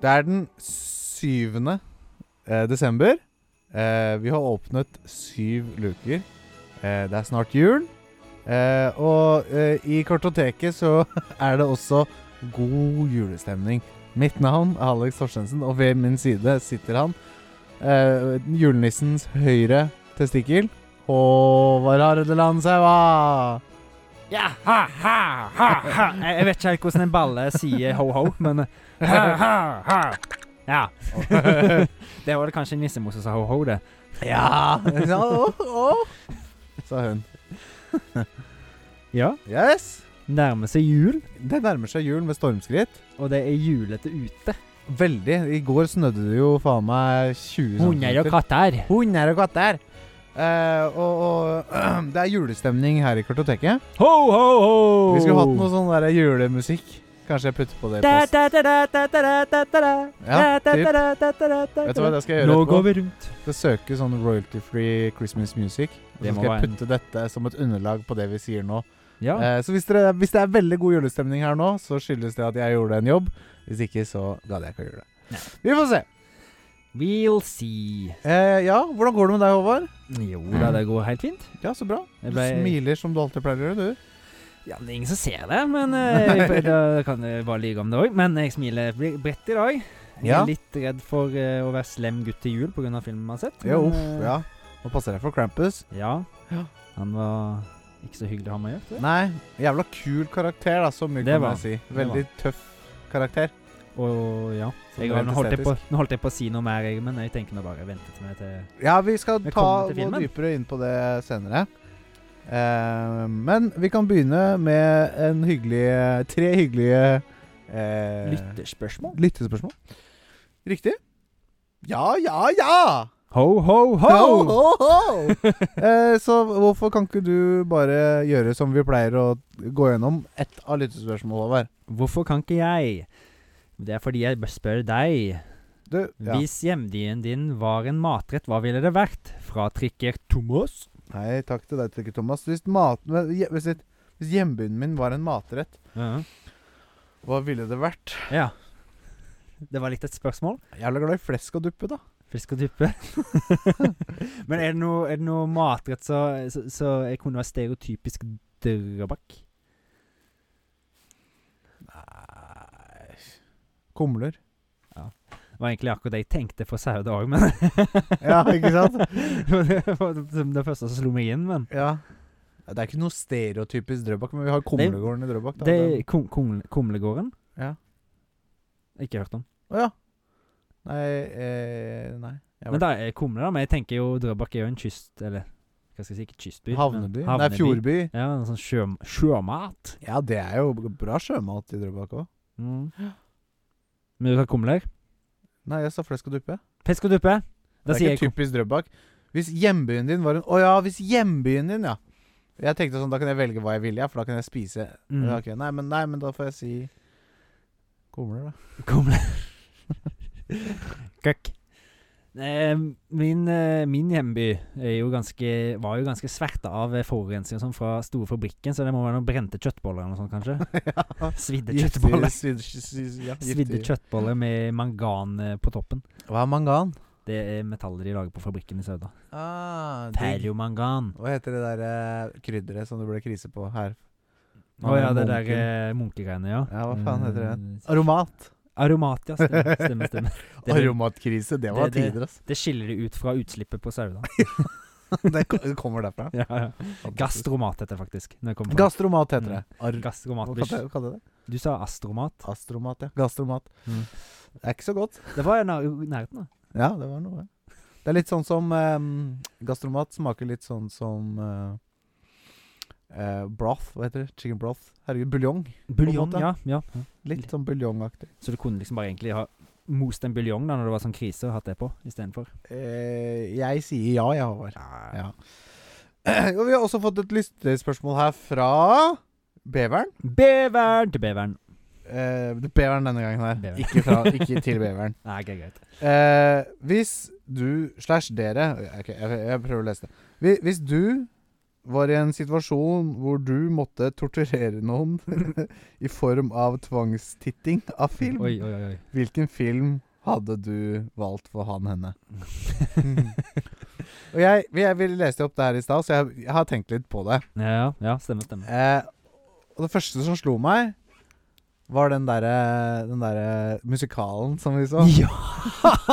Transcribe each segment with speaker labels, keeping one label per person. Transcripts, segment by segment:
Speaker 1: Det er den 7. eh, desember. Eh, vi har åpnet syv luker. Eh, det er snart jul. Eh, og eh, i kartoteket så er det også god julestemning. Mitt navn er Alex Torstensen, og ved min side sitter han. Eh, julenissens høyre testikkel. Håvard Hardeland Saua.
Speaker 2: Ja, ha, ha, ha, ha. Jeg jeg vet ikke helt hvordan en balle sier ho-ho, men eh, ha, ha, ha. Ja. Det var det kanskje en nissemo som sa ho-ho, det.
Speaker 1: Ja! å, å, Sa hun.
Speaker 2: Ja.
Speaker 1: Yes!
Speaker 2: Nærmer seg jul,
Speaker 1: Det nærmer seg jul med stormskritt.
Speaker 2: og det er julete ute.
Speaker 1: Veldig. I går snødde det jo faen meg 20
Speaker 2: Hunder og katter.
Speaker 1: Hunder og katter. Eh, og og det er julestemning her i kartoteket.
Speaker 2: Ho, ho, ho!
Speaker 1: Vi skulle hatt noe sånn der julemusikk. Kanskje jeg putter på det.
Speaker 2: Da,
Speaker 1: Post.
Speaker 2: da, da, da, da, da, da, da, da.
Speaker 1: Ja,
Speaker 2: Da, da,
Speaker 1: typ.
Speaker 2: da, da, da, da, da, da.
Speaker 1: Vet du hva det skal jeg
Speaker 2: Nå
Speaker 1: gjøre
Speaker 2: går
Speaker 1: etterpå?
Speaker 2: vi rundt.
Speaker 1: Skal søke sånn royalty free Christmas music. Og
Speaker 2: Det
Speaker 1: så
Speaker 2: må
Speaker 1: skal jeg
Speaker 2: være en-
Speaker 1: putte dette som et underlag på det vi sier nå.
Speaker 2: Ja.
Speaker 1: Eh, så hvis, dere, hvis det er veldig god julestemning her nå, så skyldes det at jeg gjorde en jobb. Hvis ikke, så gadd jeg ikke å gjøre
Speaker 2: Nei.
Speaker 1: det. Vi får se.
Speaker 2: We'll see.
Speaker 1: Eh, ja, hvordan går det med deg, Håvard?
Speaker 2: Jo da, det går helt fint.
Speaker 1: Ja, så bra. Du
Speaker 2: Jeg ble-
Speaker 1: smiler som du alltid pleier å gjøre, du.
Speaker 2: Ja, det er ingen som ser det, men eh, jeg- da kan jeg bare lyve om det òg. Men jeg smiler bri- bredt i dag. Jeg
Speaker 1: Ja.
Speaker 2: er litt redd for eh, å være slem gutt til jul pga. filmen man har sett.
Speaker 1: Ja,
Speaker 2: men,
Speaker 1: uff,
Speaker 2: eh,
Speaker 1: ja. Nå passer jeg for Krampus.
Speaker 2: ja.
Speaker 1: Ja.
Speaker 2: Han var ikke så hyggelig å ha med å gjøre. tror jeg.
Speaker 1: Nei, jævla kul karakter, da, så mye
Speaker 2: Det
Speaker 1: kan
Speaker 2: var
Speaker 1: jeg si.
Speaker 2: det
Speaker 1: Veldig tøff karakter.
Speaker 2: Og ja.
Speaker 1: Sånn
Speaker 2: Jeg,
Speaker 1: rent
Speaker 2: nå, holdt jeg på,
Speaker 1: estetisk.
Speaker 2: nå holdt jeg på å si noe mer, jeg, men jeg tenker nå bare vente til eh, meg til
Speaker 1: Ja, vi skal
Speaker 2: Vi
Speaker 1: ta gå
Speaker 2: kommer til filmen.
Speaker 1: dypere inn på det senere. Eh, men vi kan begynne med en hyggelig Tre hyggelige eh,
Speaker 2: lytterspørsmål.
Speaker 1: lyttespørsmål. Riktig? Ja, ja, ja!
Speaker 2: Ho, ho, ho!
Speaker 1: Ho, ho, ho! eh, så hvorfor kan ikke du bare gjøre som vi pleier å gå gjennom ett av lyttespørsmåla hver?
Speaker 2: Hvorfor kan ikke jeg? Det er fordi jeg bør spørre deg.
Speaker 1: Du, ja.
Speaker 2: Hvis hjemdien din var en matrett, hva ville det vært? Fra trikker Thomas
Speaker 1: Nei, takk til deg, Trikke Thomas. Hvis, mat, men hje- hvis, et- hvis hjembyen min var en matrett,
Speaker 2: Ja.
Speaker 1: hva ville det vært?
Speaker 2: ja. Det var litt et spørsmål.
Speaker 1: Jeg er jævla glad i flesk og duppe, da.
Speaker 2: Fisk og duppe. Men er det noe, er det noe matrett så, så, så jeg kunne være stereotypisk drøbak?
Speaker 1: Nei Kumler.
Speaker 2: Det var egentlig akkurat det jeg tenkte for sauda òg, men
Speaker 1: Ja, ikke sant?
Speaker 2: det var som det første som slo meg inn, men
Speaker 1: Ja. Det er ikke noe stereotypisk Drøbak, men vi har Kumlegården i Drøbak. Da.
Speaker 2: Det er kum, kum, Kumlegården?
Speaker 1: Ja.
Speaker 2: Ikke hørt om.
Speaker 1: Å ja. Nei, eh, nei. Jeg var-
Speaker 2: Men da er Kumle, da. Men jeg tenker jo Drøbak er jo en kyst... Eller hva skal jeg si? Ikke kystby. men
Speaker 1: Havneby. Nei, Fjordby.
Speaker 2: Ja, en sånn sjø, sjømat.
Speaker 1: Ja, det er jo bra sjømat i Drøbak òg.
Speaker 2: Mm. Men du tar kumler?
Speaker 1: Nei, jeg sa flesk og duppe.
Speaker 2: Fisk og duppe?
Speaker 1: Det
Speaker 2: Da
Speaker 1: er
Speaker 2: sier jeg
Speaker 1: ikke
Speaker 2: kumler.
Speaker 1: typisk Drøbak. Hvis hjembyen din var en Å ja, hvis hjembyen din, ja. Jeg tenkte sånn, Da kan jeg velge hva jeg vil, ja, for da kan jeg spise
Speaker 2: Mm.
Speaker 1: Ja, ok. nei, men, nei, men da får jeg si Kumler, da.
Speaker 2: kumler. Køkk. Eh, min, eh, min hjemby er jo ganske, var jo ganske sverta av eh, forurensning og sånn fra store fabrikken, så det må være noen brente kjøttboller eller noe sånt, kanskje?
Speaker 1: ja.
Speaker 2: Svidde
Speaker 1: Giftig-
Speaker 2: kjøttboller.
Speaker 1: svidd- svidd- ja,
Speaker 2: Svidde
Speaker 1: giftig.
Speaker 2: kjøttboller med mangan eh, på toppen.
Speaker 1: Hva er mangan?
Speaker 2: Det er metallet de lager på fabrikken i Sauda.
Speaker 1: Ah, digg.
Speaker 2: Ferromangan.
Speaker 1: Hva heter det der eh, krydderet som det ble krise på her?
Speaker 2: Å ja, det der
Speaker 1: Munken.
Speaker 2: eh, munkegreiene, ja.
Speaker 1: Ja, hva faen heter det?
Speaker 2: Eh,
Speaker 1: Aromat.
Speaker 2: Aromat, ja. Stemmer. stemmer, stemmer. Det, det,
Speaker 1: Aromatkrise. Det var
Speaker 2: det- det-
Speaker 1: tider, altså.
Speaker 2: skiller det ut fra utslippet på sauene.
Speaker 1: det ko- det kommer derfra.
Speaker 2: ja, ja. Gastromat heter det faktisk. Når det kommer fra-
Speaker 1: Gastromat heter det.
Speaker 2: Mm.
Speaker 1: Ar
Speaker 2: Gastromat.
Speaker 1: Hva
Speaker 2: Du,
Speaker 1: kalte jeg- hva kalte jeg det?
Speaker 2: du sa astromat.
Speaker 1: Astromat, ja. Gastromat.
Speaker 2: Mm.
Speaker 1: Det er ikke så godt.
Speaker 2: Det var i nær- i nærheten, da.
Speaker 1: Ja, det var noe. Det er litt sånn som ehm, Gastromat smaker litt sånn som eh, eh, broth, hva heter det? Chicken broth. Herregud, buljong.
Speaker 2: Buljong,
Speaker 1: måte.
Speaker 2: ja, ja.
Speaker 1: Litt sånn buljongaktig.
Speaker 2: Så du kunne liksom bare egentlig ha most en buljong da når det var sånn krise, og hatt det på istedenfor.
Speaker 1: Eh, jeg sier ja, jeg, Håvard.
Speaker 2: Ja.
Speaker 1: Ja. Og vi har også fått et lystespørsmål her fra Beveren.
Speaker 2: Beveren til beveren.
Speaker 1: Eh, beveren denne gangen her.
Speaker 2: Beveren.
Speaker 1: Ikke, fra, ikke til Beveren.
Speaker 2: Nei, greit, greit.
Speaker 1: Eh, hvis du slash dere Ok, jeg, jeg prøver å lese det. Hvi- Hvis du var i en situasjon hvor du måtte torturere noen i form av tvangstitting av film.
Speaker 2: Oi, oi, oi.
Speaker 1: Hvilken film hadde du valgt for han henne? Og jeg, jeg, vil leste opp det her i stad, så jeg, jeg har tenkt litt på det.
Speaker 2: Ja, ja, ja, stemmer, stemmer.
Speaker 1: Eh, og det første som slo meg, var den derre den derre musikalen som vi så.
Speaker 2: Ja!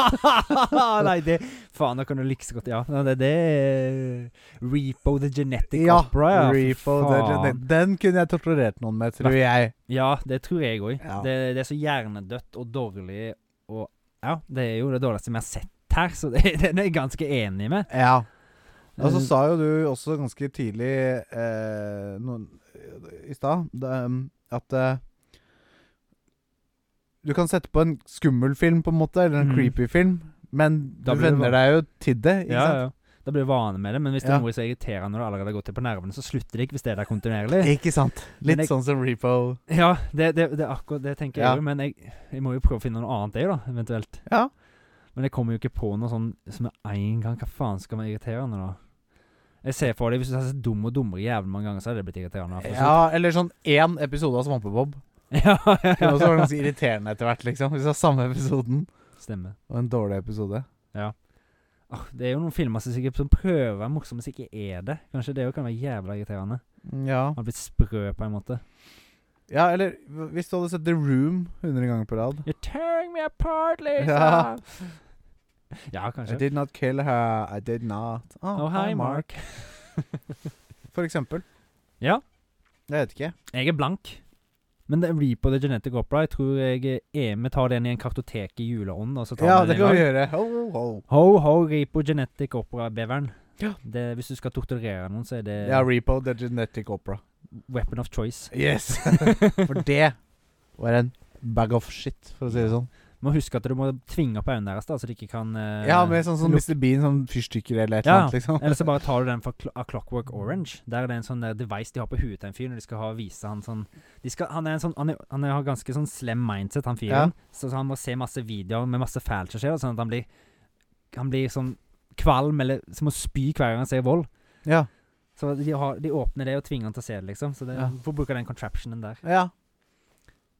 Speaker 2: Nei, det Faen, da kan du like så godt Ja. Nei, Det, det er Repo the Genetic Opera. Ja, Fy
Speaker 1: Repo the
Speaker 2: faen.
Speaker 1: Genet- Den kunne jeg torturert noen med, tror jeg.
Speaker 2: Ja, det tror jeg òg.
Speaker 1: Ja.
Speaker 2: Det, det er så hjernedødt og dårlig og Ja, det er jo det dårligste vi har sett her, så det, den er jeg ganske enig med. Eh,
Speaker 1: Ja. Mm. Og så sa jo du også ganske tidlig eh, noen, i stad da, um, at eh, Du kan sette på en skummel film, på en måte, eller en
Speaker 2: Mm.
Speaker 1: creepy film, men
Speaker 2: Da
Speaker 1: du
Speaker 2: blir det
Speaker 1: venner deg jo til det, ikke
Speaker 2: ja,
Speaker 1: sant?
Speaker 2: ja. Da blir du vane med det, men hvis det
Speaker 1: Ja.
Speaker 2: er noe som irriterer når du allerede har gått til på nervene, så slutter det ikke hvis det er der kontinuerlig.
Speaker 1: Ikke sant?
Speaker 2: Men
Speaker 1: Litt
Speaker 2: jeg-
Speaker 1: sånn som Repo.
Speaker 2: Ja, det, det, det er akkurat det tenker
Speaker 1: Ja.
Speaker 2: jeg jo, men jeg, jeg må jo prøve å finne noe annet, jeg, da, eventuelt.
Speaker 1: Ja.
Speaker 2: Men jeg kommer jo ikke på noe sånn som er én gang. Hva faen skal være irriterende, da? Jeg ser for deg, Hvis du er så dum og dummere jævlig mange ganger, så hadde det blitt irriterende. for
Speaker 1: Ja, eller sånn én episode av Svampebob.
Speaker 2: Ja, ja,
Speaker 1: Det også var
Speaker 2: ja,
Speaker 1: ganske irriterende etter hvert, liksom. Hvis det var samme episoden.
Speaker 2: Stemmer.
Speaker 1: Og en dårlig episode.
Speaker 2: Ah, det er jo noen filmer som sikkert som prøver å være morsomme, som ikke er det. Kanskje det jo kan være jævla irriterende.
Speaker 1: Ja.
Speaker 2: Man har blitt sprø på en måte.
Speaker 1: ja, eller hvis du hadde sett The Room 100 ganger på rad.
Speaker 2: You're tearing me apart,
Speaker 1: Ja.
Speaker 2: Lisa! Ja,
Speaker 1: I
Speaker 2: kanskje.
Speaker 1: did not kill her, I did not Ah,
Speaker 2: Oh, hi, Mark.
Speaker 1: For eksempel.
Speaker 2: Ja.
Speaker 1: Jeg vet ikke.
Speaker 2: Jeg er blank. Men det er Repo the Genetic Opera. Jeg tror jeg er med tar den i en kartotek i Eh. juleånd. Og så tar
Speaker 1: Ja,
Speaker 2: vi
Speaker 1: det
Speaker 2: den
Speaker 1: kan
Speaker 2: en
Speaker 1: vi
Speaker 2: gang.
Speaker 1: gjøre. Ho, ho.
Speaker 2: Ho, ho, Repo Genetic Opera-beveren.
Speaker 1: Ja.
Speaker 2: Det- Hvis du skal torturere noen, så er det
Speaker 1: Ja, Repo, The Genetic Opera.
Speaker 2: weapon of choice.
Speaker 1: Yes! For det var en bag of shit, for å si det sånn.
Speaker 2: Må huske at du må tvinge opp øynene deres, da, så de ikke kan eh,
Speaker 1: Ja, med sånn som
Speaker 2: luk-
Speaker 1: Mr. Bean, sånn fyrstikker eller et
Speaker 2: Ja.
Speaker 1: eller annet, liksom.
Speaker 2: Eller så bare tar du den fra Cl- av Clockwork Orange. Der er det en sånn der device de har på huet til en fyr når de skal ha, vise han sånn de skal, Han er en sånn Han, er, han er, har ganske sånn slem mindset, han fyren. Så, så han må se masse videoer med masse fælt som skjer, sånn at han blir Han blir sånn kvalm, eller som å spy hver gang han ser vold.
Speaker 1: Ja.
Speaker 2: Så de, har, de åpner det og tvinger han til å se det, liksom. Så det,
Speaker 1: Ja.
Speaker 2: får bruke den contraptionen der.
Speaker 1: Ja.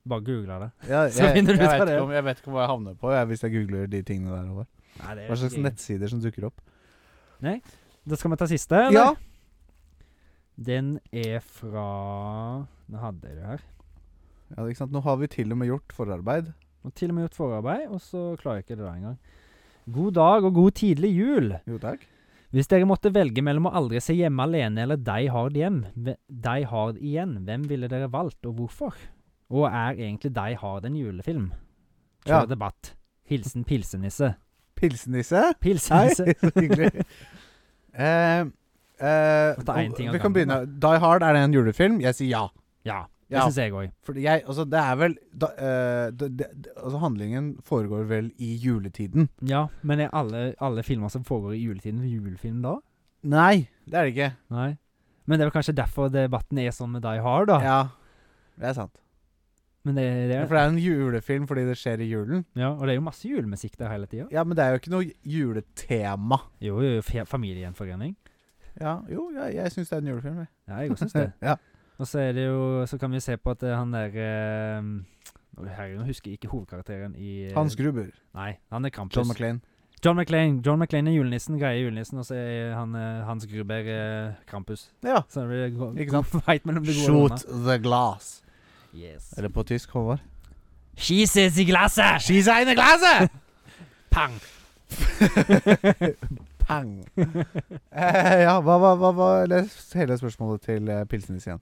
Speaker 2: Bare google det.
Speaker 1: ja jeg,
Speaker 2: Så finner du ut
Speaker 1: jeg
Speaker 2: av
Speaker 1: vet
Speaker 2: det.
Speaker 1: ikke om, jeg vet ikke hva jeg havner på jeg, hvis jeg googler de tingene der. Over.
Speaker 2: Nei, det er
Speaker 1: Hva slags
Speaker 2: ikke-
Speaker 1: nettsider som dukker opp.
Speaker 2: Da skal vi ta siste, eller?
Speaker 1: Ja.
Speaker 2: Den er fra Nå hadde jeg det her.
Speaker 1: ja, ikke sant. Nå har vi til og med gjort forarbeid.
Speaker 2: Og til og med gjort forarbeid, og så klarer jeg ikke det der engang. God dag og god tidlig jul.
Speaker 1: Jo takk.
Speaker 2: Hvis dere måtte velge mellom å aldri se hjemme alene eller deg hard hjem, ve- deg hard igjen, hvem ville dere valgt, og hvorfor? Og er egentlig deg hard en julefilm? Klar
Speaker 1: Ja.
Speaker 2: debatt. Hilsen pilsenisse.
Speaker 1: Pilsenisse. Hei,
Speaker 2: Pilsenisse.
Speaker 1: så hyggelig. Eh, eh,
Speaker 2: Og ta en ting av
Speaker 1: vi kan
Speaker 2: gangen,
Speaker 1: begynne. Die Hard, er det en julefilm? Jeg sier ja.
Speaker 2: Ja, det
Speaker 1: Ja.
Speaker 2: syns jeg òg.
Speaker 1: Fordi jeg, altså det er vel da, eh, det, det, det- altså Handlingen foregår vel i juletiden?
Speaker 2: Ja, men er alle, alle filmer som foregår i juletiden, julefilm da?
Speaker 1: Nei, det er det ikke.
Speaker 2: Nei. Men det er vel kanskje derfor debatten er sånn med Die Hard, da.
Speaker 1: Ja, det er sant.
Speaker 2: Men det, det
Speaker 1: For
Speaker 2: er,
Speaker 1: det er en julefilm fordi det skjer i julen.
Speaker 2: ja, og det er jo masse julemusikk der hele tida.
Speaker 1: Ja, men det er jo ikke noe juletema.
Speaker 2: Jo, jo, jo, fe- familiegjenforening.
Speaker 1: Ja, jo, ja, jeg syns det er en julefilm. Jeg.
Speaker 2: Ja, jeg òg syns det.
Speaker 1: Ja.
Speaker 2: Og så er det jo Så kan vi se på at eh, han der eh, å, Herregud, nå husker jeg ikke hovedkarakteren i eh,
Speaker 1: Hans Gruber.
Speaker 2: Nei, han er Krampus.
Speaker 1: John McLean.
Speaker 2: John McClane. John McClane er julenissen, greie julenissen, og så er han eh, Hans Gruber eh, Krampus.
Speaker 1: Ja.
Speaker 2: Så det blir
Speaker 1: Ikke sant?
Speaker 2: Veit mellom det gode og
Speaker 1: Shoot the glass.
Speaker 2: onde. Yes.
Speaker 1: Eller på tysk, Håvard.
Speaker 2: Skises i glasset!
Speaker 1: She's in the glass!
Speaker 2: Pang!
Speaker 1: Pang. eh, ja, hva var hva, hva, les hele spørsmålet til eh, Pilsenis igjen?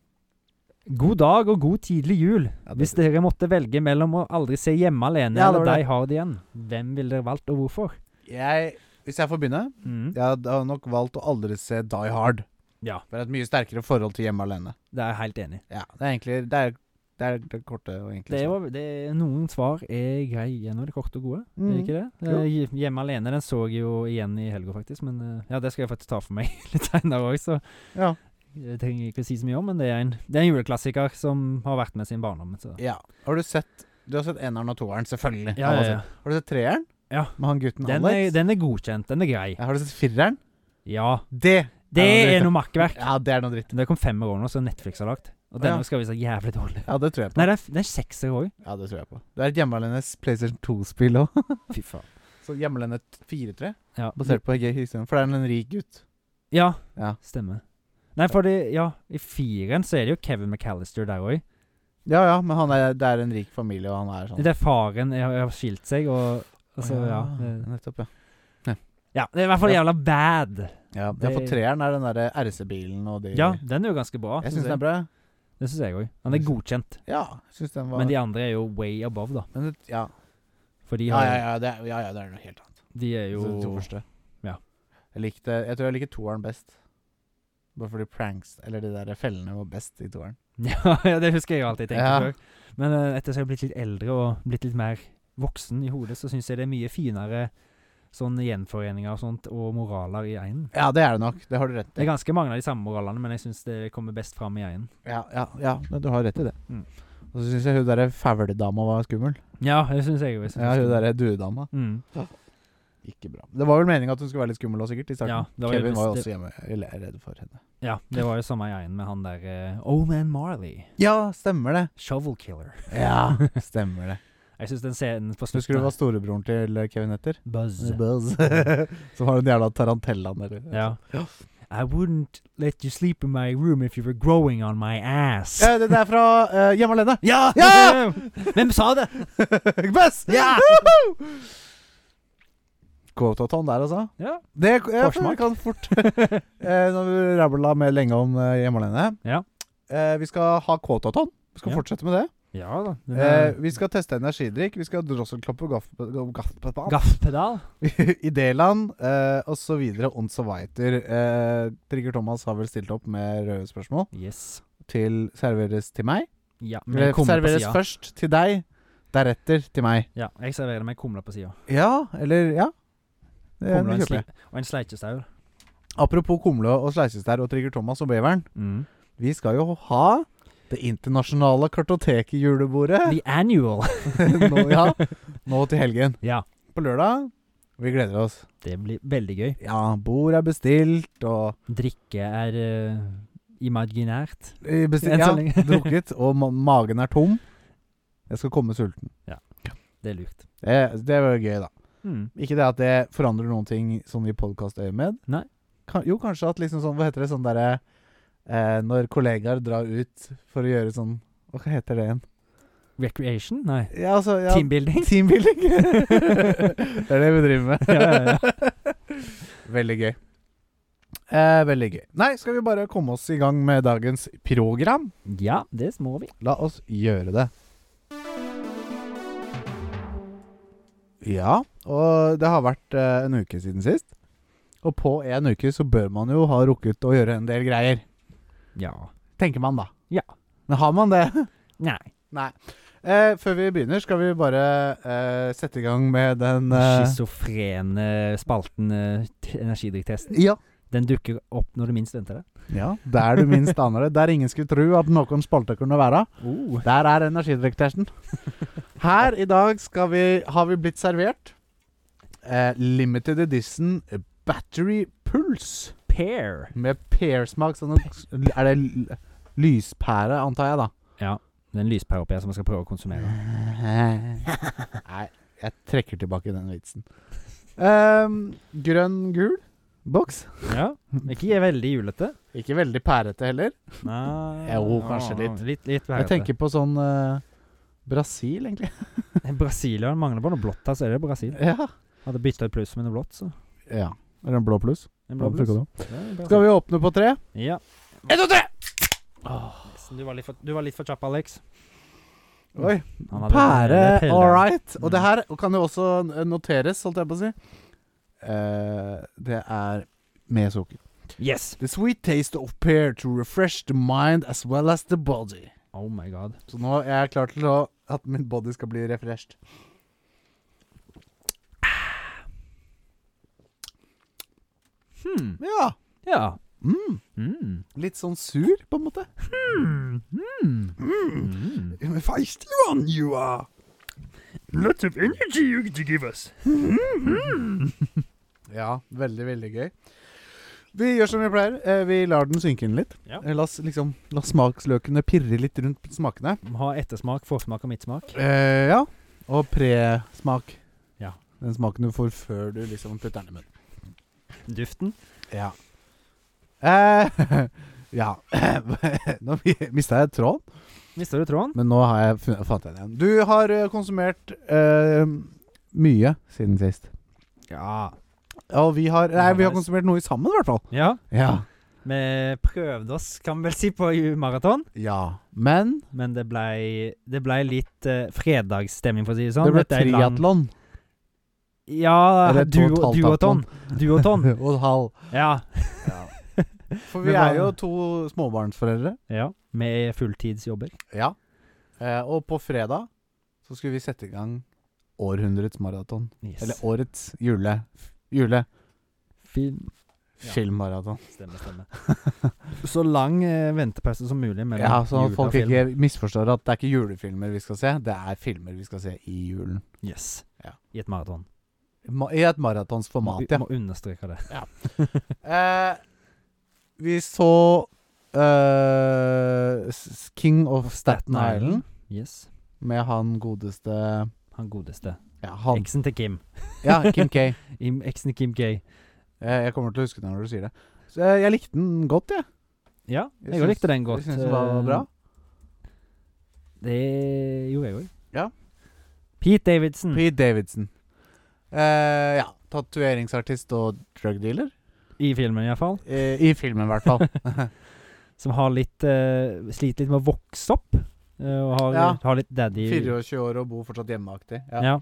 Speaker 2: God dag og god tidlig jul.
Speaker 1: Ja, det-
Speaker 2: Hvis dere måtte velge mellom å aldri se hjemme alene
Speaker 1: Ja, det
Speaker 2: eller
Speaker 1: var det.
Speaker 2: Die Hard igjen, hvem ville dere valgt, og hvorfor?
Speaker 1: Jeg, hvis jeg får begynne
Speaker 2: Mm.
Speaker 1: Jeg hadde nok valgt å aldri se Die Hard.
Speaker 2: Ja.
Speaker 1: For et mye sterkere forhold til Hjemme alene.
Speaker 2: Det er jeg helt enig i. liksom.
Speaker 1: Ja, det er egentlig Det er det, er det korte og enkle.
Speaker 2: Det
Speaker 1: svaret.
Speaker 2: var, det, noen svar er greie når det er korte og gode. Er det
Speaker 1: Mhm.
Speaker 2: ikke det?
Speaker 1: Jo.
Speaker 2: Eh, hj- hjemme alene den så jeg jo igjen i helga, faktisk. Men eh, ja, det skal jeg faktisk ta for meg litt seinere òg, så
Speaker 1: Ja.
Speaker 2: det trenger jeg ikke å si så mye om. Men det er, en, det er en juleklassiker som har vært med sin barndom. Så.
Speaker 1: ja. Har du sett Du har sett eneren og toeren, selvfølgelig.
Speaker 2: Ja,
Speaker 1: Alle
Speaker 2: ja,
Speaker 1: har
Speaker 2: ja.
Speaker 1: sett. Har du sett treeren?
Speaker 2: Ja.
Speaker 1: Med han gutten
Speaker 2: Den, er,
Speaker 1: Alex?
Speaker 2: den er godkjent. Den er grei.
Speaker 1: Ja, har du sett fireren?
Speaker 2: Ja.
Speaker 1: Det
Speaker 2: Det
Speaker 1: Ja, det-
Speaker 2: er noe makkverk.
Speaker 1: Ja, det er noe dritt.
Speaker 2: Det kom fem år nå, som Netflix har lagt. Og
Speaker 1: Ja.
Speaker 2: denne skal vise jævlig dårlig.
Speaker 1: Ja, det tror jeg på.
Speaker 2: Nei, det er, det er sekser òg.
Speaker 1: Ja, det tror jeg på. Det er et hjemmealenes PlayStation 2-spill òg.
Speaker 2: Fy faen.
Speaker 1: Så hjemmealene 4-3,
Speaker 2: Ja.
Speaker 1: basert på Hege Kristian. For det er en rik gutt.
Speaker 2: ja,
Speaker 1: Ja.
Speaker 2: stemmer. Nei, fordi Ja, i fireren så er det jo Kevin McAllister der òg.
Speaker 1: Ja ja, men han er, det er en rik familie, og han er sånn.
Speaker 2: Det er faren jeg har jeg har skilt seg, og, og så,
Speaker 1: Å,
Speaker 2: ja. det-
Speaker 1: Nettopp, ja.
Speaker 2: Ja, det er i hvert fall
Speaker 1: Ja.
Speaker 2: jævla bad.
Speaker 1: ja det, for
Speaker 2: Det-
Speaker 1: treeren er den derre RC-bilen og de
Speaker 2: Ja, den er jo ganske bra.
Speaker 1: Jeg syns
Speaker 2: synes
Speaker 1: den er bra.
Speaker 2: Det syns jeg òg. Han er
Speaker 1: Jeg synes-
Speaker 2: godkjent.
Speaker 1: Ja, jeg synes den var
Speaker 2: Men de andre er jo way above, da.
Speaker 1: men det- ja.
Speaker 2: For de,
Speaker 1: Ja,
Speaker 2: har,
Speaker 1: ja, ja, det er, ja, ja, det er noe helt annet.
Speaker 2: de er jo
Speaker 1: Så de to første.
Speaker 2: Ja.
Speaker 1: Jeg likte Jeg tror jeg liker toeren best. Bare fordi pranks, eller de der fellene, var best i toeren.
Speaker 2: ja, ja, det husker jeg jo alltid.
Speaker 1: Ja.
Speaker 2: Ja. Men eh, etter at jeg har blitt litt eldre og blitt litt mer voksen i hodet, så syns jeg det er mye finere sånn gjenforeninger og sånt, og moraler i einen.
Speaker 1: Ja, det er det nok. Det har du rett
Speaker 2: Det
Speaker 1: i.
Speaker 2: er ganske mange av de samme moralene, men jeg syns det kommer best fram i einen.
Speaker 1: Ja, ja, ja men du har rett i det.
Speaker 2: Mm.
Speaker 1: Og så syns jeg hun derre fæledama var skummel.
Speaker 2: Ja, det syns jeg jo. jeg synes
Speaker 1: Ja, hun
Speaker 2: det.
Speaker 1: derre duedama.
Speaker 2: Mm.
Speaker 1: Ikke bra. Det var vel meninga at hun skulle være litt skummel òg, sikkert. I starten.
Speaker 2: Ja, det var jo
Speaker 1: Kevin var jo
Speaker 2: mest-
Speaker 1: også hjemme, eller er redd for henne.
Speaker 2: ja, det var jo samme i einen med han der eh, Old Man Marley.
Speaker 1: Ja, stemmer det.
Speaker 2: Shovel Killer.
Speaker 1: Ja, stemmer det.
Speaker 2: Jeg syns den scenen på
Speaker 1: Husker du
Speaker 2: slutten
Speaker 1: hva storebroren til Kevin heter?
Speaker 2: Buzz.
Speaker 1: Buzz. Som har den jævla tarantellaen, eller
Speaker 2: Ja. I wouldn't let you sleep in my room if you were growing on my ass.
Speaker 1: Eh, det er fra eh, Hjemme alene.
Speaker 2: Ja!
Speaker 1: Ja!
Speaker 2: Hvem sa det?
Speaker 1: Buzz!
Speaker 2: Ja!
Speaker 1: Quotaton der, altså.
Speaker 2: Ja.
Speaker 1: Det jeg,
Speaker 2: Forsmak.
Speaker 1: kan fort eh, Når vi rabla med lenge om eh, Hjemme alene
Speaker 2: Ja.
Speaker 1: eh, Vi skal ha quotaton. Vi skal
Speaker 2: Ja.
Speaker 1: fortsette med det.
Speaker 2: Ja da. den
Speaker 1: Eh,
Speaker 2: er-
Speaker 1: vi skal teste energidrikk. Vi skal ha drosselklapp og gaff... gaff, gaff
Speaker 2: Gaffpedal.
Speaker 1: Idéland eh, osv. On Survivor. Eh, Trigger Thomas har vel stilt opp med røde spørsmål.
Speaker 2: Yes.
Speaker 1: Til serveres til meg.
Speaker 2: Ja, men
Speaker 1: Eller
Speaker 2: jeg kommer på
Speaker 1: serveres
Speaker 2: sida.
Speaker 1: først til deg, deretter til meg.
Speaker 2: Ja, jeg serverer meg kumle på sida.
Speaker 1: Ja, eller Ja. Det
Speaker 2: Ah, Kumle og en,
Speaker 1: kjøper jeg.
Speaker 2: sli- og en sleikjestaur.
Speaker 1: Apropos kumle og sleisestær og Trigger Thomas og beveren.
Speaker 2: Mm.
Speaker 1: Vi skal jo ha det internasjonale kartoteket-julebordet
Speaker 2: The Annual.
Speaker 1: nå, ja, nå til helgen.
Speaker 2: ja.
Speaker 1: På lørdag. Vi gleder oss.
Speaker 2: Det blir veldig gøy.
Speaker 1: Ja, bord er bestilt, og
Speaker 2: Drikke er eh, imaginært.
Speaker 1: Eh, Bestilt,
Speaker 2: Enn
Speaker 1: ja,
Speaker 2: så lenge.
Speaker 1: drukket, og ma magen er tom. Jeg skal komme sulten.
Speaker 2: Det er lurt.
Speaker 1: Det, det var jo gøy, da.
Speaker 2: Mm.
Speaker 1: Ikke det at det forandrer noen ting sånn i podkastøyemed.
Speaker 2: Nei.
Speaker 1: Kan, jo, kanskje at liksom sånn Hva heter det sånn derre eh, Når kollegaer drar ut for å gjøre sånn Hva heter det igjen?
Speaker 2: Recreation? Nei.
Speaker 1: Ja, altså ja,
Speaker 2: Teambuilding?
Speaker 1: Teambuilding. det er det vi driver med.
Speaker 2: Ja, ja,
Speaker 1: Veldig gøy. Eh, veldig gøy. Nei, skal vi bare komme oss i gang med dagens program?
Speaker 2: ja, det må vi.
Speaker 1: La oss gjøre det. Ja, og det har vært eh, en uke siden sist. Og på en uke så bør man jo ha rukket å gjøre en del greier.
Speaker 2: Ja.
Speaker 1: Tenker man, da.
Speaker 2: Ja.
Speaker 1: Men har man det?
Speaker 2: Nei.
Speaker 1: Nei. Eh, før vi begynner, skal vi bare eh, sette i gang med den eh,
Speaker 2: Schizofrene spalten eh, t- energidrikktesten.
Speaker 1: ja.
Speaker 2: Den dukker opp når du minst venter det.
Speaker 1: ja. Der du minst aner det. Der ingen skulle tro at noen spalte kunne være.
Speaker 2: Oh.
Speaker 1: Der er energidrikktesten. Her i dag skal vi, har vi blitt servert eh, Limited Edition Battery Pulse
Speaker 2: Pear.
Speaker 1: med pearsmak. Sånn, er det l- lyspære, antar jeg, da?
Speaker 2: Det er en lyspære oppi her som jeg skal prøve å konsumere.
Speaker 1: Nei, jeg trekker tilbake den vitsen. Ehm, Grønn-gul boks.
Speaker 2: Ja. Ikke er veldig julete.
Speaker 1: Ikke veldig pærete heller.
Speaker 2: Nei.
Speaker 1: Jo, kanskje litt.
Speaker 2: Litt, litt
Speaker 1: Jeg
Speaker 2: værete.
Speaker 1: tenker på sånn eh, Brasil, egentlig.
Speaker 2: Brasilian mangler bare noe blått her, så er det Brasil.
Speaker 1: Ja.
Speaker 2: Hadde bytta et pluss med noe blått, så.
Speaker 1: ja. Eller en blå pluss.
Speaker 2: En blå pluss. Ja, en blå
Speaker 1: Skal vi åpne på tre?
Speaker 2: pluss. Ja.
Speaker 1: Ett, to, tre!
Speaker 2: Nesten. Du var litt for, du var litt for kjapp, Alex.
Speaker 1: Oi.
Speaker 2: Han hadde- det
Speaker 1: Pære,
Speaker 2: peller.
Speaker 1: all right. Og det
Speaker 2: Mm.
Speaker 1: her kan jo også n- noteres, holdt jeg på å si. Eh, det er med sukker.
Speaker 2: Yes.
Speaker 1: The sweet taste of pear to refresh the mind as well as the body.
Speaker 2: Oh my god.
Speaker 1: Så nå er jeg klar til å, at min body skal bli refreshed.
Speaker 2: Hmm.
Speaker 1: Ja.
Speaker 2: Ja.
Speaker 1: Mm.
Speaker 2: Mm.
Speaker 1: Litt sånn sur, på en måte.
Speaker 2: Mm. Mm. Mm.
Speaker 1: Feisty one you are.
Speaker 2: Lots of energy you give us.
Speaker 1: Ja, veldig, veldig gøy. Vi gjør som vi pleier. Eh, vi lar den synke inn litt.
Speaker 2: Ja.
Speaker 1: Eh, La, oss liksom, la smaksløkene pirre litt rundt smakene.
Speaker 2: Ha ettersmak, forsmak og midtsmak.
Speaker 1: Eh, ja. Og presmak.
Speaker 2: Ja.
Speaker 1: Den smaken du får før du liksom putter den i munnen.
Speaker 2: Duften.
Speaker 1: Ja. Eh, ja. nå mista jeg tråden,
Speaker 2: Mister du tråden?
Speaker 1: men nå har jeg fun- fant jeg den igjen. Du har eh, konsumert eh, mye siden sist.
Speaker 2: Ja.
Speaker 1: Og vi har Nei, vi har
Speaker 2: Nice.
Speaker 1: konsumert noe sammen, i hvert fall.
Speaker 2: ja.
Speaker 1: Ja.
Speaker 2: Vi prøvde oss, kan vi vel si, på maraton.
Speaker 1: ja. Men
Speaker 2: Men det blei det ble litt eh, fredagsstemning, for å si det sånn.
Speaker 1: det ble
Speaker 2: Dette er en lang-
Speaker 1: triatlon.
Speaker 2: Ja,
Speaker 1: Eller to og et
Speaker 2: duo,
Speaker 1: halvt
Speaker 2: duoton. Duoton.
Speaker 1: Og en halv.
Speaker 2: Ja.
Speaker 1: For
Speaker 2: Men
Speaker 1: vi
Speaker 2: hva-
Speaker 1: er jo to småbarnsforeldre.
Speaker 2: ja. Med fulltidsjobber.
Speaker 1: Ja. Eh, og på fredag så skulle vi sette i gang århundrets maraton.
Speaker 2: Yes.
Speaker 1: Eller årets jule... Jule...
Speaker 2: Film. Ja.
Speaker 1: Filmmaraton.
Speaker 2: Stemmer, stemmer. Så lang eh, ventepause som mulig mellom
Speaker 1: Ja, så
Speaker 2: jul
Speaker 1: folk
Speaker 2: og film.
Speaker 1: ikke misforstår at det er ikke julefilmer vi skal se, det er filmer vi skal se i julen.
Speaker 2: Yes.
Speaker 1: Ja.
Speaker 2: I et maraton.
Speaker 1: Ma I et maratons format,
Speaker 2: Må-
Speaker 1: ja.
Speaker 2: Må understreke det.
Speaker 1: Eh, vi så eh, s- King of Staten Island
Speaker 2: Yes.
Speaker 1: med han godeste
Speaker 2: Han godeste.
Speaker 1: Ja, han.
Speaker 2: Eksen til Kim.
Speaker 1: Ja, Kim K.
Speaker 2: Im, eksen til Kim Gay.
Speaker 1: Eh, Jeg kommer til å huske det når du sier det. Så eh, jeg, jeg likte den godt, jeg.
Speaker 2: Ja,
Speaker 1: Jeg
Speaker 2: jeg,
Speaker 1: syns-
Speaker 2: likte den godt.
Speaker 1: Jeg syns den var
Speaker 2: Eh,
Speaker 1: bra.
Speaker 2: Det gjorde jeg òg.
Speaker 1: Ja.
Speaker 2: Pete Davidson.
Speaker 1: Pete Davidson. Eh, ja. Tatoveringsartist og drug dealer.
Speaker 2: I filmen, iallfall.
Speaker 1: Eh, I filmen, i hvert fall.
Speaker 2: Som har litt eh, Sliter litt med å vokse opp. eh, og har,
Speaker 1: Ja.
Speaker 2: har litt daddy
Speaker 1: 24 år og bor fortsatt hjemmeaktig.
Speaker 2: ja.
Speaker 1: Ja.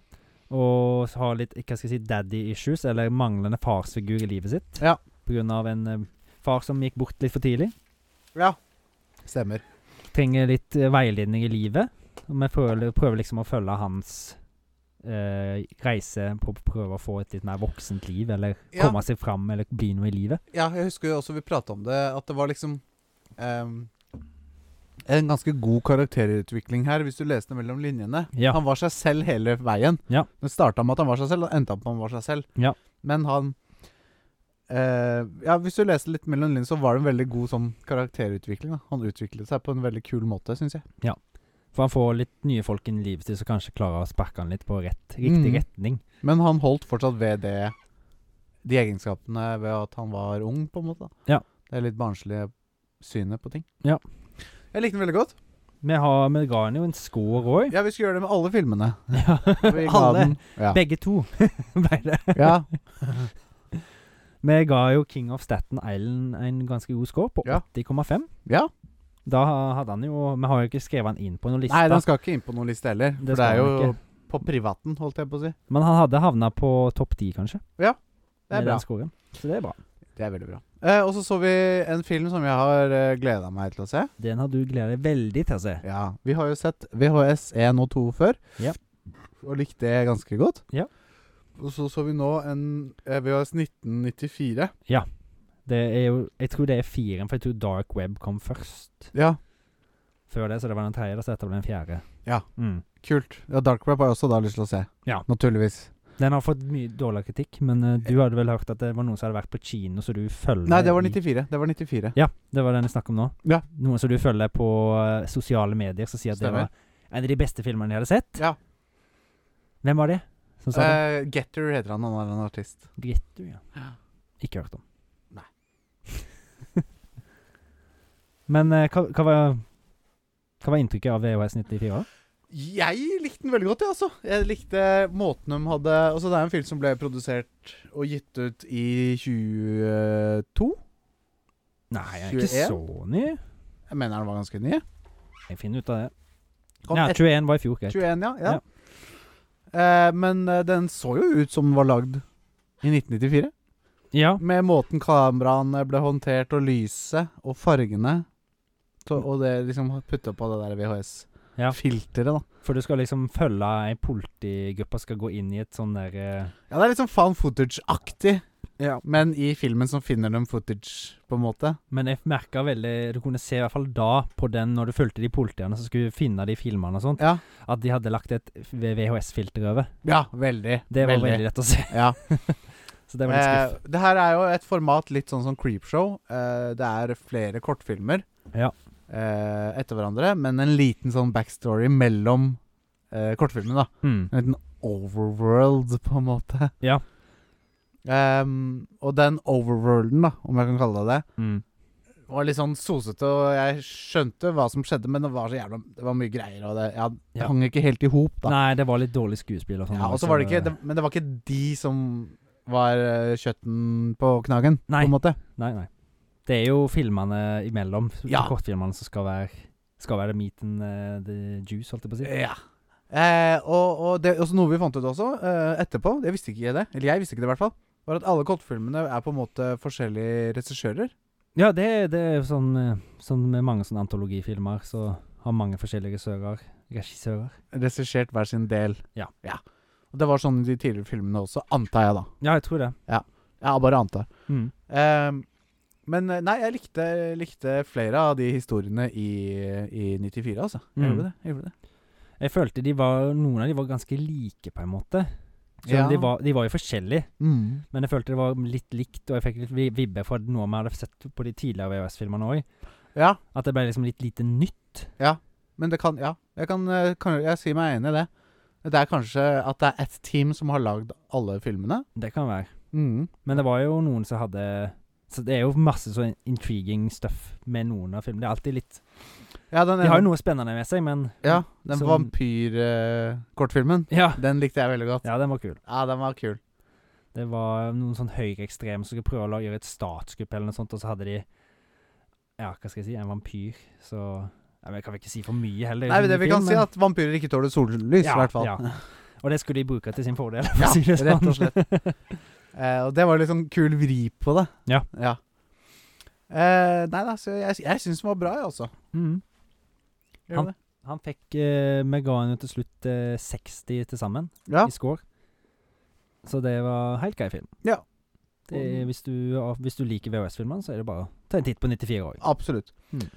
Speaker 2: Og så har litt hva skal jeg si, daddy issues, eller manglende farsfigur i livet sitt.
Speaker 1: Ja.
Speaker 2: På grunn av en eh, far som gikk bort litt for tidlig.
Speaker 1: ja. Stemmer.
Speaker 2: trenger litt eh, veiledning i livet. Og vi prøver, prøver liksom å følge hans eh, reise på å prøve å få et litt mer voksent liv, eller
Speaker 1: Ja.
Speaker 2: komme seg fram, eller bli noe i livet.
Speaker 1: Ja, jeg husker jo også vi prata om det, at det var liksom ehm, en ganske god karakterutvikling her, hvis du leste mellom linjene.
Speaker 2: Ja.
Speaker 1: Han var seg selv hele veien.
Speaker 2: Ja.
Speaker 1: Det starta med at han var seg selv, og endte opp med at han var seg selv.
Speaker 2: Ja.
Speaker 1: Men han eh, Ja, hvis du leste litt mellom linjene, så var det en veldig god sånn karakterutvikling. Da. Han utviklet seg på en veldig kul måte, syns jeg.
Speaker 2: For han får litt nye folk inn i livet sitt som kanskje klarer å sparke han litt på rett, riktig
Speaker 1: Mhm.
Speaker 2: retning.
Speaker 1: Men han holdt fortsatt ved det de egenskapene ved at han var ung, på en måte. Da.
Speaker 2: Ja.
Speaker 1: Det er litt barnslige synet på ting.
Speaker 2: Ja.
Speaker 1: Jeg likte den veldig godt.
Speaker 2: Vi, har, vi ga han jo en score òg.
Speaker 1: Ja, vi skulle gjøre det med alle filmene.
Speaker 2: Ja.
Speaker 1: Og vi ga
Speaker 2: Alle.
Speaker 1: den- Ja.
Speaker 2: Begge to. ble det.
Speaker 1: ja.
Speaker 2: Vi ga jo King of Staten Island en ganske god score, på
Speaker 1: Ja.
Speaker 2: 80,5.
Speaker 1: ja.
Speaker 2: Da ha- hadde han jo Vi har jo ikke skrevet han inn på noen liste.
Speaker 1: Nei, den skal ikke inn på noen liste heller.
Speaker 2: Det
Speaker 1: For det
Speaker 2: skal
Speaker 1: er
Speaker 2: den
Speaker 1: jo på privaten, holdt jeg på å si.
Speaker 2: Men han hadde havna på topp ti, kanskje.
Speaker 1: Det er
Speaker 2: med
Speaker 1: bra.
Speaker 2: den scoren. Så det er bra.
Speaker 1: Det er veldig bra. Eh, og så så vi en film som jeg har eh, gleda meg til å se.
Speaker 2: Den har du gledet deg veldig til å se.
Speaker 1: Ja, Vi har jo sett VHS 1 og 2 før,
Speaker 2: Ja.
Speaker 1: og likte det ganske godt.
Speaker 2: Ja.
Speaker 1: Og så så vi nå en eh, VHS 1994.
Speaker 2: Det er jo, jeg tror det er firen, for jeg tror Dark Web kom først.
Speaker 1: Ja,
Speaker 2: Før det, så det var den tredje, da, så dette ble den fjerde.
Speaker 1: Ja.
Speaker 2: Mm.
Speaker 1: kult. Ja, Dark Web har jeg også da lyst til å se.
Speaker 2: Ja.
Speaker 1: Naturligvis.
Speaker 2: Den har fått mye dårlig kritikk, men eh, du hadde vel hørt at det var noen som hadde vært på kino, så du følger
Speaker 1: Nei, det var
Speaker 2: i-
Speaker 1: 94. Det var 94.
Speaker 2: Ja, det var den jeg snakket om nå.
Speaker 1: Ja.
Speaker 2: Noen som du følger på eh, sosiale medier, som sier at
Speaker 1: Stemmer.
Speaker 2: det var en av de beste filmene de hadde sett.
Speaker 1: Ja.
Speaker 2: Hvem var det? Som sa det?
Speaker 1: Eh, Getter heter han, han er en artist.
Speaker 2: Grittu, ja. Ikke hørt om.
Speaker 1: Nei.
Speaker 2: Men eh, hva, hva, var, hva var inntrykket av VHS 94? da?
Speaker 1: Jeg likte den veldig godt, jeg, altså. Jeg likte måten de hadde Altså, det er en film som ble produsert og gitt ut i 22.
Speaker 2: Nei, jeg er ikke
Speaker 1: 21?
Speaker 2: så ny.
Speaker 1: Jeg mener den var ganske ny.
Speaker 2: Jeg finner ut av det.
Speaker 1: Kom
Speaker 2: Nei,
Speaker 1: etter
Speaker 2: 21 var i fjor, greit.
Speaker 1: 21, ja. ja. Eh, men eh, den så jo ut som den var lagd i 1994.
Speaker 2: Ja.
Speaker 1: Med måten kameraene ble håndtert, og lyset, og fargene. Så, og det liksom putta på det der
Speaker 2: Ja.
Speaker 1: VHS-filteret, da.
Speaker 2: For du skal liksom følge ei politigruppe skal gå inn i et sånn der eh,
Speaker 1: Ja, det er liksom fan footage-aktig,
Speaker 2: Ja.
Speaker 1: men i filmen som finner de footage, på en måte.
Speaker 2: Men jeg merka veldig Du kunne se i hvert fall da, på den når du fulgte de politiene som skulle finne de filmene og sånt,
Speaker 1: Ja.
Speaker 2: at de hadde lagt et VHS-filter over.
Speaker 1: Ja, veldig.
Speaker 2: Det var veldig lett å se.
Speaker 1: Ja.
Speaker 2: Så det var litt skuff.
Speaker 1: Eh, det her er jo et format litt sånn som Creepshow. Eh, det er flere kortfilmer
Speaker 2: Ja.
Speaker 1: eh, etter hverandre, men en liten sånn backstory mellom eh, kortfilmene, da.
Speaker 2: Mm.
Speaker 1: En liten overworld, på en måte.
Speaker 2: Ja.
Speaker 1: Ehm, og den overworlden, da, om jeg kan kalle det det,
Speaker 2: Mm.
Speaker 1: var litt sånn sosete, og jeg skjønte hva som skjedde, men det var så jævla Det var mye greier, og det, ja, det
Speaker 2: Ja.
Speaker 1: hang ikke helt i hop, da.
Speaker 2: Nei, det var litt dårlig skuespill og sånn.
Speaker 1: Ja, og så var det ikke det, Men det var ikke de som var eh, kjøtten på knaggen, på
Speaker 2: Nei.
Speaker 1: en måte.
Speaker 2: Nei, nei. Det er jo filmene imellom,
Speaker 1: Ja.
Speaker 2: kortfilmene som skal være skal være the meat and eh, the juice, holdt jeg på å si.
Speaker 1: Ja. Eh, og, og det er også noe vi fant ut også eh, etterpå, jeg visste ikke det, eller jeg visste ikke det i hvert fall, var at alle kortfilmene er på en måte forskjellige regissører.
Speaker 2: Ja, det, det er jo sånn, eh, sånn med mange sånne antologifilmer, så har mange forskjellige regissører. regissører.
Speaker 1: Regissert hver sin del.
Speaker 2: Ja.
Speaker 1: Og det var sånn i de tidligere filmene også, antar jeg, da.
Speaker 2: Ja, jeg tror det.
Speaker 1: Jeg bare antar.
Speaker 2: Mm.
Speaker 1: Ehm, men eh, nei, jeg likte, likte flere av de historiene i, i 94, altså. Jeg
Speaker 2: Mm.
Speaker 1: gjorde det. Jeg gjorde det.
Speaker 2: Jeg følte de var, noen av de var ganske like, på en måte. Selv
Speaker 1: Ja.
Speaker 2: om de, var, de var jo forskjellige,
Speaker 1: Mm.
Speaker 2: men jeg følte det var litt likt, og jeg fikk litt vi- vibber fra noe vi hadde sett på de tidligere VHS-filmene òg.
Speaker 1: Ja,
Speaker 2: At det ble liksom litt lite nytt.
Speaker 1: men det kan Ja, jeg kan, eh, kan jeg sier meg enig i det. Det er kanskje at det er ett team som har lagd alle filmene.
Speaker 2: Det kan være.
Speaker 1: Mm.
Speaker 2: Men det var jo noen som hadde Så det er jo masse så intriguing stuff med noen av filmene. Det er alltid litt
Speaker 1: Ja, den
Speaker 2: De har jo
Speaker 1: ene-
Speaker 2: noe spennende med seg, men
Speaker 1: ja, den
Speaker 2: som-
Speaker 1: vampyrkortfilmen.
Speaker 2: Ja,
Speaker 1: den likte jeg veldig godt. Ja.
Speaker 2: ja den var kul.
Speaker 1: den var kul.
Speaker 2: Det var noen sånn høyreekstreme som skulle prøve å la- gjøre et statskupp eller noe sånt, og så hadde de Ja, hva skal jeg si En vampyr, så ja, men Jeg kan vel ikke si for mye heller.
Speaker 1: Nei, men det
Speaker 2: en
Speaker 1: vi kan
Speaker 2: film,
Speaker 1: si,
Speaker 2: men-
Speaker 1: at vampyrer ikke tåler sollys, i
Speaker 2: Ja,
Speaker 1: hvert fall.
Speaker 2: ja. Og det skulle de bruke til sin fordel, for
Speaker 1: Ja,
Speaker 2: å si det
Speaker 1: rett
Speaker 2: sånn.
Speaker 1: og Eh, og det var litt sånn kul vri på det.
Speaker 2: Ja.
Speaker 1: Eh, nei da, så jeg, jeg syns den var bra, jeg også.
Speaker 2: mm.
Speaker 1: Gjør
Speaker 2: Han-
Speaker 1: det?
Speaker 2: Han fikk eh, Vi ga han jo til slutt eh, 60 til sammen
Speaker 1: Ja.
Speaker 2: i score. Så det var helt grei film.
Speaker 1: Ja.
Speaker 2: Det, er- hvis, du, hvis du liker VHS-filmene, så er det bare å ta en titt på 94 år.
Speaker 1: Absolutt.
Speaker 2: Mm.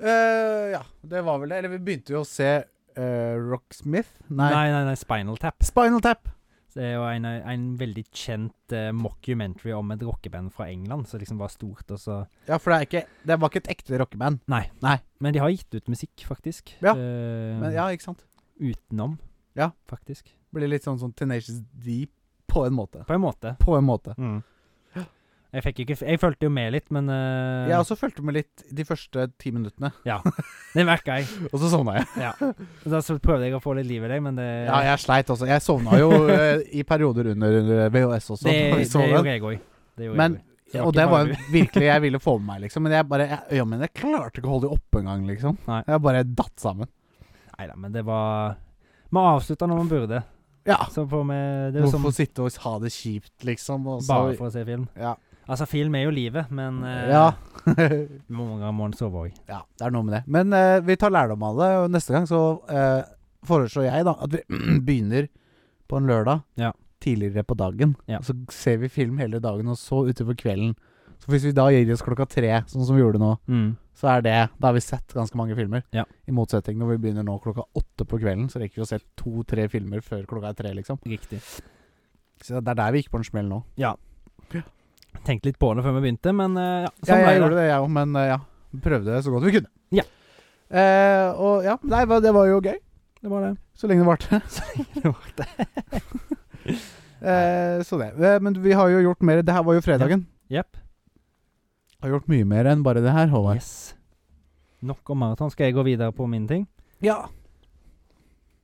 Speaker 1: Eh, ja, det var vel det. Eller vi begynte jo å se eh, Rocksmith. Ah, Nei.
Speaker 2: Nei, nei, nei, Spinal Tap.
Speaker 1: Spinal Tap.
Speaker 2: Det er jo en, en veldig kjent eh, mockumentary om et rockeband fra England som liksom var stort, og så
Speaker 1: Ja, for det, er ikke, det var ikke et ekte rockeband.
Speaker 2: Men de har gitt ut musikk, faktisk.
Speaker 1: Ja,
Speaker 2: Eh,
Speaker 1: Men ja, ikke sant?
Speaker 2: Utenom,
Speaker 1: Ja.
Speaker 2: faktisk.
Speaker 1: Blir litt sånn, sånn Tenacious D på en måte.
Speaker 2: På en måte.
Speaker 1: På en måte.
Speaker 2: Jeg fikk ikke f- Jeg fulgte jo med litt, men eh,
Speaker 1: Jeg også fulgte med litt de første ti minuttene,
Speaker 2: Det merka jeg.
Speaker 1: og så sovna jeg.
Speaker 2: Ja. Da så prøvde jeg å få litt liv i deg, men det
Speaker 1: Ja, jeg sleit også. Jeg sovna jo eh, i perioder under eh, VHS også.
Speaker 2: det,
Speaker 1: når vi
Speaker 2: det
Speaker 1: så den.
Speaker 2: gjorde jeg òg. Det gjorde
Speaker 1: Men-
Speaker 2: jeg også. Så
Speaker 1: og
Speaker 2: ikke
Speaker 1: det
Speaker 2: bare
Speaker 1: var
Speaker 2: du.
Speaker 1: virkelig jeg ville få med meg, liksom. Men jeg bare jeg, ja, men jeg klarte ikke å holde det oppe engang, liksom.
Speaker 2: Nei.
Speaker 1: Jeg bare datt sammen.
Speaker 2: Nei da, men det var Vi avslutta når vi burde.
Speaker 1: Ja.
Speaker 2: Så får vi Det er jo som
Speaker 1: Hvorfor sitte og ha det kjipt, liksom? Og så,
Speaker 2: bare for å se film.
Speaker 1: ja.
Speaker 2: Altså, film er jo livet, men eh,
Speaker 1: ja.
Speaker 2: mange ganger må en sove òg.
Speaker 1: ja. Det er noe med det. Men eh, vi tar lærdom av det, og neste gang så eh, foreslår jeg da at vi begynner på en lørdag
Speaker 2: Ja.
Speaker 1: tidligere på dagen.
Speaker 2: Ja.
Speaker 1: Og så ser vi film hele dagen, og så utover kvelden. Så hvis vi da gir oss klokka tre, sånn som vi gjorde nå,
Speaker 2: Mm.
Speaker 1: så er det Da har vi sett ganske mange filmer.
Speaker 2: Ja.
Speaker 1: I motsetning når vi begynner nå klokka åtte på kvelden, så rekker vi å se to-tre filmer før klokka er tre, liksom.
Speaker 2: Riktig.
Speaker 1: Så det er der vi gikk på en smell nå.
Speaker 2: Tenkte litt på det før vi begynte, men eh, ja,
Speaker 1: Ja,
Speaker 2: sånn
Speaker 1: jeg
Speaker 2: ble det.
Speaker 1: gjorde det, jeg òg, men eh, ja. Prøvde det så godt vi kunne.
Speaker 2: Ja.
Speaker 1: Eh, og ja, nei, hva- det var jo gøy.
Speaker 2: Det var det.
Speaker 1: Så lenge det varte. Eh, så det. Eh, Men vi har jo gjort mer. Det her var jo fredagen.
Speaker 2: Jepp.
Speaker 1: Har gjort mye mer enn bare det her, Håvard.
Speaker 2: Yes. Nok om maraton. Skal jeg gå videre på min ting?
Speaker 1: Ja.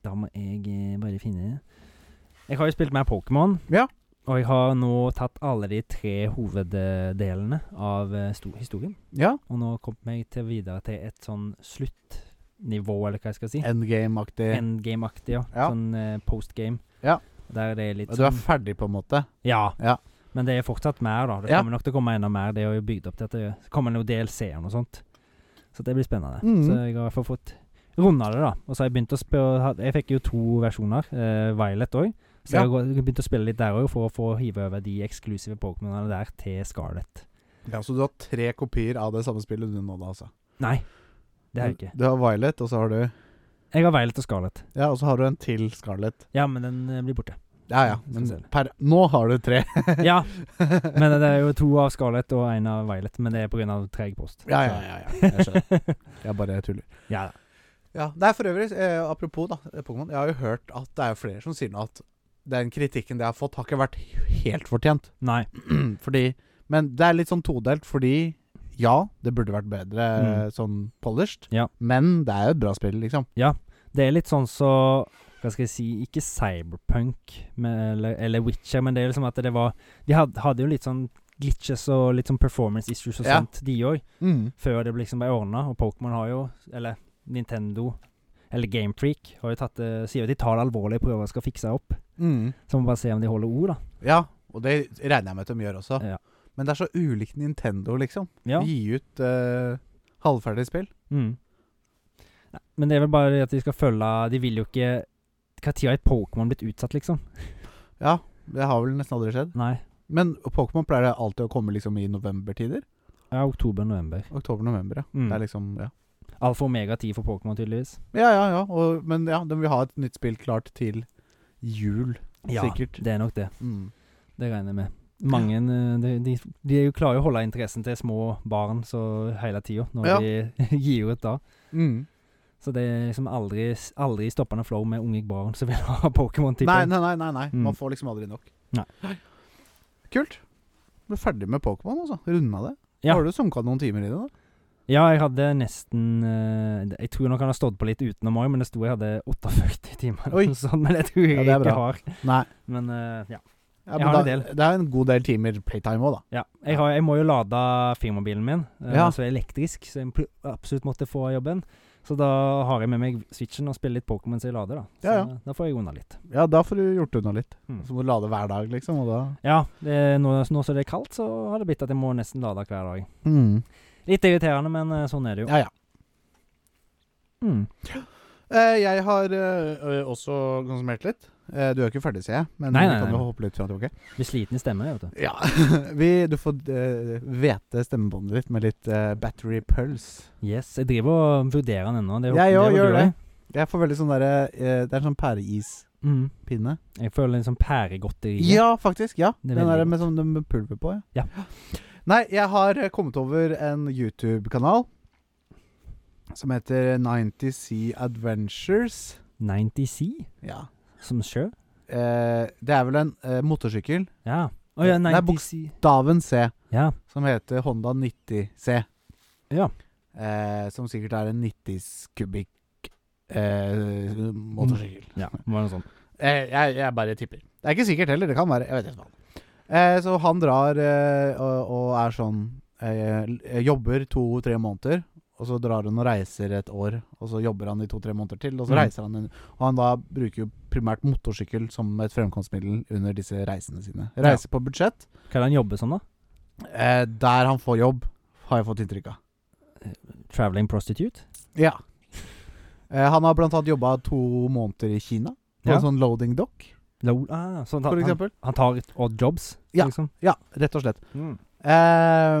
Speaker 2: Da må jeg eh, bare finne Jeg har jo spilt mer Pokémon.
Speaker 1: Ja.
Speaker 2: Og jeg har nå tatt alle de tre hoveddelene av eh, sto- historien.
Speaker 1: ja.
Speaker 2: Og nå kom jeg til videre til et sånn sluttnivå, eller hva jeg skal si.
Speaker 1: Endgame-aktig.
Speaker 2: Endgame-aktig, ja.
Speaker 1: Ja.
Speaker 2: Sånn eh, postgame.
Speaker 1: Ja.
Speaker 2: Der det er litt sånn
Speaker 1: Du er ferdig, på en måte.
Speaker 2: Ja.
Speaker 1: Ja.
Speaker 2: Men det er fortsatt mer, da. Det
Speaker 1: Ja.
Speaker 2: kommer nok til å komme enda mer. Det er jo bygd opp til at det kommer noe DLC og noe sånt. Så det blir spennende.
Speaker 1: Mhm.
Speaker 2: Så jeg har i hvert fall fått runda det, da. Og så har jeg begynt å spille Jeg fikk jo to versjoner, eh, Violet òg. Så
Speaker 1: Ja.
Speaker 2: jeg har gå- begynt å spille litt der òg, for å få hive over de eksklusive Pokémonene der til Scarlett.
Speaker 1: Ja, Så du har tre kopier av det samme spillet du nå, da, altså?
Speaker 2: Nei, det har jeg ikke.
Speaker 1: Du har Violet, og så har du
Speaker 2: Jeg har Violet og Scarlett.
Speaker 1: Ja, og så har du en til Scarlett.
Speaker 2: Ja, men den eh, blir borte.
Speaker 1: Ja, ja. Men per, nå har du tre.
Speaker 2: Ja, men det er jo to av Scarlett og én av Violet, men det er pga. treg post.
Speaker 1: Ja, ja, ja. ja. Jeg skjønner. Jeg bare tuller.
Speaker 2: Ja,
Speaker 1: Ja, det er for øvrig, eh, apropos da, eh, Pokémon. Jeg har jo hørt at det er jo flere som sier nå at den kritikken de har fått, har ikke vært helt fortjent.
Speaker 2: Nei.
Speaker 1: fordi Men det er litt sånn todelt, fordi ja, det burde vært bedre eh,
Speaker 2: Mm.
Speaker 1: sånn polished,
Speaker 2: Ja.
Speaker 1: men det er jo et bra spill, liksom.
Speaker 2: Det er litt sånn så Hva skal jeg si Ikke cyberpunk men- eller, eller Witcher, men det er liksom at det var De had, hadde jo litt sånn glitches og litt sånn performance issues og
Speaker 1: Ja.
Speaker 2: sånt, de òg, før det liksom ble ordna. Og Pokémon har jo Eller Nintendo eller Gamefreak har jo tatt det Sier jo at de tar det alvorlig og prøver å skal fikse opp.
Speaker 1: Mm.
Speaker 2: Så må vi bare se om de holder ord, da.
Speaker 1: Ja, og det regner jeg med at de gjør også.
Speaker 2: Ja.
Speaker 1: Men det er så ulikt Nintendo, liksom.
Speaker 2: Ja.
Speaker 1: Gi ut eh, halvferdig spill.
Speaker 2: Mm. Nei, Men det er vel bare det at de skal følge De vil jo ikke Når har et Pokémon blitt utsatt, liksom?
Speaker 1: Ja, det har vel nesten aldri skjedd.
Speaker 2: Nei.
Speaker 1: Men Pokémon pleier det alltid å komme liksom i novembertider.
Speaker 2: Ja, Oktober-november.
Speaker 1: Oktober-november, ja.
Speaker 2: Mm.
Speaker 1: Det er liksom, ja.
Speaker 2: Alfa Omega 10 for Pokémon, tydeligvis.
Speaker 1: Ja, ja, ja. Og, men ja, de vil ha et nytt spill klart til jul, sikkert.
Speaker 2: Det er nok det.
Speaker 1: Mm.
Speaker 2: Det regner jeg med. Mange eh, de, de, de er jo klarer jo å holde interessen til små barn så hele tida, når
Speaker 1: Ja.
Speaker 2: de gir ut da.
Speaker 1: Mm.
Speaker 2: Så det er liksom aldri, aldri stoppende flow med unge barn som vil ha Pokémon.
Speaker 1: Nei,
Speaker 2: tipper jeg.
Speaker 1: nei, nei. nei, nei.
Speaker 2: Mm.
Speaker 1: Man får liksom aldri nok.
Speaker 2: Nei.
Speaker 1: Kult. Ble ferdig med Pokémon, altså. Runda det.
Speaker 2: Ja.
Speaker 1: Har du sunka noen timer i det, da?
Speaker 2: Ja, jeg hadde nesten eh, Jeg tror nok han har stått på litt utenom òg, men det sto jeg hadde 48 timer.
Speaker 1: Oi.
Speaker 2: eller noe sånt, men det tror jeg
Speaker 1: Ja, det er
Speaker 2: ikke
Speaker 1: bra.
Speaker 2: har.
Speaker 1: Nei.
Speaker 2: Men eh, ja.
Speaker 1: Ja,
Speaker 2: Jeg
Speaker 1: men
Speaker 2: har
Speaker 1: da,
Speaker 2: en del.
Speaker 1: Det er en god del timer playtime òg, da.
Speaker 2: ja. Jeg, har, jeg må jo lade firmabilen min, uh,
Speaker 1: Ja.
Speaker 2: som er elektrisk, så jeg pl- absolutt måtte få jobben. Så da har jeg med meg switchen og spiller litt Pokémon som jeg lader, da. Så
Speaker 1: Ja, ja.
Speaker 2: da får jeg unna litt.
Speaker 1: Ja, da får du gjort unna litt.
Speaker 2: Mm.
Speaker 1: Så må du lade hver dag, liksom, og da
Speaker 2: Ja, det, er nå, nå som det er kaldt, så har det blitt at jeg må nesten lade hver dag. Litt irriterende, men eh, sånn er det jo.
Speaker 1: Ja, ja.
Speaker 2: Mm.
Speaker 1: Eh, jeg har eh, eh, også konsumert litt. Eh, du er jo ikke ferdig, ser jeg, men
Speaker 2: Nei, nei,
Speaker 1: vi kan
Speaker 2: nei.
Speaker 1: jo hoppe litt fram og tilbake.
Speaker 2: Blir sliten i stemmen, vet du.
Speaker 1: Ja. vi, du får eh, hvete stemmebåndet ditt med litt eh, battery pulse.
Speaker 2: Yes, jeg driver og vurderer den ennå. Det er jo-
Speaker 1: Jeg
Speaker 2: det er
Speaker 1: òg
Speaker 2: jo
Speaker 1: gjør
Speaker 2: du
Speaker 1: det.
Speaker 2: også.
Speaker 1: Jeg får veldig sånn derre eh, Det er en sånn pæreispinne.
Speaker 2: Mm. Jeg føler en sånn pæregodteri.
Speaker 1: Ja, faktisk. Ja.
Speaker 2: Det
Speaker 1: Den
Speaker 2: er
Speaker 1: der
Speaker 2: veldig
Speaker 1: med, sånn, med pulver på.
Speaker 2: Ja.
Speaker 1: Nei, jeg har eh, kommet over en YouTube-kanal som heter 90C Adventures.
Speaker 2: 90C
Speaker 1: Ja.
Speaker 2: som sjø.
Speaker 1: Eh, det er vel en eh, motorsykkel,
Speaker 2: Ja. Å ja,
Speaker 1: Nei,
Speaker 2: 90C.
Speaker 1: Daven C,
Speaker 2: Ja.
Speaker 1: som heter Honda 90C.
Speaker 2: Ja.
Speaker 1: Eh, som sikkert er en 90s kubikk eh, motorsykkel.
Speaker 2: ja. det sånn? Var noe sånt.
Speaker 1: Eh, jeg, jeg bare tipper. Det er ikke sikkert heller. Det kan være. Jeg vet ikke. Eh, så han drar eh, og, og er sånn eh, l- Jobber to-tre måneder, og så drar han og reiser et år. Og så jobber han i to-tre måneder til, og så
Speaker 2: Mm.
Speaker 1: reiser han en, Og han da bruker jo primært motorsykkel som et fremkomstmiddel under disse reisene sine. Reiser på budsjett.
Speaker 2: Hva er det han jobber som, da?
Speaker 1: Eh, der han får jobb, har jeg fått inntrykk av.
Speaker 2: Traveling prostitute?
Speaker 1: Ja. Eh, han har blant annet jobba to måneder i Kina, på
Speaker 2: Ja.
Speaker 1: en sånn loading dock,
Speaker 2: Lol. Ah, sånn at
Speaker 1: for
Speaker 2: han,
Speaker 1: eksempel.
Speaker 2: han tar et odd jobs,
Speaker 1: Ja.
Speaker 2: liksom?
Speaker 1: Ja, rett og slett.
Speaker 2: Mm.
Speaker 1: Eh,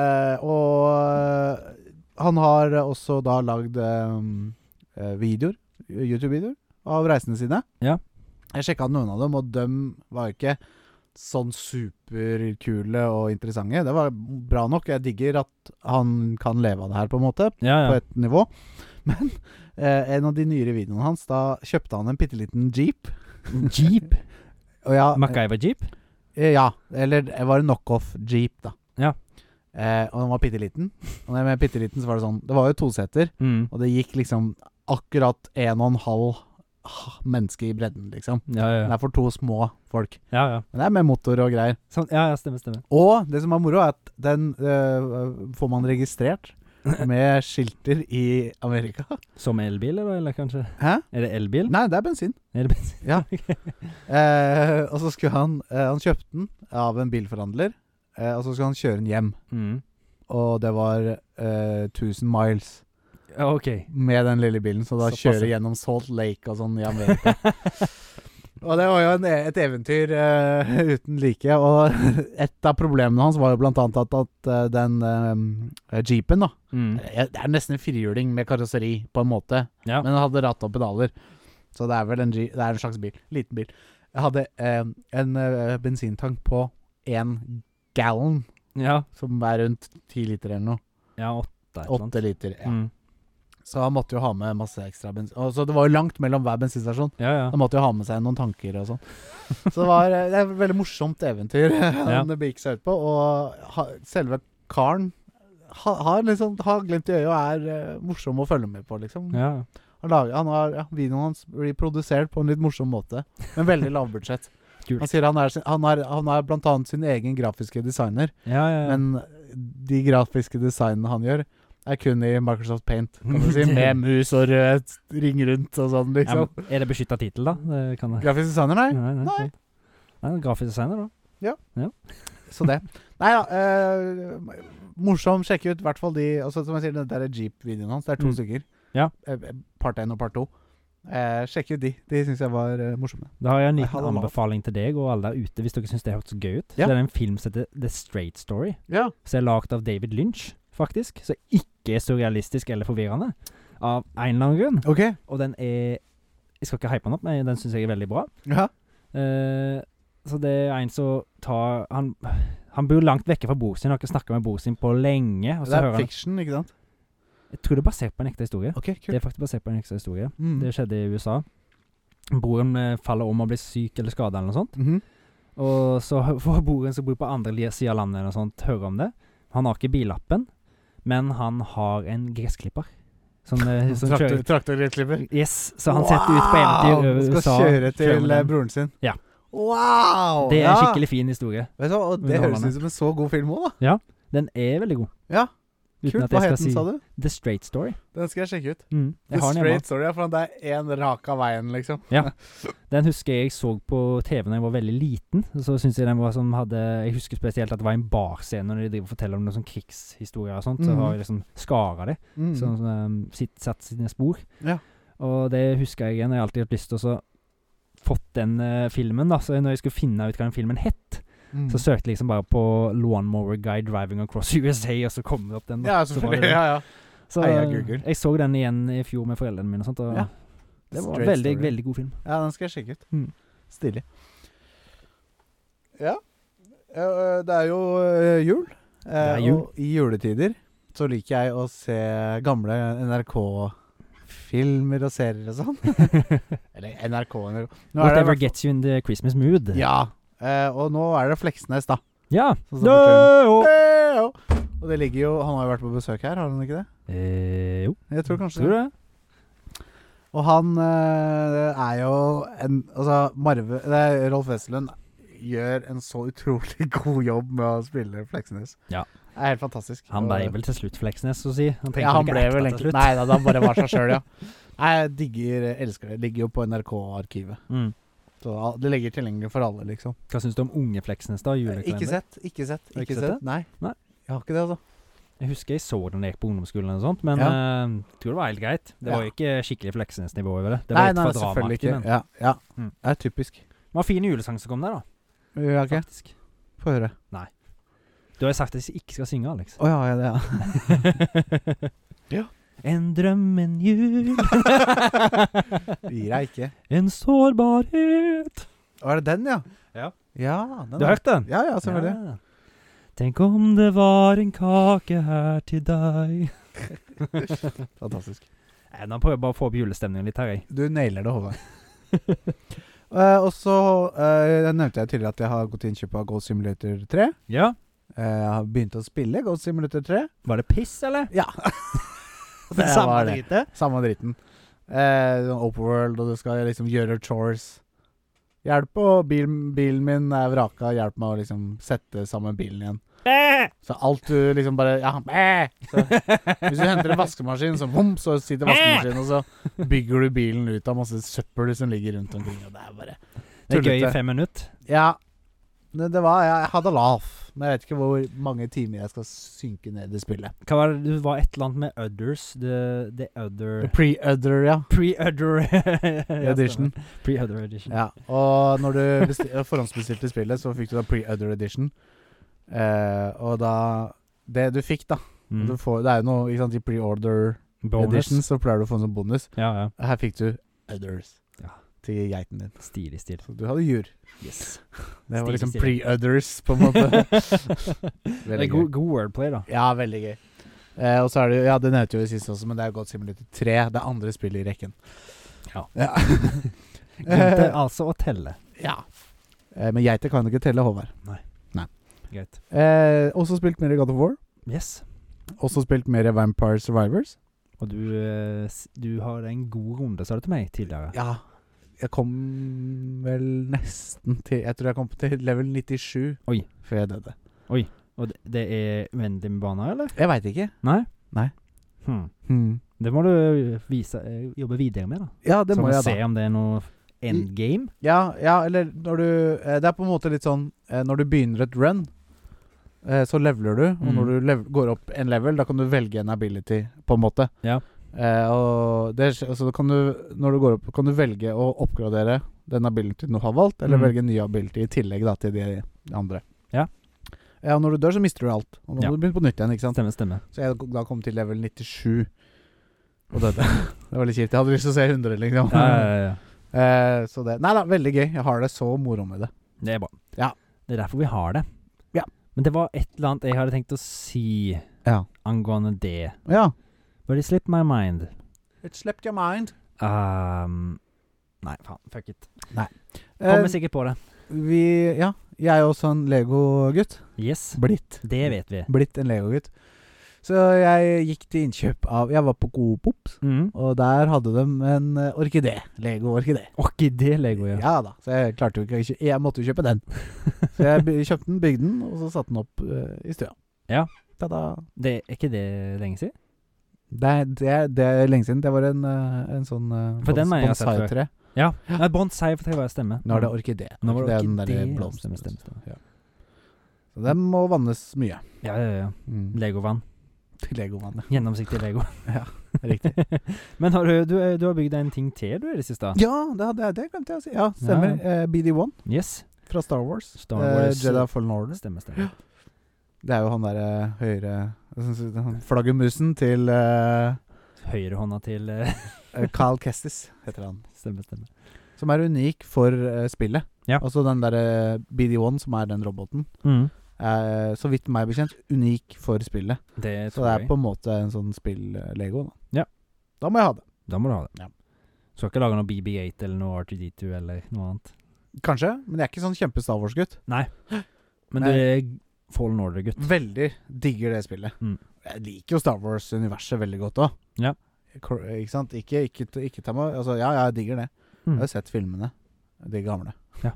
Speaker 1: eh, og eh, han har også da lagd eh, eh, videoer, YouTube-videoer, av reisene sine.
Speaker 2: Ja.
Speaker 1: Jeg sjekka noen av dem, og dem var ikke sånn superkule og interessante. Det var bra nok. Jeg digger at han kan leve av det her, på en måte,
Speaker 2: Ja,
Speaker 1: på
Speaker 2: ja.
Speaker 1: et nivå. Men eh, en av de nyere videoene hans, da kjøpte han en bitte liten jeep.
Speaker 2: Jeep?
Speaker 1: Og ja,
Speaker 2: MacGyver-jeep?
Speaker 1: Eh, Ja, eller det var en knockoff jeep, da.
Speaker 2: Ja.
Speaker 1: Eh, og den var bitte liten. Og når jeg mener bitte liten, så var det sånn Det var jo toseter,
Speaker 2: Mm.
Speaker 1: og det gikk liksom akkurat en og en halv ah, menneske i bredden, liksom.
Speaker 2: Ja, ja,
Speaker 1: Den
Speaker 2: ja.
Speaker 1: er for to små folk.
Speaker 2: ja, ja.
Speaker 1: Men det er med motor og greier.
Speaker 2: Sånn, ja, ja stemmer, stemmer.
Speaker 1: Og det som er moro, er at den eh, får man registrert med skilter i Amerika.
Speaker 2: Som elbil, eller, eller kanskje?
Speaker 1: Hæ?
Speaker 2: Er det elbil?
Speaker 1: Nei, det er bensin.
Speaker 2: Er det bensin?
Speaker 1: Eh, og så skulle han eh, Han kjøpte den av en bilforhandler, eh, og så skulle han kjøre den hjem.
Speaker 2: Mm.
Speaker 1: Og det var eh, 1000 miles
Speaker 2: Ja, OK.
Speaker 1: med den lille bilen, så da
Speaker 2: Såpass,
Speaker 1: kjører
Speaker 2: ja.
Speaker 1: gjennom Salt Lake og sånn i Amerika. og det var jo en, e- et eventyr eh, uten like. Og et av problemene hans var jo blant annet at, at eh, den eh, jeepen, da
Speaker 2: Mm.
Speaker 1: eh, Det er nesten en firehjuling med karosseri, på en måte,
Speaker 2: Ja.
Speaker 1: men den hadde ratt og pedaler. Så det er vel en, je- det er en slags bil. Liten bil. Jeg hadde eh, en eh, bensintank på én gallon,
Speaker 2: Ja,
Speaker 1: som er rundt ti liter eller noe.
Speaker 2: ja åtte et eller annet.
Speaker 1: Åtte liter. Ja.
Speaker 2: Mm.
Speaker 1: Så han måtte jo ha med masse ekstra bensin. Og Så det var jo langt mellom hver bensinstasjon.
Speaker 2: Ja, ja.
Speaker 1: Han måtte jo ha med seg noen tanker og sånn. Så det var eh, det er et veldig morsomt eventyr han begikk seg ut på. Og ha, selve karen ha, har liksom har glimt i øyet og er eh, morsom å følge med på, liksom.
Speaker 2: ja.
Speaker 1: Han lager, han har, ja, videoen hans blir produsert på en litt morsom måte, men veldig lavbudsjett.
Speaker 2: Kult.
Speaker 1: Han sier han er, sin- han er, han er blant annet sin egen grafiske designer,
Speaker 2: ja, ja, ja.
Speaker 1: men de grafiske designene han gjør, er kun i Microsoft Paint, kan du si, med mus og rød ring rundt og sånn,
Speaker 2: Ja,
Speaker 1: liksom.
Speaker 2: men er det beskytta tittel, da? Det kan det.
Speaker 1: Grafisk designer, nei.
Speaker 2: nei.
Speaker 1: Nei.
Speaker 2: sant. nei grafisk designer, da.
Speaker 1: Så det. Nei da. Eh, morsom. Sjekke ut i hvert fall de altså, Som jeg sier, den der Jeep-videoen hans. Det er to
Speaker 2: Mm.
Speaker 1: stykker.
Speaker 2: Ja.
Speaker 1: Eh, part 1 og part 2. Eh, sjekke ut de. De syns jeg var eh, morsomme.
Speaker 2: Da har jeg en
Speaker 1: Nei,
Speaker 2: liten
Speaker 1: hallo, hallo.
Speaker 2: anbefaling til deg og alle der ute, hvis dere syns det hørtes gøy ut.
Speaker 1: Ja.
Speaker 2: Det er en film som heter The Straight Story,
Speaker 1: Ja.
Speaker 2: som er lagd av David Lynch, faktisk. Som ikke er surrealistisk eller forvirrende, av en eller annen grunn.
Speaker 1: OK.
Speaker 2: Og den er Jeg skal ikke hype den opp, men den syns jeg er veldig bra.
Speaker 1: Ja.
Speaker 2: Eh, så det er en som tar Han, han bor langt vekke fra bror sin, har ikke snakka med bror sin på lenge. Og
Speaker 1: Det
Speaker 2: så
Speaker 1: er
Speaker 2: hører han,
Speaker 1: fiction, ikke sant?
Speaker 2: jeg tror det er basert på en ekte historie.
Speaker 1: OK,
Speaker 2: Det
Speaker 1: kult.
Speaker 2: er faktisk basert på en ekte historie.
Speaker 1: Mm.
Speaker 2: Det skjedde i USA. Broren eh, faller om og blir syk eller skada eller noe sånt.
Speaker 1: Mhm.
Speaker 2: Og så hø- får broren som bor på andre li- siden av landet eller noe sånt, høre om det. Han har ikke billappen, men han har en gressklipper. Som, eh, som
Speaker 1: Traktor-
Speaker 2: kjører
Speaker 1: Traktorgressklipper.
Speaker 2: Yes, så han setter ut på eventyr
Speaker 1: Wow!
Speaker 2: over USA.
Speaker 1: Skal kjøre til eh,
Speaker 2: den.
Speaker 1: broren sin.
Speaker 2: Ja.
Speaker 1: Wow!
Speaker 2: Det er
Speaker 1: ja.
Speaker 2: en skikkelig fin historie.
Speaker 1: Vet du hva, og Det høres
Speaker 2: Underholdende.
Speaker 1: ut som en så god film òg, da.
Speaker 2: Den er veldig god.
Speaker 1: Ja.
Speaker 2: Uten
Speaker 1: Kult.
Speaker 2: at jeg
Speaker 1: Hva
Speaker 2: skal
Speaker 1: het den,
Speaker 2: si-
Speaker 1: sa du?
Speaker 2: The Straight Story.
Speaker 1: Den skal jeg sjekke ut.
Speaker 2: Mm.
Speaker 1: The
Speaker 2: Jeg har den hjemme.
Speaker 1: Straight Story, ja, for det er én rak av veien, liksom.
Speaker 2: Den husker jeg jeg så på TV da jeg var veldig liten. Så synes Jeg den var som hadde Jeg husker spesielt at det var en barscene når de driver og forteller om noen sånn krigshistorier og sånt. Så
Speaker 1: Mhm.
Speaker 2: har jeg liksom skara det,
Speaker 1: Mm.
Speaker 2: som um, sitt, satt sine spor.
Speaker 1: Ja.
Speaker 2: Og det husker jeg igjen. Jeg har alltid hatt lyst til å så fått den eh, filmen. da Så når jeg skulle finne ut hva den filmen het,
Speaker 1: Mm.
Speaker 2: så søkte jeg liksom bare på 'Lawnmower Guy Driving Across USA', og så kom det opp den. da.
Speaker 1: Ja,
Speaker 2: Så var det
Speaker 1: selvfølgelig.
Speaker 2: den.
Speaker 1: Ja, ja.
Speaker 2: Så eh,
Speaker 1: Heia Google.
Speaker 2: jeg så den igjen i fjor med foreldrene mine og sånt. Og
Speaker 1: Ja.
Speaker 2: Det var
Speaker 1: Straight
Speaker 2: veldig,
Speaker 1: story.
Speaker 2: veldig god film.
Speaker 1: ja, den skal jeg sjekke ut.
Speaker 2: Mm.
Speaker 1: Stilig. Ja. Eh, Det er jo eh, jul. Eh,
Speaker 2: er jul.
Speaker 1: Og i juletider så liker jeg å se gamle NRK-filmer og serier og sånn. Eller NRK, NRK. Nå er det i
Speaker 2: Whatever
Speaker 1: hvert
Speaker 2: gets you in the Christmas mood.
Speaker 1: fall- Ja. Eh, og nå er det Fleksnes, da.
Speaker 2: Ja.
Speaker 1: Sånn som
Speaker 2: Dø-
Speaker 1: Eh, jo. Og det ligger jo Han har jo vært på besøk her, har han ikke det?
Speaker 2: Eh, jo,
Speaker 1: Jeg tror kanskje
Speaker 2: tror du
Speaker 1: det.
Speaker 2: det?
Speaker 1: Og han eh, er jo en Altså, Marve nei, Rolf Wesenlund gjør en så utrolig god jobb med å spille Fleksnes.
Speaker 2: Ja.
Speaker 1: Det er helt fantastisk.
Speaker 2: Han
Speaker 1: Og-
Speaker 2: ble vel til slutt Fleksnes, så å si. Han
Speaker 1: ja, han
Speaker 2: ikke
Speaker 1: ble
Speaker 2: ekte
Speaker 1: vel
Speaker 2: til
Speaker 1: egentlig
Speaker 2: slutt.
Speaker 1: Nei da, han bare var seg sjøl, ja. Jeg digger Elsker det. Ligger jo på NRK-arkivet.
Speaker 2: Mm.
Speaker 1: Så al- Det ligger tilgjengelig for alle, liksom.
Speaker 2: Hva syns du om Unge Fleksnes, da? Julekalender?
Speaker 1: Eh, Ikke sett, ikke sett,
Speaker 2: Har du
Speaker 1: ikke sett. Nei.
Speaker 2: Nei.
Speaker 1: Jeg har ikke det, altså.
Speaker 2: Jeg husker jeg så den da jeg gikk på ungdomsskolen, eller noe sånt, men
Speaker 1: Ja.
Speaker 2: eh, jeg tror det var helt greit. Det var
Speaker 1: Ja.
Speaker 2: jo ikke skikkelig Fleksnes-nivå over det. Det var
Speaker 1: Nei,
Speaker 2: litt
Speaker 1: nei,
Speaker 2: for
Speaker 1: selvfølgelig
Speaker 2: dramaaktig,
Speaker 1: ikke.
Speaker 2: men
Speaker 1: Ja, ja.
Speaker 2: Mm.
Speaker 1: Det er typisk.
Speaker 2: det var fin julesang som kom der, da.
Speaker 1: Ja, ok.
Speaker 2: Faktisk.
Speaker 1: Få høre.
Speaker 2: Du har jo sagt at jeg ikke skal synge, Alex.
Speaker 1: Å ja, ja, det, ja. Ja.
Speaker 2: En drøm, en jul
Speaker 1: Gir jeg ikke.
Speaker 2: En sårbarhet
Speaker 1: Å, er det den, ja?
Speaker 2: Ja.
Speaker 1: Ja, den
Speaker 2: Du har
Speaker 1: er-
Speaker 2: hørt den?
Speaker 1: Ja, ja, selvfølgelig.
Speaker 2: Ja. Tenk om det var en kake her til deg
Speaker 1: Fantastisk.
Speaker 2: Nei, Nå prøver jeg bare å få opp julestemningen litt her, jeg.
Speaker 1: Du nailer det, Håvard. Eh, og så eh, jeg nevnte jeg tidligere at jeg har gått til innkjøp av Gold Simulator 3.
Speaker 2: Ja?
Speaker 1: Eh, jeg har begynt å spille Gold Simulator 3.
Speaker 2: Var det piss, eller?
Speaker 1: Ja.
Speaker 2: Det
Speaker 1: Det
Speaker 2: samme
Speaker 1: var det.
Speaker 2: dritet?
Speaker 1: Samme dritten. Eh, sånn open world, og du skal liksom gjøre chores. Hjelp, og bil, bilen min er vraka. Hjelp meg å liksom sette sammen bilen igjen.
Speaker 2: Eh!
Speaker 1: Så alt du liksom bare ja, meh. så, Hvis du henter en vaskemaskin, så bom, så sitter
Speaker 2: Eh!
Speaker 1: vaskemaskinen, og så bygger du bilen ut av masse søppel som ligger rundt omkring. Og det er bare
Speaker 2: Det er gøy i
Speaker 1: Tullete.
Speaker 2: fem minutter.
Speaker 1: Ja. Det, det var Jeg hadde lav, men jeg vet ikke hvor mange timer jeg skal synke ned i spillet.
Speaker 2: Hva var det? Du var et eller annet med others. The, the other
Speaker 1: Pre-udder, ja.
Speaker 2: Pre-udder
Speaker 1: Edition.
Speaker 2: Pre-udder edition.
Speaker 1: Ja. Og når du besti forhåndsbestilte spillet, så fikk du da pre-udder edition. Eh, og da Det du fikk, da
Speaker 2: Mm.
Speaker 1: du får, Det er jo noe ikke sant, i pre-order
Speaker 2: Bonus.
Speaker 1: edition, så pleier du å få en sånn bonus.
Speaker 2: Ja, ja.
Speaker 1: Her fikk du others.
Speaker 2: Ja.
Speaker 1: til geiten din.
Speaker 2: Stilig stil.
Speaker 1: Så du hadde jur.
Speaker 2: Yes.
Speaker 1: Det var
Speaker 2: Stilig
Speaker 1: liksom
Speaker 2: stil.
Speaker 1: pre-others, på en måte.
Speaker 2: det er
Speaker 1: Veldig
Speaker 2: god, god wordplay, da.
Speaker 1: Ja, veldig gøy. Eh, og så er det jo, ja, det nevnte vi sist også, men det er godt Simulator 3. Det er andre spillet i rekken.
Speaker 2: Ja.
Speaker 1: Ja.
Speaker 2: Glemte
Speaker 1: eh,
Speaker 2: altså å telle.
Speaker 1: ja. Eh, men geiter kan jo ikke telle, Håvard.
Speaker 2: Greit.
Speaker 1: Eh, også spilt mer i God of War.
Speaker 2: Yes.
Speaker 1: Også spilt mer i Vampire Survivors.
Speaker 2: Og du, eh, s- du har en god runde, sa du til meg tidligere.
Speaker 1: Ja. Jeg kom vel nesten til Jeg tror jeg kom til level 97
Speaker 2: Oi.
Speaker 1: før jeg døde.
Speaker 2: Og det, det er uendelig med baner, eller?
Speaker 1: Jeg veit ikke.
Speaker 2: Nei?
Speaker 1: Nei.
Speaker 2: Hmm.
Speaker 1: Hmm.
Speaker 2: Det må du vise, eh, jobbe videre med, da.
Speaker 1: Ja, det
Speaker 2: Så
Speaker 1: må
Speaker 2: vi
Speaker 1: jeg da. Mm.
Speaker 2: se om det er noe endgame.
Speaker 1: Ja, ja, eller når du eh, Det er på en måte litt sånn eh, Når du begynner et run, eh, så leveler du. Og
Speaker 2: Mm.
Speaker 1: når du lev går opp en level, da kan du velge en ability, på en måte.
Speaker 2: Ja.
Speaker 1: Eh, og det, skj- så da kan du, når du går opp, kan du velge å oppgradere den abilityen du har valgt, eller
Speaker 2: Mm.
Speaker 1: velge en ny ability i tillegg da, til de andre.
Speaker 2: Ja.
Speaker 1: Ja, og når du dør, så mister du alt. Og da
Speaker 2: Ja.
Speaker 1: må du begynne på nytt igjen. ikke sant?
Speaker 2: Stemme, stemme.
Speaker 1: Så jeg da kom til level 97 og døde. det var litt kjipt. Jeg hadde lyst til å se 100, liksom.
Speaker 2: Ja, ja, ja.
Speaker 1: Eh, så det Nei da, veldig gøy. Jeg har det så moro med det.
Speaker 2: Det er bra.
Speaker 1: Ja.
Speaker 2: Det er derfor vi har det.
Speaker 1: Ja.
Speaker 2: Men det var et eller annet jeg hadde tenkt å si
Speaker 1: Ja.
Speaker 2: angående det.
Speaker 1: Ja.
Speaker 2: But it slipped my mind.
Speaker 1: It slept your mind.
Speaker 2: Um, nei, faen. Fuck it.
Speaker 1: Eh,
Speaker 2: Kommer sikkert på det.
Speaker 1: vi Ja, jeg er jo også en legogutt.
Speaker 2: Yes.
Speaker 1: Blitt.
Speaker 2: Det vet vi.
Speaker 1: Blitt en legogutt. Så jeg gikk til innkjøp av Jeg var på Coop,
Speaker 2: Mm.
Speaker 1: og der hadde de en eh, orkidé. Lego-orkidé.
Speaker 2: Orkidé-lego,
Speaker 1: Ja.
Speaker 2: ja.
Speaker 1: da. Så jeg klarte jo ikke å kjø- Jeg måtte jo kjøpe den. Så jeg by- kjøpte den, bygde den, og så satte den opp eh, i stua.
Speaker 2: Ja.
Speaker 1: Ta-da.
Speaker 2: Det, er ikke det lenge siden?
Speaker 1: Det, er- det, er- det er lenge siden. Det var en, eh, en sånn uh,
Speaker 2: For den mener jeg jeg har sett før.
Speaker 1: bonsai-tre.
Speaker 2: Ja. Nei, Bonsai for tre var stemme.
Speaker 1: Mm. Nå er det orkidé.
Speaker 2: Nå var det
Speaker 1: er den
Speaker 2: orkidé.
Speaker 1: der eh,
Speaker 2: ja,
Speaker 1: blomsten.
Speaker 2: Stemme, stemme, stemme.
Speaker 1: Så den må vannes mye.
Speaker 2: Ja, ja, ja.
Speaker 1: Mm.
Speaker 2: Legovann.
Speaker 1: Til legomannen.
Speaker 2: Gjennomsiktig Lego.
Speaker 1: Riktig.
Speaker 2: Men har du, du, du har bygd deg en ting til du i det siste?
Speaker 1: ja, det, hadde jeg- det glemte jeg å si. Ja, stemmer.
Speaker 2: Ja.
Speaker 1: Eh, BD1
Speaker 2: Yes.
Speaker 1: fra Star Wars.
Speaker 2: Star Wars.
Speaker 1: Eh, Jedi Fallen Order.
Speaker 2: Stemme, stemme.
Speaker 1: Det er jo han derre høyre jeg synes det er han Flaggermusen til eh,
Speaker 2: Høyrehånda til eh,
Speaker 1: eh, Kyle Kestis, heter han.
Speaker 2: Stemme, stemme.
Speaker 1: Som er unik for eh, spillet.
Speaker 2: Ja.
Speaker 1: Altså den derre BD1, som er den roboten,
Speaker 2: Mm.
Speaker 1: er eh, så vidt meg bekjent unik for spillet.
Speaker 2: Det
Speaker 1: Så
Speaker 2: tror
Speaker 1: det
Speaker 2: jeg.
Speaker 1: er på en måte en sånn spill-lego.
Speaker 2: Ja.
Speaker 1: Da. da må jeg ha det.
Speaker 2: Da må du ha det.
Speaker 1: Ja.
Speaker 2: Skal ikke lage noe BB8 eller noe R2D2 eller noe annet.
Speaker 1: Kanskje, men jeg er ikke sånn kjempe-Star Wars-gutt.
Speaker 2: Men
Speaker 1: Nei.
Speaker 2: du er Fallen Order-gutt.
Speaker 1: Veldig digger det spillet.
Speaker 2: Mm.
Speaker 1: Jeg liker jo Star Wars-universet veldig godt òg.
Speaker 2: Ja.
Speaker 1: Ikke sant? Ikke, ikke, ikke ta meg altså, Ja, jeg digger det.
Speaker 2: Mm.
Speaker 1: Jeg har sett filmene. De gamle.
Speaker 2: Ja.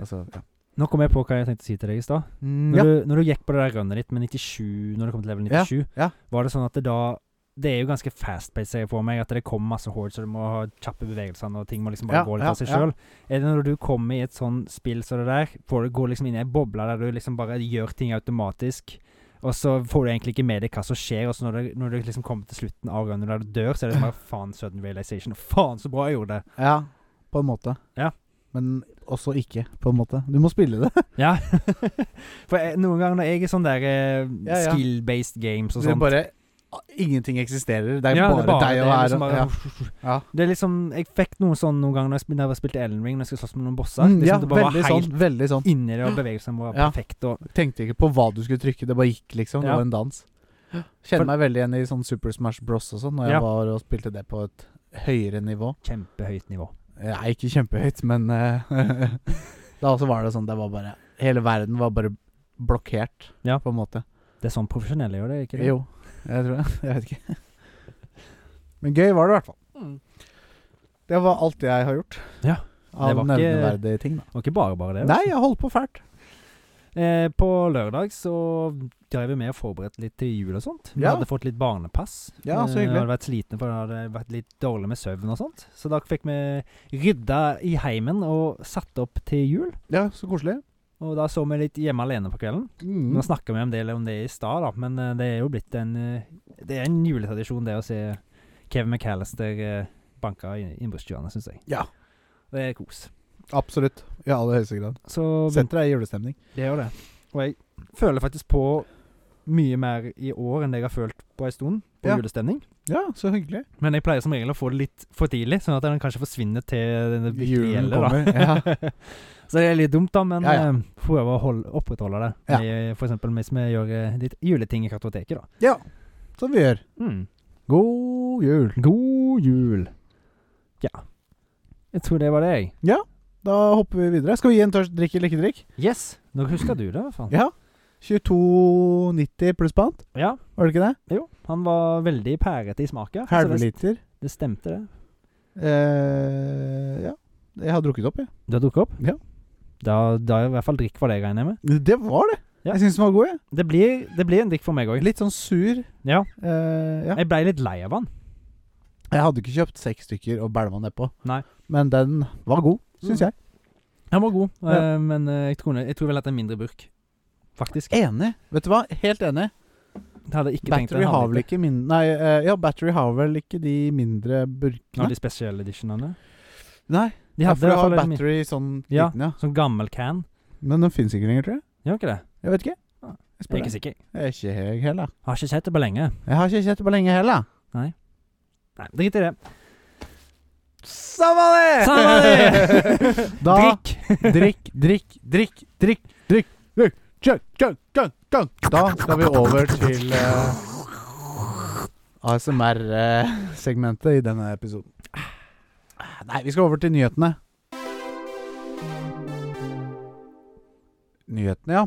Speaker 1: Altså, ja.
Speaker 2: Nå kom jeg på hva jeg tenkte å si til deg i stad.
Speaker 1: Mm,
Speaker 2: Når,
Speaker 1: ja.
Speaker 2: du- når du gikk på det der runnet ditt med 97, når det kom til level
Speaker 1: Ja,
Speaker 2: 97,
Speaker 1: ja.
Speaker 2: var det sånn at det da Det er jo ganske fast-paced, ser jeg for meg, at det kommer masse hordes, og du må ha kjappe bevegelser, og ting må liksom bare
Speaker 1: Ja,
Speaker 2: gå litt
Speaker 1: ja,
Speaker 2: av seg
Speaker 1: ja.
Speaker 2: sjøl. Er det når du kommer i et sånn spill som det der, får du går liksom inn i ei boble der du liksom bare gjør ting automatisk, og så får du egentlig ikke med deg hva som skjer, og så når du, når du liksom kommer til slutten av runnet der du dør, så er det liksom bare faen sudden realization. Faen, så bra jeg gjorde det!
Speaker 1: ja, på en måte.
Speaker 2: Ja.
Speaker 1: Men også ikke, på en måte. Du må spille det.
Speaker 2: Ja. For jeg, noen ganger når jeg er sånn der eh,
Speaker 1: Ja, ja.
Speaker 2: skill-based games og
Speaker 1: Det
Speaker 2: sånn,
Speaker 1: er
Speaker 2: sånt
Speaker 1: bare Ingenting eksisterer. Det er,
Speaker 2: Ja,
Speaker 1: bare, deg og
Speaker 2: det,
Speaker 1: her.
Speaker 2: liksom bare-
Speaker 1: ja. Ja.
Speaker 2: Det er liksom Jeg fikk noe sånn noen ganger når jeg spil- da jeg spilte Ellen Ring, når jeg skulle slåss med noen bosser.
Speaker 1: Mm,
Speaker 2: liksom,
Speaker 1: ja,
Speaker 2: det bare var
Speaker 1: veldig
Speaker 2: helt
Speaker 1: sånn. Veldig sånn.
Speaker 2: inni det, og bevegelsene var
Speaker 1: Ja.
Speaker 2: perfekt og
Speaker 1: Tenkte ikke på hva du skulle trykke, det bare gikk, liksom. Det
Speaker 2: Ja.
Speaker 1: var en dans.
Speaker 2: For-
Speaker 1: Kjenner meg veldig igjen i sånn Super Smash Bros og sånn, når jeg
Speaker 2: Ja.
Speaker 1: var og spilte det på et høyere nivå.
Speaker 2: kjempehøyt nivå.
Speaker 1: Nei, ikke kjempehøyt, men eh, Da også var det sånn, det var bare Hele verden var bare blokkert,
Speaker 2: Ja.
Speaker 1: på en måte.
Speaker 2: Det er sånn profesjonelle gjør det, ikke det?
Speaker 1: Jo, jeg tror det. Jeg vet ikke. Men gøy var det i hvert fall. Det var alt jeg har gjort.
Speaker 2: Mm. Ja, det
Speaker 1: Av
Speaker 2: var ikke-
Speaker 1: nevneverdige ting, da.
Speaker 2: Og ikke bare bare det.
Speaker 1: Nei, jeg holdt på fælt.
Speaker 2: Eh, på lørdag så drev vi med og forberedte litt til jul og sånt. Vi
Speaker 1: Ja.
Speaker 2: hadde fått litt barnepass.
Speaker 1: Ja, så
Speaker 2: Eh,
Speaker 1: hyggelig.
Speaker 2: hadde vært slitne, for det hadde vært litt dårlig med søvn og sånt. Så da fikk vi rydda i heimen og satt opp til jul.
Speaker 1: Ja, så koselig.
Speaker 2: Og da så vi litt Hjemme alene på kvelden.
Speaker 1: Mm.
Speaker 2: Nå snakka vi en del om det i stad, da, men eh, det er jo blitt en eh, Det er en juletradisjon, det å se Kevin McAllister eh, banka i- innbruddstyvene, syns jeg.
Speaker 1: Ja.
Speaker 2: Det er kos.
Speaker 1: Absolutt. I aller høyeste grad.
Speaker 2: Så
Speaker 1: Setter deg i julestemning.
Speaker 2: det gjør det. Og jeg føler faktisk på mye mer i år enn det jeg har følt på en stund, på
Speaker 1: Ja.
Speaker 2: julestemning.
Speaker 1: Ja, så hyggelig.
Speaker 2: Men jeg pleier som regel å få det litt for tidlig, sånn at den kanskje forsvinner til den virkelig
Speaker 1: Julen
Speaker 2: gjelder. da.
Speaker 1: kommer. Ja.
Speaker 2: Så det er litt dumt, da, men
Speaker 1: Ja, ja.
Speaker 2: eh, prøve å holde, opprettholde det.
Speaker 1: Ja.
Speaker 2: Med, for eksempel hvis vi gjør eh, litt juleting i kartoteket, da.
Speaker 1: ja. Som vi gjør.
Speaker 2: Mm.
Speaker 1: God jul.
Speaker 2: God jul. Ja. Jeg tror det var det, jeg.
Speaker 1: Da hopper vi videre. Skal vi gi en tørst drikk eller ikke drikk?
Speaker 2: Yes. Nå husker du det, i hvert fall.
Speaker 1: Ja. 22,90 pluss pant.
Speaker 2: Ja.
Speaker 1: Var det ikke det?
Speaker 2: Jo, han var veldig pærete i smaken. så
Speaker 1: Halve
Speaker 2: det-
Speaker 1: liter.
Speaker 2: Det stemte, det.
Speaker 1: Eh, ja. Jeg har drukket opp, jeg.
Speaker 2: Du har drukket opp?
Speaker 1: Ja.
Speaker 2: Da, da er i hvert fall drikk for deg, regner jeg med.
Speaker 1: Det var det.
Speaker 2: Ja.
Speaker 1: Jeg syns den var god, jeg.
Speaker 2: Det blir, det blir en drikk for meg òg.
Speaker 1: Litt sånn sur.
Speaker 2: Ja.
Speaker 1: Eh, ja.
Speaker 2: Jeg ble litt lei av han.
Speaker 1: Jeg hadde ikke kjøpt seks stykker og bælma nedpå,
Speaker 2: Nei.
Speaker 1: men den var god, syns jeg.
Speaker 2: Han var god,
Speaker 1: Ja.
Speaker 2: eh, men eh, jeg tror, jeg tror vel at det er mindre burk. Faktisk.
Speaker 1: Enig. Vet du hva, helt enig.
Speaker 2: Jeg hadde ikke tenkt
Speaker 1: Battery har vel ikke min... Nei, eh, ja, Battery har vel ikke de mindre burkene?
Speaker 2: Av de spesielle editionene.
Speaker 1: Nei,
Speaker 2: De
Speaker 1: ja,
Speaker 2: hadde
Speaker 1: for
Speaker 2: i
Speaker 1: du
Speaker 2: hvert
Speaker 1: har
Speaker 2: fall en min-
Speaker 1: battery sånn
Speaker 2: Ja.
Speaker 1: liten, ja.
Speaker 2: sånn gammel can.
Speaker 1: Men den fins ikke lenger, tror jeg.
Speaker 2: Gjør ikke det?
Speaker 1: Jeg vet ikke.
Speaker 2: Ah,
Speaker 1: Jeg,
Speaker 2: Jeg er
Speaker 1: spør
Speaker 2: ikke
Speaker 1: deg.
Speaker 2: sikker.
Speaker 1: jeg er ikke jeg heller.
Speaker 2: Har ikke sett det på lenge.
Speaker 1: Jeg har ikke sett det på lenge heller.
Speaker 2: Nei, drit i det.
Speaker 1: Samme det!
Speaker 2: Samme det!
Speaker 1: da
Speaker 2: Drikk!
Speaker 1: drikk, drikk, drikk, drikk, drikk, drikk. Kjøk, kjøk, kjøk, kjøk. Da skal vi over til eh, ASMR-segmentet eh, i denne episoden. Nei, vi skal over til nyhetene. Nyhetene, ja.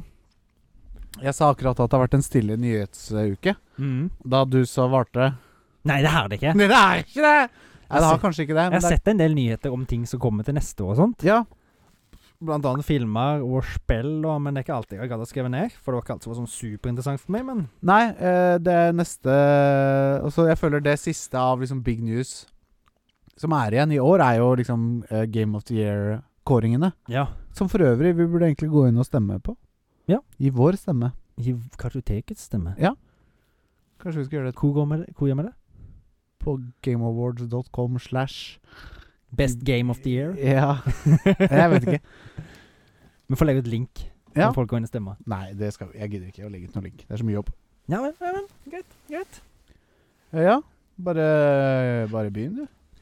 Speaker 1: Jeg sa akkurat at det har vært en stille nyhetsuke.
Speaker 2: Mm.
Speaker 1: Da du så varte
Speaker 2: Nei, det har det ikke.
Speaker 1: Nei, det er ikke det! Nei, det har
Speaker 2: Jeg
Speaker 1: kanskje ikke det.
Speaker 2: Jeg
Speaker 1: Men
Speaker 2: har
Speaker 1: det er,
Speaker 2: sett en del nyheter om ting som kommer til neste år og sånt.
Speaker 1: ja,
Speaker 2: Blant annet filmer og spill, og, men det er ikke alltid jeg gadd å skrive ned. For det var ikke alt som var sånn superinteressant for meg, men
Speaker 1: Nei, eh, det neste Altså, jeg føler det siste av liksom big news som er igjen i år, er jo liksom eh, Game of the Year-kåringene.
Speaker 2: ja.
Speaker 1: Som for øvrig vi burde egentlig gå inn og stemme på.
Speaker 2: Ja.
Speaker 1: Gi vår stemme.
Speaker 2: Gi kartotekets stemme.
Speaker 1: Kanskje vi skal gjøre det
Speaker 2: Hvor går vi det? Hvor gjør vi det?
Speaker 1: på gameawards.com slash
Speaker 2: Best game of the year.
Speaker 1: Ja, jeg vet ikke.
Speaker 2: Vi får legge ut link,
Speaker 1: Ja.
Speaker 2: så folk går inn og stemmer.
Speaker 1: Nei, det skal vi. jeg gidder ikke å legge ut noen link. Det er så mye jobb.
Speaker 2: Ja vel, ja vel. Greit. greit.
Speaker 1: Eh, Ja, bare, bare begynn, du.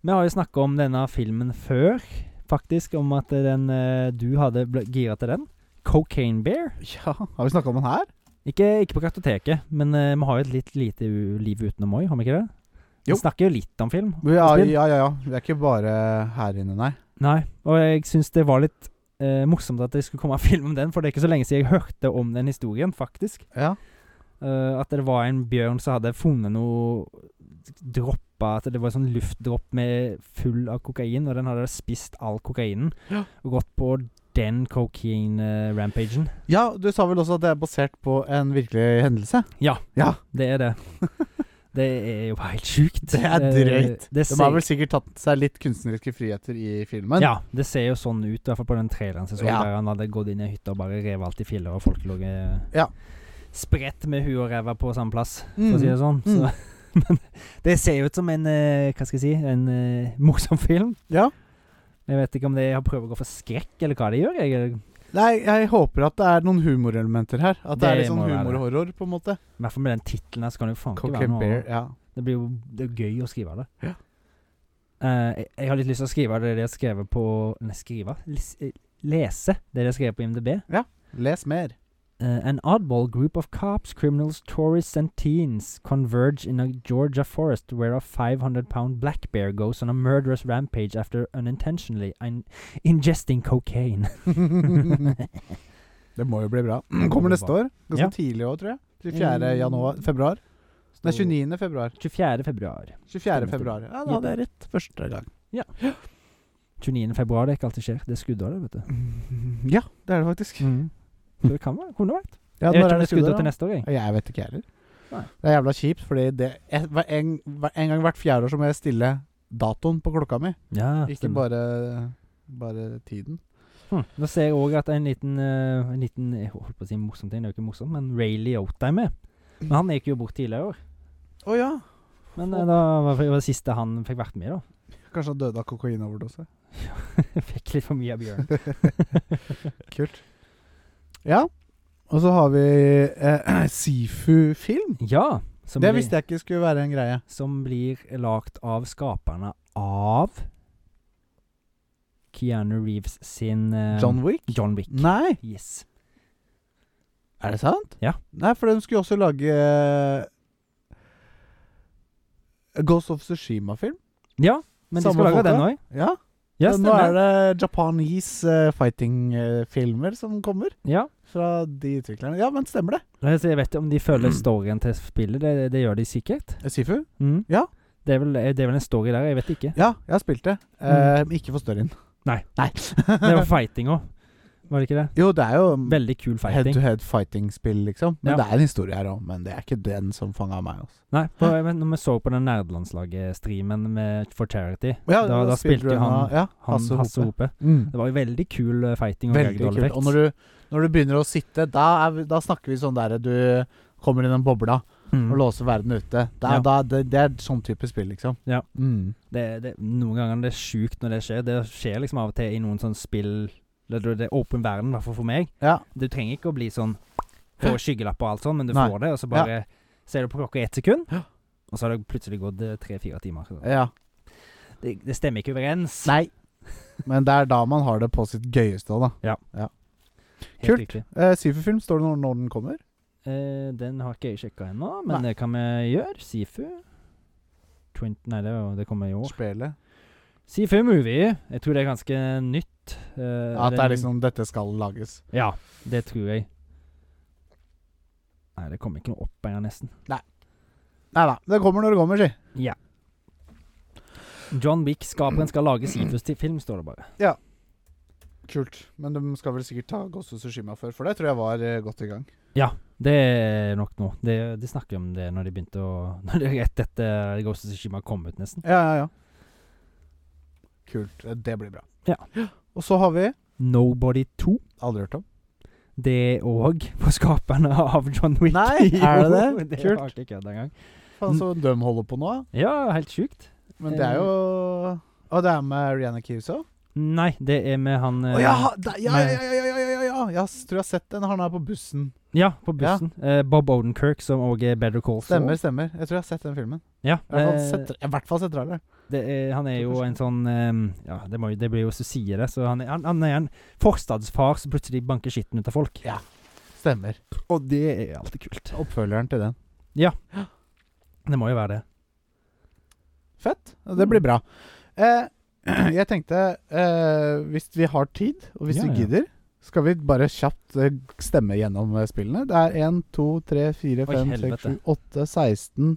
Speaker 2: Vi har jo snakka om denne filmen før, faktisk. Om at den eh, du hadde ble- gira til den. Cocaine Bear.
Speaker 1: Ja, Har vi snakka om den her?
Speaker 2: Ikke, ikke på kartoteket, men eh, vi har jo et litt lite u liv utenom òg, har vi ikke det?
Speaker 1: Jo.
Speaker 2: Vi snakker jo litt om film.
Speaker 1: Ja,
Speaker 2: og spill.
Speaker 1: ja, ja. ja. Det er ikke bare her inne, nei.
Speaker 2: Nei, og jeg syns det var litt eh, morsomt at det skulle komme en film om den, for det er ikke så lenge siden jeg hørte om den historien, faktisk.
Speaker 1: Ja.
Speaker 2: Eh, at det var en bjørn som hadde funnet noe dropper At det var en sånn luftdropp med full av kokain, og den hadde spist all kokainen.
Speaker 1: Ja.
Speaker 2: Og gått på den eh, kokain-rampagen.
Speaker 1: Ja, du sa vel også at det er basert på en virkelig hendelse?
Speaker 2: det er det. det er jo bare helt sjukt. Eh,
Speaker 1: Det er drøyt.
Speaker 2: Det,
Speaker 1: De har
Speaker 2: ser,
Speaker 1: vel sikkert tatt seg litt kunstneriske friheter i filmen?
Speaker 2: ja, det ser jo sånn ut, i hvert fall på den traileren som jeg så,
Speaker 1: Ja.
Speaker 2: der han hadde gått inn i hytta og bare revet alt i filler, og folk lå eh,
Speaker 1: Ja.
Speaker 2: spredt med huet og ræva på samme plass.
Speaker 1: Mm.
Speaker 2: for å si det sånn. Så, men det ser jo ut som en eh, Hva skal jeg si En eh, morsom film.
Speaker 1: Ja.
Speaker 2: Jeg vet ikke om det har prøvd å gå for skrekk, eller hva de gjør. Jeg,
Speaker 1: Nei, jeg håper at det er noen humorelementer her. At det, er
Speaker 2: Det
Speaker 1: litt sånn
Speaker 2: må være det.
Speaker 1: humorhorror, på en måte.
Speaker 2: I hvert fall med den tittelen her, så kan det jo faen ikke
Speaker 1: Cock
Speaker 2: være
Speaker 1: and
Speaker 2: noe
Speaker 1: bear. Ja.
Speaker 2: Det blir jo det er gøy å skrive det.
Speaker 1: Ja.
Speaker 2: Eh, jeg, jeg har litt lyst til å skrive det de har skrevet på Nei, skrive? Lis- eh, Lese det de har skrevet på IMDb.
Speaker 1: Les mer.
Speaker 2: Uh, an oddball group of cops, criminals, tourists, and teens converge in a Georgia forest where a 500 pound black bear goes on a murderous rampage after unintentionally in- ingesting cocaine.
Speaker 1: det må jo bli bra. Kommer neste år. Ganske
Speaker 2: Ja. Mm.
Speaker 1: tidlig òg, tror jeg. 24. januar Februar. Nei, 29. februar.
Speaker 2: 24. februar.
Speaker 1: 24. februar. Ja, da hadde jeg rett første gang.
Speaker 2: 29. februar, det er ikke alltid skjer. Det er skuddår, det, vet du.
Speaker 1: Ja, det er det faktisk.
Speaker 2: Så det kan være. Kunne vært.
Speaker 1: Mm. Ja,
Speaker 2: Jeg vet
Speaker 1: når er
Speaker 2: ikke om det
Speaker 1: det
Speaker 2: er skuddår
Speaker 1: skuddår,
Speaker 2: til
Speaker 1: da?
Speaker 2: neste år, jeg.
Speaker 1: Jeg vet ikke heller.
Speaker 2: Nei.
Speaker 1: Det er jævla kjipt, fordi det jeg, hver en, hver en gang hvert fjerde år så må jeg stille datoen på klokka mi.
Speaker 2: Ja,
Speaker 1: Ikke
Speaker 2: stemmer.
Speaker 1: bare, bare tiden.
Speaker 2: Hm. Nå ser jeg òg at en liten, eh, en liten Jeg holdt på å si morsom ting, det er jo ikke morsomt, men Ray Liotta er med. Men han gikk jo bort tidligere i år.
Speaker 1: Å ja.
Speaker 2: Men eh, da var det var det siste han fikk vært med i, da.
Speaker 1: Kanskje han døde av kokainoverdose.
Speaker 2: Fikk litt for mye av bjørn.
Speaker 1: Kult. Ja. Og så har vi eh, Sifu-film.
Speaker 2: Ja, Som
Speaker 1: Det
Speaker 2: blir-
Speaker 1: visste jeg ikke skulle være en greie.
Speaker 2: som blir lagt av skaperne av Keanu Reeves sin eh,
Speaker 1: John Wick?
Speaker 2: John Wick.
Speaker 1: Nei!
Speaker 2: Yes.
Speaker 1: Er det sant?
Speaker 2: Ja.
Speaker 1: Nei, for de skulle jo også lage eh, Ghost of Sushima-film.
Speaker 2: Ja, men
Speaker 1: Samme
Speaker 2: de skal
Speaker 1: folka?
Speaker 2: lage den òg.
Speaker 1: Ja.
Speaker 2: Ja,
Speaker 1: Så nå er
Speaker 2: stemmer.
Speaker 1: det Japanese eh, fighting-filmer som kommer
Speaker 2: Ja.
Speaker 1: fra de utviklerne. Ja, men stemmer det?
Speaker 2: Altså, Jeg vet ikke om de følger storyen til spillet. Det, det gjør de sikkert.
Speaker 1: Sifu?
Speaker 2: Mm.
Speaker 1: Ja.
Speaker 2: Det er, vel, det er vel en story der, jeg vet ikke.
Speaker 1: Ja, jeg har spilt det. Eh, men ikke for storyen.
Speaker 2: Mm. Nei.
Speaker 1: Nei.
Speaker 2: Det var fighting òg, var det ikke det?
Speaker 1: jo, det er jo
Speaker 2: Veldig kul fighting.
Speaker 1: head-to-head fighting-spill, liksom. Men
Speaker 2: Ja.
Speaker 1: det er en historie her òg, men det er ikke den som fanga meg. Altså.
Speaker 2: Nei, på, men når vi så på den nerdelandslaget-streamen med- for Charity,
Speaker 1: Ja,
Speaker 2: da, da spilte jo han,
Speaker 1: ja,
Speaker 2: han Hasse Hope.
Speaker 1: Mm.
Speaker 2: Det var jo veldig kul eh, fighting. Og
Speaker 1: Veldig kult. Og når du, når du begynner å sitte, da, er, vi- da snakker vi sånn der du kommer i den bobla og
Speaker 2: mm.
Speaker 1: låser verden ute. Da,
Speaker 2: Ja.
Speaker 1: da, det, det er sånn type spill, liksom.
Speaker 2: Ja.
Speaker 1: Mm.
Speaker 2: det, det, Noen ganger det er sjukt når det skjer. Det skjer liksom av og til i noen sånn spill eller Det er åpen verden, i hvert fall for meg.
Speaker 1: ja.
Speaker 2: Du trenger ikke å bli sånn Få skyggelapper og alt sånn, men du
Speaker 1: Nei.
Speaker 2: får det, og så bare ser du på klokka i ett sekund, og så har det plutselig gått tre-fire timer.
Speaker 1: ja.
Speaker 2: Det, det stemmer ikke overens.
Speaker 1: Nei. Men det er da man har det på sitt gøyeste, da.
Speaker 2: Helt
Speaker 1: kult.
Speaker 2: riktig.
Speaker 1: Eh, Syverfilm, står det når, når den kommer?
Speaker 2: Eh, den har ikke jeg sjekka ennå, men
Speaker 1: Nei.
Speaker 2: det kan vi gjøre. Sifu. Twin, nei, det, er jo- det kommer i år.
Speaker 1: Spelet?
Speaker 2: Sifu Movie. Jeg tror det er ganske nytt. eh,
Speaker 1: At det
Speaker 2: den-
Speaker 1: er liksom Dette skal lages.
Speaker 2: Ja, det tror jeg. Nei, det kommer ikke noe opp engang, nesten.
Speaker 1: Nei da. Det kommer når det kommer, si.
Speaker 2: John Wick-skaperen skal lage Sifus til film, står det bare.
Speaker 1: Kult. Men de skal vel sikkert ta Ghost of Tsushima før, for det tror jeg var eh, godt i gang.
Speaker 2: Det er nok nå. Det, de snakker om det når de begynte å Når det rett etter eh, Ghost of Tsushima kom ut, nesten.
Speaker 1: Ja, ja, ja. Kult. Eh, Det blir bra.
Speaker 2: Ja.
Speaker 1: Og så har vi
Speaker 2: Nobody 2.
Speaker 1: Aldri hørt om.
Speaker 2: Det er òg på skaperne av John Wick.
Speaker 1: Nei, er det
Speaker 2: Jo,
Speaker 1: det?
Speaker 2: det
Speaker 1: Kult.
Speaker 2: var ikke kødd engang.
Speaker 1: Faen, så de holder på nå. da.
Speaker 2: Ja, helt sjukt.
Speaker 1: Men det er jo
Speaker 2: Eh.
Speaker 1: Og det er med Rihanna Kiuso?
Speaker 2: Nei, det er med han
Speaker 1: Å
Speaker 2: eh,
Speaker 1: ja, det- ja, ja, ja, ja, ja, ja, ja! Jeg s- tror jeg har sett den. Han er på bussen.
Speaker 2: ja, på bussen. Eh, Bob Odenkirk, som òg er Better Call Saul.
Speaker 1: Stemmer, stemmer. Jeg tror jeg har sett den filmen.
Speaker 2: Ja,
Speaker 1: I hvert fall
Speaker 2: eh,
Speaker 1: sett- I hvert fall sett traileren.
Speaker 2: Det er, han er
Speaker 1: Så
Speaker 2: jo
Speaker 1: kanskje-
Speaker 2: en sånn ehm, Ja, det, må, jo- det blir jo så sier det. Så han, er- han, han er en forstadsfar som plutselig banker skitten ut av folk.
Speaker 1: Ja. Stemmer.
Speaker 2: Og det er alltid kult.
Speaker 1: Oppfølgeren til den.
Speaker 2: Det må jo være det.
Speaker 1: Fett. Det
Speaker 2: Mm.
Speaker 1: blir bra. Eh, jeg tenkte, eh, hvis vi har tid, og hvis
Speaker 2: Ja,
Speaker 1: vi
Speaker 2: ja.
Speaker 1: gidder, skal vi bare kjapt eh, stemme gjennom eh, spillene. Det er 1, 2, 3, 4,
Speaker 2: Oi,
Speaker 1: 5, 6, 7,
Speaker 2: helvete.
Speaker 1: 8, 16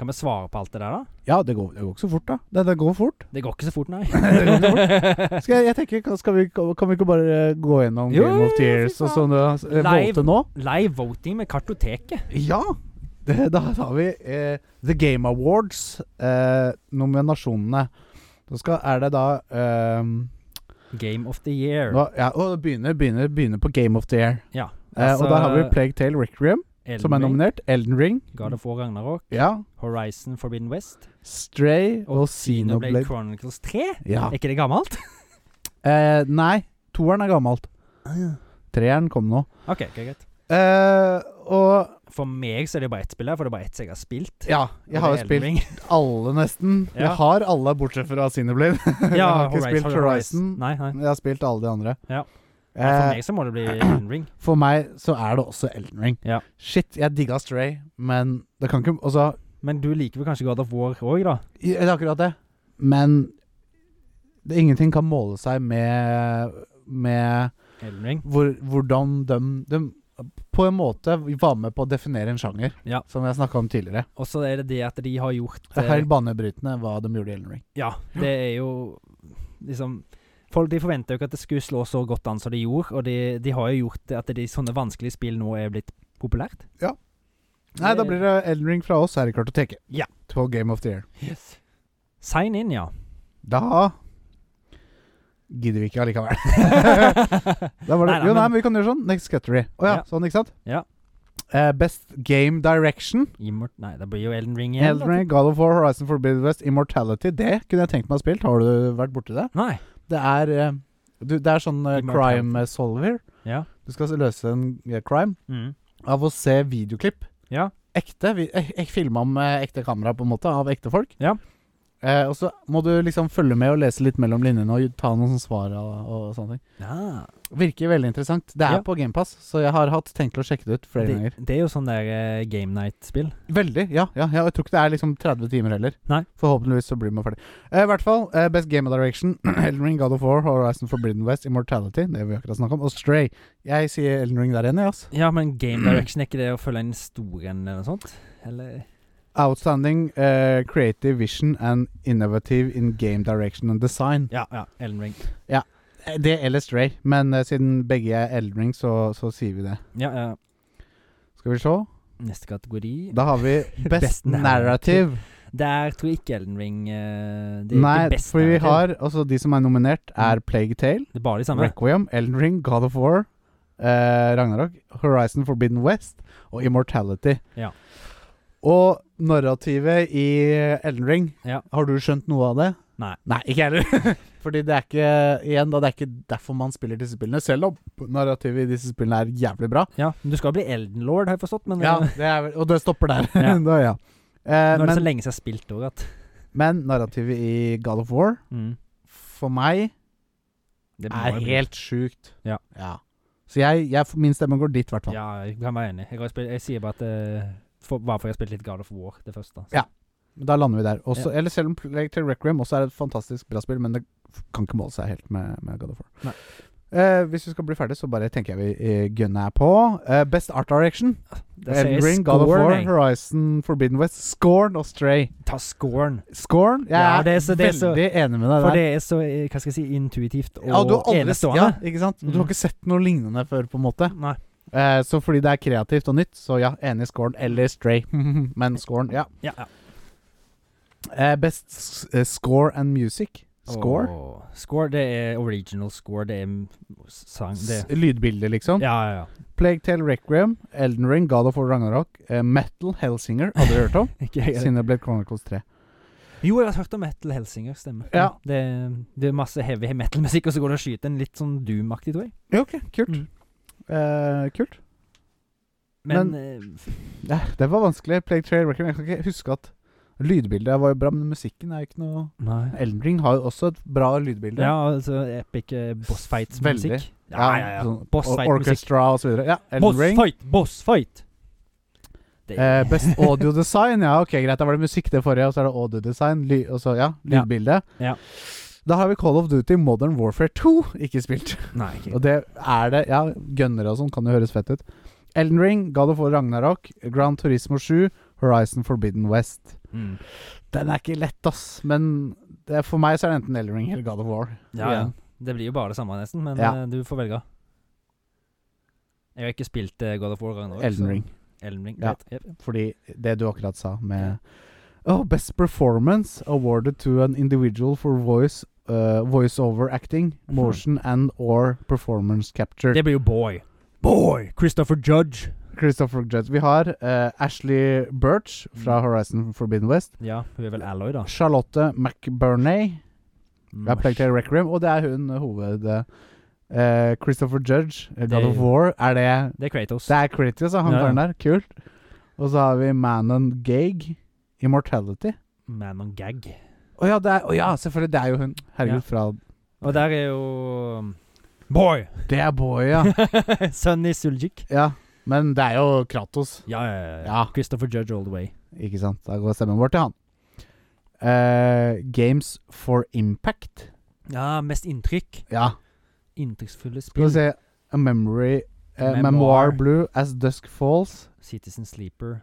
Speaker 2: Kan vi svare på alt det der, da?
Speaker 1: Ja, det går, det går ikke så fort, da. Det, det går fort.
Speaker 2: Det går ikke så fort, nei.
Speaker 1: går Skal jeg, jeg tenker, kan- skal vi, kan vi ikke bare eh, gå gjennom
Speaker 2: Jo,
Speaker 1: Game of
Speaker 2: fy
Speaker 1: Tears og
Speaker 2: faen.
Speaker 1: sånn og eh,
Speaker 2: Live.
Speaker 1: vote nå?
Speaker 2: Live voting med kartoteket.
Speaker 1: Ja! Det, da tar vi eh, The Game Awards, eh, nominasjonene. Så skal, er det da eh,
Speaker 2: Game of the year.
Speaker 1: nå, ja, å, det begynner, begynner, begynner på Game of the Year.
Speaker 2: Ja.
Speaker 1: Eh,
Speaker 2: altså,
Speaker 1: og der har vi Plague Tale Requiem,
Speaker 2: Elden
Speaker 1: som er
Speaker 2: Ring,
Speaker 1: nominert. Elden Ring.
Speaker 2: God of War Ragnarok.
Speaker 1: Ja.
Speaker 2: Horizon Forbidden West.
Speaker 1: Stray og
Speaker 2: Xenoblade
Speaker 1: Xenoblade.
Speaker 2: Chronicles 3.
Speaker 1: Ja.
Speaker 2: Er ikke det gammelt?
Speaker 1: Eh, nei, toeren er gammelt.
Speaker 2: Ah,
Speaker 1: Treeren kom nå.
Speaker 2: OK, ok, greit.
Speaker 1: Eh, og
Speaker 2: For meg så er det jo bare ett spill her, for det er bare ett som jeg har spilt.
Speaker 1: Ja, jeg
Speaker 2: Og
Speaker 1: har jo
Speaker 2: det er Elden
Speaker 1: spilt
Speaker 2: Ring.
Speaker 1: alle, nesten.
Speaker 2: Ja.
Speaker 1: Jeg har alle, bortsett fra Xenoblade. jeg
Speaker 2: Ja,
Speaker 1: har ikke
Speaker 2: Horizon-
Speaker 1: spilt Horizon.
Speaker 2: Nei, nei.
Speaker 1: Jeg har spilt alle de andre.
Speaker 2: Ja.
Speaker 1: Eh,
Speaker 2: Nei, For meg så må det bli Elden Ring.
Speaker 1: For meg så er det også Elden Ring.
Speaker 2: Ja.
Speaker 1: Shit, jeg digga Stray, men det kan ikke Altså,
Speaker 2: Men du liker vel kanskje God of War òg, da?
Speaker 1: det er akkurat det. Men det, ingenting kan måle seg med Med
Speaker 2: Elden Ring.
Speaker 1: hvor, hvordan de, de på en måte var med på å definere en sjanger,
Speaker 2: Ja.
Speaker 1: som jeg snakka om tidligere.
Speaker 2: Og så er det det at de har gjort
Speaker 1: Det er
Speaker 2: eh,
Speaker 1: helt banebrytende hva de gjorde i Elden Ring.
Speaker 2: Ja, det er jo liksom Folk de forventa jo ikke at det skulle slå så godt an som det gjorde, og de, de har jo gjort det at de sånne vanskelige spill nå er blitt populært.
Speaker 1: Nei, da blir det Elden Ring fra oss her i kartoteket.
Speaker 2: Ja.
Speaker 1: På Game of the Year.
Speaker 2: Yes. Sign in, ja.
Speaker 1: Da gidder vi ikke allikevel. da var det, jo,
Speaker 2: Nei, nei,
Speaker 1: nei,
Speaker 2: men-
Speaker 1: men vi kan gjøre sånn. Next Cuttery. Å ja,
Speaker 2: Ja.
Speaker 1: sånn, ikke sant?
Speaker 2: Ja.
Speaker 1: Eh, best Game Direction.
Speaker 2: Immort... Nei, det blir jo Elden Ring igjen.
Speaker 1: Elden Ring, God of War, Horizon Forbidden West, Immortality. Det kunne jeg tenkt meg å spille. Har du vært borti det?
Speaker 2: da. Nei.
Speaker 1: Det er, eh, du, det er sånn eh,
Speaker 2: Immortality.
Speaker 1: crime solver.
Speaker 2: Ja.
Speaker 1: Du skal løse en eh, crime
Speaker 2: Mm.
Speaker 1: av å se videoklipp.
Speaker 2: Ja.
Speaker 1: ekte. Vi, jeg, jeg filma med eh, ekte kamera, på en måte, av ekte folk.
Speaker 2: Ja.
Speaker 1: Eh, og så må du liksom følge med og lese litt mellom linjene og ta noen sånne svar og, og sånne ting.
Speaker 2: Ja.
Speaker 1: Virker veldig interessant. Det er
Speaker 2: Ja.
Speaker 1: på GamePass, så jeg har hatt tenkt å sjekke det ut flere
Speaker 2: Det,
Speaker 1: ganger.
Speaker 2: det er jo sånn der eh, game night-spill.
Speaker 1: Veldig. Ja, ja, ja. Jeg tror ikke det er liksom 30 timer heller.
Speaker 2: Nei.
Speaker 1: Forhåpentligvis så blir man ferdig. Eh, I hvert fall, eh, Best Game of Direction, Elden Ring, God of War, Horizon Forbidden West, Immortality, det har vi akkurat snakket om, og Stray. Jeg sier Elden Ring der igjen, jeg, altså.
Speaker 2: Ja, men game direction, er ikke det å følge en stor en eller noe sånt? Eller
Speaker 1: Outstanding eh, creative vision and innovative in game direction and design.
Speaker 2: Ja, ja. Elden Ring.
Speaker 1: Eh, Det eller Stray, men eh, siden begge er Elden Ring, så, så sier vi det.
Speaker 2: Ja, ja.
Speaker 1: Skal vi se.
Speaker 2: Neste kategori
Speaker 1: Da har vi Best,
Speaker 2: Best narrative.
Speaker 1: Narrative.
Speaker 2: Der tror jeg ikke Elden Ring eh, Det er
Speaker 1: Nei,
Speaker 2: ikke best
Speaker 1: for vi
Speaker 2: narrativ. Mm.
Speaker 1: har Altså, de som er nominert, er Plague Tale,
Speaker 2: Det er bare de samme.
Speaker 1: Requiem, Elden Ring, God of War, eh, Ragnarok, Horizon Forbidden West og Immortality.
Speaker 2: Ja.
Speaker 1: Og narrativet i Elden Ring,
Speaker 2: Ja.
Speaker 1: har du skjønt noe av det?
Speaker 2: Nei.
Speaker 1: Nei, ikke jeg heller. Fordi det er ikke Igjen, da, det er ikke derfor man spiller disse spillene, selv om narrativet i disse spillene er jævlig bra.
Speaker 2: Ja, men du skal bli Elden Lord, har jeg forstått, men
Speaker 1: Ja,
Speaker 2: eh,
Speaker 1: det er, vel- Og det stopper der.
Speaker 2: Ja.
Speaker 1: da, ja. Eh,
Speaker 2: nå er det så
Speaker 1: men,
Speaker 2: lenge siden jeg har spilt òg at
Speaker 1: men narrativet i God of War,
Speaker 2: mm,
Speaker 1: for meg
Speaker 2: Det må
Speaker 1: er
Speaker 2: jo bli-
Speaker 1: helt sjukt.
Speaker 2: Ja.
Speaker 1: Så jeg, jeg, min stemme går dit, i hvert fall.
Speaker 2: Ja, jeg kan være enig. Jeg, har spilt, jeg sier bare at eh, for, Bare fordi jeg har spilt litt God of War, det første. Så.
Speaker 1: Ja. Men Da lander vi der. Også, Eller selv om Plague Tale Requiem også er et fantastisk bra spill, men det f- kan ikke måle seg helt med, med God of War.
Speaker 2: Nei.
Speaker 1: Eh, hvis vi skal bli ferdig, så bare tenker jeg vi eh, gunner på. Eh, best Art Direction.
Speaker 2: Da sier jeg
Speaker 1: Elden Ring, God of
Speaker 2: scoren,
Speaker 1: War,
Speaker 2: jeg.
Speaker 1: Horizon, Forbidden West, Scorn og Stray.
Speaker 2: Ta scoren.
Speaker 1: Scorn? Jeg
Speaker 2: Ja,
Speaker 1: er,
Speaker 2: det er så- det er så-
Speaker 1: veldig enig med deg
Speaker 2: For
Speaker 1: der.
Speaker 2: det er så eh, hva skal jeg si, intuitivt og
Speaker 1: ja, du har aldri, ja,
Speaker 2: enestående.
Speaker 1: ikke sant? Du
Speaker 2: Mm.
Speaker 1: har ikke sett noe lignende før, på en måte.
Speaker 2: Nei.
Speaker 1: Eh, så fordi det er kreativt og nytt, så ja, enig Scorn eller Stray. men Scorn, ja.
Speaker 2: Ja, ja.
Speaker 1: Eh, best s eh, score and music. Score.
Speaker 2: Åh, score, det er original score. Det er mm, sang det.
Speaker 1: S- Lydbilde, liksom.
Speaker 2: Ja, ja, ja.
Speaker 1: Plague Tale Requiem, Elden Ring, God of War Ragnarok, eh, Metal, Hellsinger Hadde du hørt om?
Speaker 2: Ikke jeg-
Speaker 1: Cinnablade Chronicles 3.
Speaker 2: Jo, jeg har hørt om Metal Helsinger, stemmer.
Speaker 1: Ja.
Speaker 2: Det, det er masse heavy metal-musikk, og så går det og skyter en litt sånn doom-aktig, tror jeg.
Speaker 1: Ja, ok, kult.
Speaker 2: Mm.
Speaker 1: Eh, kult.
Speaker 2: Men, eh,
Speaker 1: Ja, det var vanskelig. Plague Tale Requiem, jeg kan ikke huske at Lydbildet var jo bra, men musikken er jo ikke noe
Speaker 2: Nei.
Speaker 1: Elden Ring har jo også et bra lydbilde.
Speaker 2: Ja, altså epic eh, boss
Speaker 1: Veldig.
Speaker 2: fights-musikk. Ja, ja, ja.
Speaker 1: sånn
Speaker 2: Boss
Speaker 1: or-
Speaker 2: fight-musikk.
Speaker 1: Orchestra og så videre. Ja, Elden
Speaker 2: Boss
Speaker 1: Ring.
Speaker 2: fight, boss fight! Det
Speaker 1: Eh, best audio design. Ja, ok, greit. Da var det musikk det forrige, og så er det audio design. Ly og så, ja,
Speaker 2: Ja.
Speaker 1: lydbilde.
Speaker 2: Ja.
Speaker 1: Da har vi Call of Duty Modern Warfare 2 ikke spilt.
Speaker 2: Nei, ikke
Speaker 1: Og det er det. Ja, gønnere og sånn kan jo høres fett ut. Elden Ring, God of War Ragnarok, Grand Turismo 7, Horizon Forbidden West.
Speaker 2: mm.
Speaker 1: Den er ikke lett, ass. Men det, for meg så er det enten Elden Ring eller God of War.
Speaker 2: Ja, ja.
Speaker 1: Igjen.
Speaker 2: Det blir jo bare det samme, nesten, men
Speaker 1: Ja.
Speaker 2: eh, du får velge. Jeg har ikke spilt eh, God of War Ragnarok.
Speaker 1: Elden
Speaker 2: så-
Speaker 1: Ring.
Speaker 2: Elden Ring,
Speaker 1: Ja.
Speaker 2: greit. Jep.
Speaker 1: Fordi det du akkurat sa med Oh, best performance awarded to an individual for voice uh, voiceover acting,
Speaker 2: Mhm.
Speaker 1: motion and or performance capture.
Speaker 2: Det blir jo Boy. Boy! Christopher Judge.
Speaker 1: Christopher Judge. Vi har eh, Ashley Birch fra
Speaker 2: Mm.
Speaker 1: Horizon Forbidden West.
Speaker 2: Ja, hun er vel Alloy, da.
Speaker 1: Charlotte McBurney. Jeg har Plague Tale Requiem, og det er hun eh, hoved... eh, Christopher Judge, eh, God
Speaker 2: Det-
Speaker 1: of War, er det
Speaker 2: Det er Kratos.
Speaker 1: Det er Critias, han
Speaker 2: Ja, ja.
Speaker 1: karen der. Kult. Og så har vi Manon Gage, Immortality.
Speaker 2: Man on gag.
Speaker 1: Å ja, det er, å ja, selvfølgelig. Det er jo hun. Herregud,
Speaker 2: Ja.
Speaker 1: fra
Speaker 2: Og der er jo um, Boy!
Speaker 1: Det er Boy, ja.
Speaker 2: Sunny Suljik.
Speaker 1: ja. Men det er jo Kratos.
Speaker 2: Ja, ja, ja, ja.
Speaker 1: Ja.
Speaker 2: Christopher Judge all the way.
Speaker 1: Ikke sant? Da går stemmen vår til han. Eh, Games for Impact.
Speaker 2: Ja, mest inntrykk.
Speaker 1: Ja.
Speaker 2: Inntrykksfulle
Speaker 1: Skal vi
Speaker 2: spill.
Speaker 1: se A Memory eh,
Speaker 2: Memoir.
Speaker 1: Memoir. Blue As Dusk Falls.
Speaker 2: Citizen Sleeper.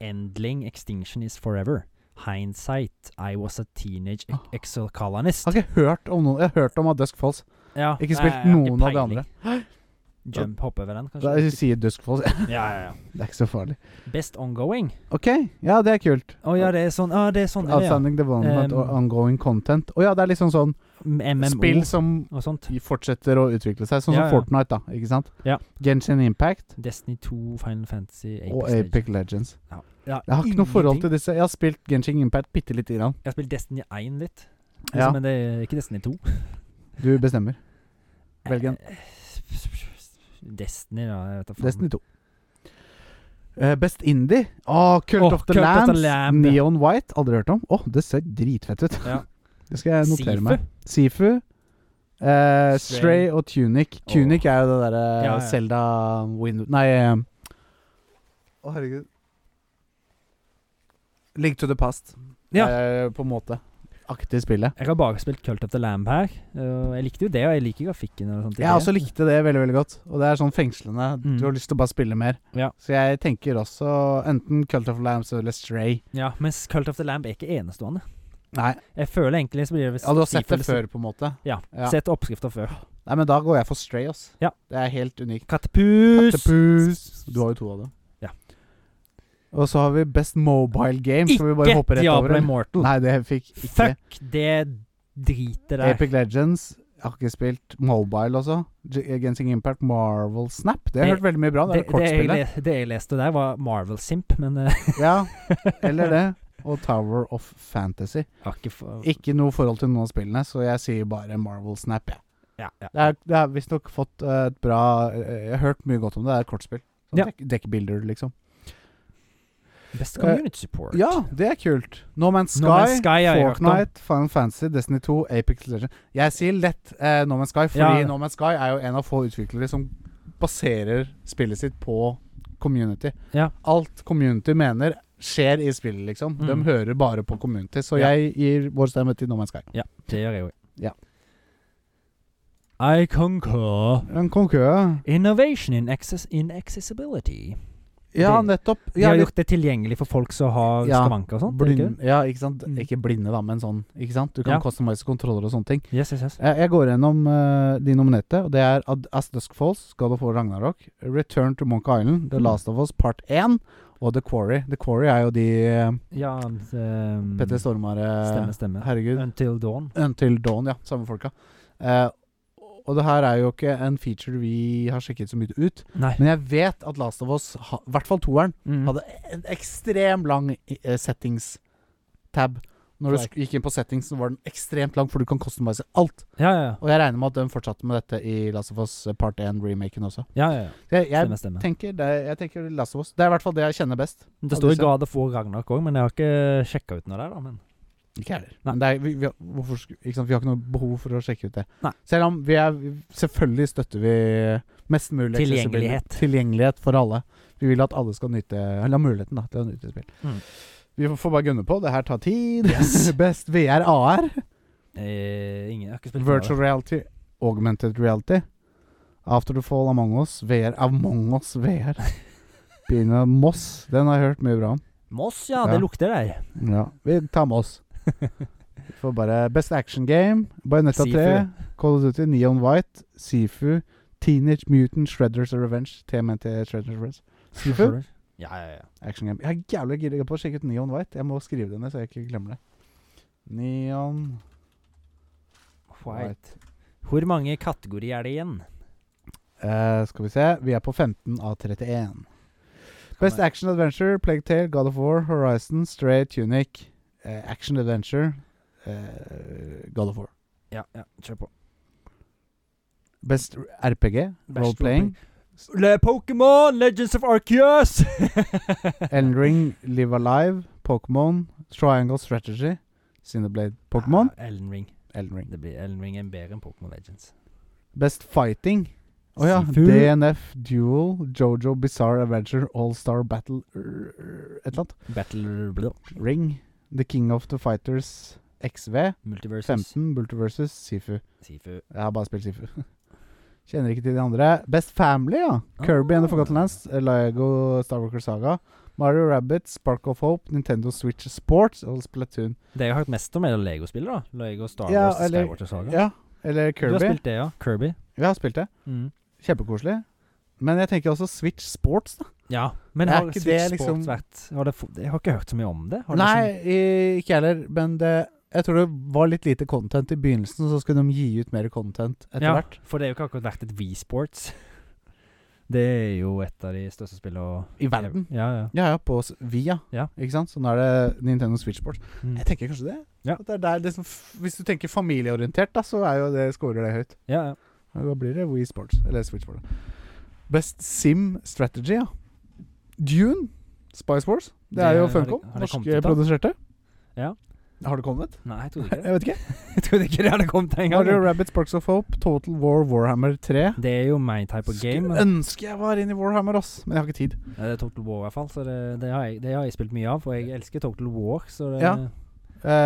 Speaker 2: Endling. Extinction is forever. Hindsight. I was a teenage
Speaker 1: Ah.
Speaker 2: ex- exocolonist.
Speaker 1: Har ikke hørt om noen Jeg har hørt om A Dusk Falls.
Speaker 2: Ja,
Speaker 1: Ikke spilt
Speaker 2: jeg har ikke
Speaker 1: noen av de
Speaker 2: peiling.
Speaker 1: andre.
Speaker 2: Jump hopper over den,
Speaker 1: Da
Speaker 2: kanskje?
Speaker 1: sier Dusk Falls Det
Speaker 2: Ja, ja, ja.
Speaker 1: er ikke så farlig.
Speaker 2: Best ongoing.
Speaker 1: OK. Ja, det er kult.
Speaker 2: Å ja, det er sånn ah, det er sånn det er, ja.
Speaker 1: Outstanding development
Speaker 2: Um,
Speaker 1: og ongoing content. Å ja, det er liksom sånn
Speaker 2: MMO
Speaker 1: spill som
Speaker 2: og sånt.
Speaker 1: fortsetter å utvikle seg, sånn
Speaker 2: Ja, ja.
Speaker 1: som Fortnite, da. Ikke sant?
Speaker 2: Ja.
Speaker 1: Genshin Impact
Speaker 2: Destiny 2, Final Fantasy, Apex
Speaker 1: og Apic Legends.
Speaker 2: Ja,
Speaker 1: Jeg har ikke noe forhold
Speaker 2: ingenting.
Speaker 1: til disse. Jeg har spilt Genshin Impact bitte lite grann.
Speaker 2: Jeg har spilt Destiny 1 litt, liksom,
Speaker 1: Ja.
Speaker 2: men det er ikke Destiny 2.
Speaker 1: Du bestemmer. Velg en.
Speaker 2: Eh, Destiny, da. Jeg vet da faen.
Speaker 1: Destiny 2. Eh, Best Indie. Åh, Cult
Speaker 2: Åh,
Speaker 1: of the
Speaker 2: Cult of the
Speaker 1: Lambs.
Speaker 2: Lamb.
Speaker 1: Neon White. Aldri hørt om. Åh, det ser dritfett ut.
Speaker 2: Ja.
Speaker 1: Det skal jeg notere
Speaker 2: Sifu.
Speaker 1: meg. Sifu. eh, Stray
Speaker 2: Stray.
Speaker 1: og Tunic. Tunic er jo det derre
Speaker 2: Ja, ja.
Speaker 1: Zelda Window... Nei eh, Å, herregud. Link to the past.
Speaker 2: Ja.
Speaker 1: Eh, på en måte. Aktig spillet.
Speaker 2: Jeg har bare spilt Cult of the Lamb her. og jeg likte jo det, og jeg liker grafikken. og sånt i
Speaker 1: Jeg
Speaker 2: det.
Speaker 1: også likte det veldig veldig godt. Og det er sånn fengslende.
Speaker 2: Mm.
Speaker 1: Du har lyst til å bare spille mer.
Speaker 2: Ja.
Speaker 1: Så jeg tenker også enten Cult of Lambs eller Stray.
Speaker 2: Ja, Mens Cult of the Lamb er ikke enestående.
Speaker 1: Nei,
Speaker 2: Jeg føler egentlig så blir det
Speaker 1: ja, du har sett det
Speaker 2: Sifu eller-
Speaker 1: før, på en måte?
Speaker 2: Ja.
Speaker 1: Ja.
Speaker 2: Sett oppskrifter før.
Speaker 1: Nei, men da går jeg for Stray, ass.
Speaker 2: Ja.
Speaker 1: Det er helt unikt.
Speaker 2: Kattepus!
Speaker 1: Kattepus. Du har jo to av dem.
Speaker 2: Ja.
Speaker 1: Og så har vi Best Mobile Game. Skal vi bare
Speaker 2: Ikke
Speaker 1: hoppe rett over?
Speaker 2: Diablo
Speaker 1: eller?
Speaker 2: Immortal.
Speaker 1: Nei, det fikk ikke.
Speaker 2: Fuck det dritet der.
Speaker 1: Epic Legends. Jeg har ikke spilt Mobile også. G- Gensing Impact, Marvel Snap. Det har jeg
Speaker 2: Det-
Speaker 1: hørt veldig mye bra. Det er
Speaker 2: det,
Speaker 1: det
Speaker 2: det, jeg,
Speaker 1: kortspillet.
Speaker 2: le- det jeg leste der, var Marvel Simp, men eh,
Speaker 1: ja, eller det. Og Tower of Fantasy.
Speaker 2: har ikke for,
Speaker 1: Ikke noe forhold til noen av spillene, så jeg sier bare Marvel Snap, jeg.
Speaker 2: ja, ja.
Speaker 1: Det er, det er visstnok fått eh, et bra eh, Jeg har hørt mye godt om det. Det er et kortspill. Sånn
Speaker 2: Ja.
Speaker 1: dekk- Dekkbilder, liksom.
Speaker 2: Best community support.
Speaker 1: Ja, det er kult. No Man's Sky,
Speaker 2: No Man's Sky har jeg hørt om.
Speaker 1: Fortnite, Final Fantasy, Destiny 2, Apex Legends Jeg sier lett eh, No Man's Sky, fordi
Speaker 2: Ja.
Speaker 1: No Man's Sky er jo en av få utviklere som baserer spillet sitt på community.
Speaker 2: Ja.
Speaker 1: Alt community mener, skjer i spillet, liksom. De
Speaker 2: Mm.
Speaker 1: hører bare på community. Så
Speaker 2: Ja.
Speaker 1: jeg gir vår stemme til No Man's Sky.
Speaker 2: Det gjør jeg òg.
Speaker 1: Ja.
Speaker 2: I conquer
Speaker 1: En konkurranse.
Speaker 2: innovation in, access in accessibility.
Speaker 1: Ja,
Speaker 2: Det-
Speaker 1: nettopp.
Speaker 2: De har gjort det tilgjengelig for folk som har
Speaker 1: Ja,
Speaker 2: skavanker og sånt. er det ikke
Speaker 1: Blind,
Speaker 2: det?
Speaker 1: ja, ikke sant.
Speaker 2: Mm.
Speaker 1: Ikke blinde, da, men sånn. Ikke sant? Du kan
Speaker 2: Ja.
Speaker 1: customize kontroller og sånne ting.
Speaker 2: Yes, yes, yes.
Speaker 1: Jeg, jeg går gjennom eh, de nominerte, og det er Ad As Dusk Falls, God of War Ragnarok, Return to Monk Island, The
Speaker 2: Mm.
Speaker 1: Last of Us Part 1 og The Quarry. The Quarry er jo de eh,
Speaker 2: Ja, um,
Speaker 1: Petter Stormare
Speaker 2: Stemme, stemme.
Speaker 1: Herregud.
Speaker 2: Until Dawn.
Speaker 1: Until Dawn, ja. Samme folka. Eh, og det her er jo ikke en feature vi har sjekket så mye ut,
Speaker 2: Nei.
Speaker 1: men jeg vet at Last of Us, ha- i hvert fall toeren,
Speaker 2: Mm.
Speaker 1: hadde en ekstremt lang eh, settings-tab. Når du
Speaker 2: Right.
Speaker 1: sk- gikk inn på settings, så var den ekstremt lang, for du kan customize alt.
Speaker 2: Ja, ja,
Speaker 1: Og jeg regner med at de fortsatte med dette i Last of Us eh, Part 1-remaken også.
Speaker 2: ja. ja, ja, ja.
Speaker 1: Så Jeg, jeg,
Speaker 2: Stemme, stemme.
Speaker 1: tenker det, jeg tenker Last of Us. Det er i hvert fall det jeg kjenner best.
Speaker 2: Det står i
Speaker 1: Odyssey.
Speaker 2: God of War Ragnarok òg, men jeg har ikke sjekka ut noe der, da. Men
Speaker 1: Ikke heller.
Speaker 2: Nei.
Speaker 1: Men det er, vi, vi, har- hvorfor, sk- ikke sant? vi har ikke noe behov for å sjekke ut det.
Speaker 2: Nei.
Speaker 1: Selv om vi er Selvfølgelig støtter vi eh, mest mulig
Speaker 2: Tilgjengelighet.
Speaker 1: accessibility. Tilgjengelighet for alle. Vi vil at alle skal nyte Eller ha muligheten da, til å nyte spill.
Speaker 2: Mm.
Speaker 1: Vi får- får bare gunne på. Det her tar tid.
Speaker 2: Yes.
Speaker 1: best VR AR.
Speaker 2: eh, ingen, jeg har ikke spilt noe av det.
Speaker 1: Virtual reality. Augmented reality. After the fall Among Us. VR Among Us VR. Begynner Moss. Den har jeg hørt mye bra om.
Speaker 2: Moss, ja,
Speaker 1: Ja.
Speaker 2: Det lukter der.
Speaker 1: Ja, vi tar med oss. Vi får bare Best Action Game, Bayonetta
Speaker 2: Sifu.
Speaker 1: 3, Call of Duty, Neon White, Sifu, Teenage Mutant, Shredders of Revenge, TMNT Shredders of Revenge. Sifu?
Speaker 2: Ja, ja, ja.
Speaker 1: Action Game. Jeg er jævlig gira på å sjekke ut Neon White. Jeg må skrive det ned, så jeg ikke glemmer det. Neon
Speaker 2: White. Hvor mange kategorier er det igjen?
Speaker 1: Eh, skal vi se. Vi er på 15 av 31. Best
Speaker 2: jeg-
Speaker 1: Action Adventure, Plague Tale, God of War, Horizon, Stray, Tunic. eh, action Adventure, eh, God of War.
Speaker 2: Ja, ja, kjør på.
Speaker 1: Best RPG,
Speaker 2: Best
Speaker 1: Role Playing.
Speaker 2: Le Pokémon Legends of Arceus!
Speaker 1: Elden Ring, Live Alive, Pokémon, Triangle Strategy, Cinderblade, Pokémon,
Speaker 2: Ja, Elden Ring.
Speaker 1: Elden Ring.
Speaker 2: Det blir Elden Ring er bedre enn Pokémon Legends.
Speaker 1: Best Fighting. Å ja.
Speaker 2: Sifu.
Speaker 1: DNF, Duel, Jojo, Bizarre Adventure, All Star Battle rrr, Et eller annet.
Speaker 2: Battle blah,
Speaker 1: Ring, The King of the Fighters, XV,
Speaker 2: Multiverses.
Speaker 1: 15, Bulter versus Sifu.
Speaker 2: Sifu.
Speaker 1: Jeg har bare spilt Sifu. Kjenner ikke til de andre. Best Family, ja. Kirby and the
Speaker 2: Ah.
Speaker 1: Forgotten Lands, Lego Star Walker Saga, Mario Rabbit, Spark of Hope, Nintendo Switch Sports og Splatoon.
Speaker 2: Det jeg har hørt mest om, er jo Lego-spillet, da. Lego Star
Speaker 1: Ja,
Speaker 2: Wars,
Speaker 1: eller-
Speaker 2: Skyward Saga.
Speaker 1: Ja, eller
Speaker 2: Du har
Speaker 1: Kirby.
Speaker 2: spilt det, ja? Kirby.
Speaker 1: Vi har spilt det.
Speaker 2: Mm.
Speaker 1: Kjempekoselig. Men jeg tenker også Switch Sports, da.
Speaker 2: Ja, men
Speaker 1: Er
Speaker 2: har
Speaker 1: ikke
Speaker 2: Switch
Speaker 1: det
Speaker 2: Sports
Speaker 1: liksom-
Speaker 2: vært har det, fo- Jeg har ikke hørt så mye om det. liksom Har det
Speaker 1: Nei, i- ikke jeg heller. Men det, jeg tror det var litt lite content i begynnelsen, så skulle de gi ut mer content
Speaker 2: liksom-
Speaker 1: etter
Speaker 2: ja,
Speaker 1: hvert.
Speaker 2: For det har jo ikke akkurat vært et V-sports. Det er jo et av de største spillene
Speaker 1: I verden.
Speaker 2: Ja, ja.
Speaker 1: Ja, ja, på s- Via.
Speaker 2: Ja.
Speaker 1: Ikke sant? Så nå er det Nintendo Switch Sports.
Speaker 2: Mm.
Speaker 1: Jeg tenker kanskje det.
Speaker 2: Ja.
Speaker 1: At det er der det som, f- hvis du tenker familieorientert, da, så er jo det, scorer det høyt.
Speaker 2: ja, ja.
Speaker 1: Men Da blir det Wii Sports. Eller Switch Sports. Best Sim Strategy, ja. Dune, Spice Wars. Det
Speaker 2: Det
Speaker 1: er jo
Speaker 2: har det-
Speaker 1: Funcom.
Speaker 2: har det kommet ut da?
Speaker 1: Norskproduserte.
Speaker 2: Ja.
Speaker 1: Har det kommet?
Speaker 2: Nei, jeg trodde ikke det.
Speaker 1: Jeg vet ikke.
Speaker 2: Jeg trodde ikke det hadde kommet en gang.
Speaker 1: Mario Rabbit Sparks of Hope, Total War, Warhammer 3.
Speaker 2: Det er jo my type of game.
Speaker 1: Skulle ønske jeg var inne i Warhammer, ass. Men jeg har ikke tid.
Speaker 2: Ja, det er Total War i hvert fall, så det, det, har jeg, det har jeg spilt mye av, og jeg elsker Total War, så det
Speaker 1: Ja.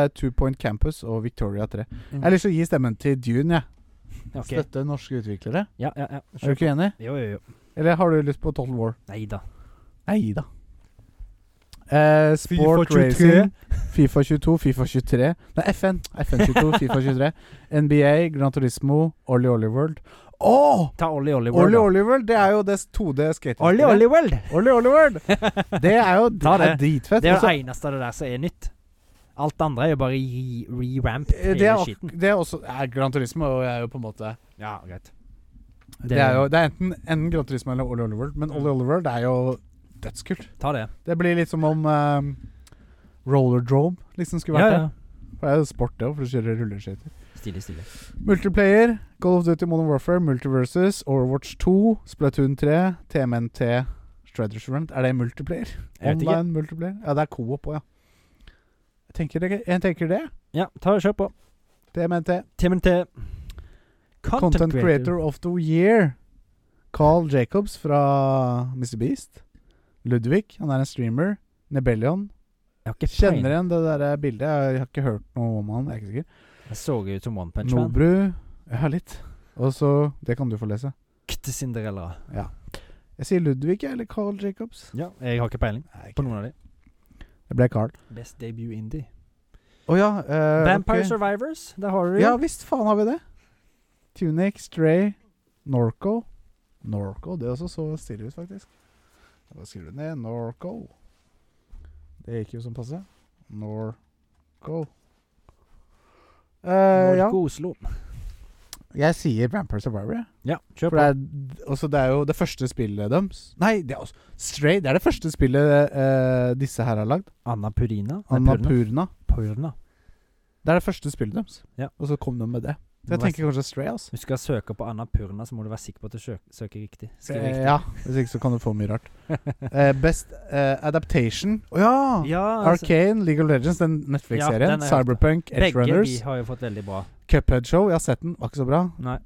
Speaker 1: Eh, Two Point Campus og Victoria 3. Jeg har lyst til å gi stemmen til Dune, jeg.
Speaker 2: Mm. Ok.
Speaker 1: Støtte norske utviklere.
Speaker 2: Ja, ja, ja.
Speaker 1: Er du ikke enig?
Speaker 2: Jo, jo, jo.
Speaker 1: Eller har du lyst på Total War?
Speaker 2: Nei da.
Speaker 1: Nei da. Eh, sport
Speaker 2: FIFA 23.
Speaker 1: Racing, Fifa 22, Fifa 23 Nei, FN. FN 22, Fifa 23. NBA, Gran Turismo, Ollie Ollie World. Åh!
Speaker 2: Ta Ollie Ollie World.
Speaker 3: Ollie
Speaker 2: da.
Speaker 3: Ollie World, det er jo det 2D skating.
Speaker 2: Ollie Ollie World!
Speaker 3: Ollie Ollie World!
Speaker 1: Det er jo det
Speaker 2: Ta
Speaker 1: er
Speaker 2: det.
Speaker 1: dritfett.
Speaker 2: Det er
Speaker 1: Også-
Speaker 2: det eneste av det der som er nytt. Alt det andre er jo bare re- re-ramp
Speaker 1: Eh,
Speaker 2: hele
Speaker 1: det, er,
Speaker 2: skiten.
Speaker 1: ak- det er også er Gran Turismo og er jo på en måte
Speaker 2: Ja, greit.
Speaker 1: Det, er jo det er enten, enten Gran Turismo eller Ollie Ollie World,
Speaker 2: Mm.
Speaker 1: men Ollie Ollie World er jo dødskult.
Speaker 2: Ta det.
Speaker 1: Det blir litt som om um, Roller Drome liksom skulle
Speaker 2: Ja,
Speaker 1: vært
Speaker 2: ja.
Speaker 1: det. For det er jo sport, det òg, for du kjører rulleskøyter.
Speaker 2: Stilig, stilig.
Speaker 1: Multiplayer, Call of Duty Modern Warfare, Multiversus, Overwatch 2, Splatoon 3, TMNT, Strategy Run. Er det multiplayer?
Speaker 2: Jeg vet ikke.
Speaker 1: Online multiplayer? Ja, det er co-op òg, ja. Jeg tenker, det, jeg tenker det.
Speaker 2: Ja, ta det, kjør på.
Speaker 1: TMNT.
Speaker 2: Timen til
Speaker 1: Content, Creator of the Year. Carl Jacobs fra Mr. Beast. Ludvig, han er en streamer. Nebellion.
Speaker 2: Jeg har ikke
Speaker 1: Kjenner
Speaker 2: peiling.
Speaker 1: igjen det der bildet. Jeg har ikke hørt noe om han. Jeg er ikke sikker.
Speaker 2: Jeg så jo ut som One Punch Man.
Speaker 1: Nobru. Ja, litt. Og så Det kan du få lese.
Speaker 2: Ekte Cinderella.
Speaker 1: Jeg sier Ludvig, jeg, eller Carl Jacobs.
Speaker 2: Ja, jeg har ikke peiling
Speaker 1: Nei,
Speaker 2: på noen av de.
Speaker 1: Det ble Carl.
Speaker 2: Best debut indie.
Speaker 1: Å ja. eh,
Speaker 2: Vampire
Speaker 1: ok.
Speaker 2: Survivors, der har du det.
Speaker 1: Ja visst, faen har vi det. Tunic, Stray, Norco. Norco, det også så stille ut, faktisk. Da skriver du ned Norco. Det gikk jo som passe. Norco. Eh, ja.
Speaker 2: Norco Oslo.
Speaker 1: Jeg sier Vampire Survivor, jeg.
Speaker 2: Ja, kjør
Speaker 1: For
Speaker 2: på.
Speaker 1: det er, også det er jo det første spillet deres. Nei, det er også, Stray det er det første spillet eh, disse her har lagd.
Speaker 2: Anna Purina.
Speaker 1: Anna Purna.
Speaker 2: Purna.
Speaker 1: Det er det første spillet deres.
Speaker 2: Ja.
Speaker 1: Og så kom de med det. Så jeg
Speaker 2: Må
Speaker 1: tenker kanskje Stray, altså.
Speaker 2: Hvis du skal søke på Anna Purna, så må du være sikker på at du søker, søker riktig. Skriv
Speaker 1: Eh,
Speaker 2: riktig.
Speaker 1: ja, hvis ikke så kan du få mye rart. Eh, best eh, Adaptation. Å ja!
Speaker 2: ja altså,
Speaker 1: Arcane, League of Legends, den
Speaker 2: Ja,
Speaker 1: Netflix-serien.
Speaker 2: den har jeg hørt.
Speaker 1: Cyberpunk, Edge
Speaker 2: begge
Speaker 1: Runners.
Speaker 2: de har jo fått veldig bra.
Speaker 1: Cuphead Show, jeg har sett den. Var ikke så bra.
Speaker 2: Nei,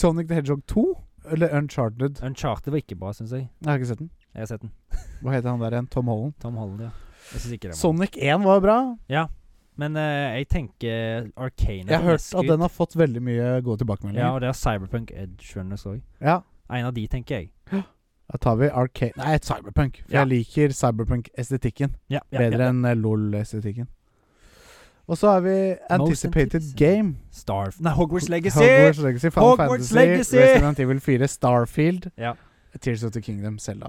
Speaker 1: Sonic the Hedgehog 2, eller Uncharted.
Speaker 2: Uncharted var ikke bra, syns jeg.
Speaker 1: Jeg har ikke sett den.
Speaker 2: Jeg har sett den.
Speaker 1: Hva heter han der igjen? Tom Holland.
Speaker 2: Tom Holland, ja. Jeg synes ikke det var
Speaker 1: Sonic 1 var bra.
Speaker 2: Men eh, jeg tenker Arcane.
Speaker 1: Jeg har hørt at den har fått veldig mye gode
Speaker 2: Ja,
Speaker 1: tilbakemeldinger.
Speaker 2: og det har Cyberpunk Edge Runners òg.
Speaker 1: Ja.
Speaker 2: En av de, tenker jeg.
Speaker 1: Da tar vi Arcane Nei, Cyberpunk. For
Speaker 2: Ja.
Speaker 1: jeg liker Cyberpunk-estetikken.
Speaker 2: Ja, ja,
Speaker 1: Bedre
Speaker 2: ja.
Speaker 1: enn eh, LOL-estetikken. Og så har vi Anticipated
Speaker 2: anticipated.
Speaker 1: Game.
Speaker 2: Starf... Nei, Hogwarts Legacy!
Speaker 1: Hogwarts Legacy, Final
Speaker 2: Hogwarts
Speaker 1: Fantasy,
Speaker 2: Legacy!
Speaker 1: Resident Evil 4, Starfield,
Speaker 2: Ja.
Speaker 1: Tears of the Kingdom, Zelda.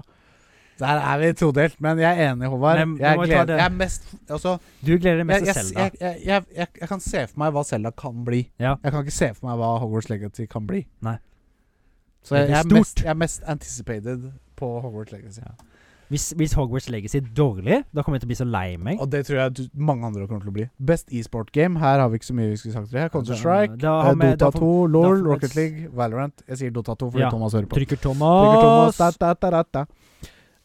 Speaker 1: Der er vi todelt, men jeg er enig, Håvard.
Speaker 2: Men- men
Speaker 1: jeg,
Speaker 2: må jeg ta
Speaker 1: gleder,
Speaker 2: det?
Speaker 1: jeg er mest altså,
Speaker 2: Du gleder
Speaker 1: jeg,
Speaker 2: deg mest
Speaker 1: jeg,
Speaker 2: til Selda.
Speaker 1: jeg, jeg, jeg, jeg, jeg kan se for meg hva Zelda kan bli.
Speaker 2: Ja.
Speaker 1: Jeg kan ikke se for meg hva Hogwarts Legacy kan bli.
Speaker 2: Nei.
Speaker 1: Så jeg,
Speaker 2: Det blir
Speaker 1: jeg, er
Speaker 2: stort.
Speaker 1: mest, jeg er mest anticipated på Hogwarts Legacy.
Speaker 2: Ja. Hvis, hvis Hogwarts Legacy er dårlig, da kommer jeg til å bli så lei meg.
Speaker 1: Og det tror jeg du, mange andre kommer til å bli. Best e-sport game. Her har vi ikke så mye vi skulle sagt. til det. Counter-Strike,
Speaker 2: Da, da
Speaker 1: eh,
Speaker 2: har vi- da
Speaker 1: Dota
Speaker 2: får-
Speaker 1: 2,
Speaker 2: da
Speaker 1: LOL,
Speaker 2: får vi-
Speaker 1: Rocket League, Valorant. Jeg sier Dota 2 fordi
Speaker 2: Ja.
Speaker 1: Thomas hører på.
Speaker 2: Trykker
Speaker 1: Trykker Thomas.
Speaker 2: Thomas!
Speaker 1: Da, da, da, da, da.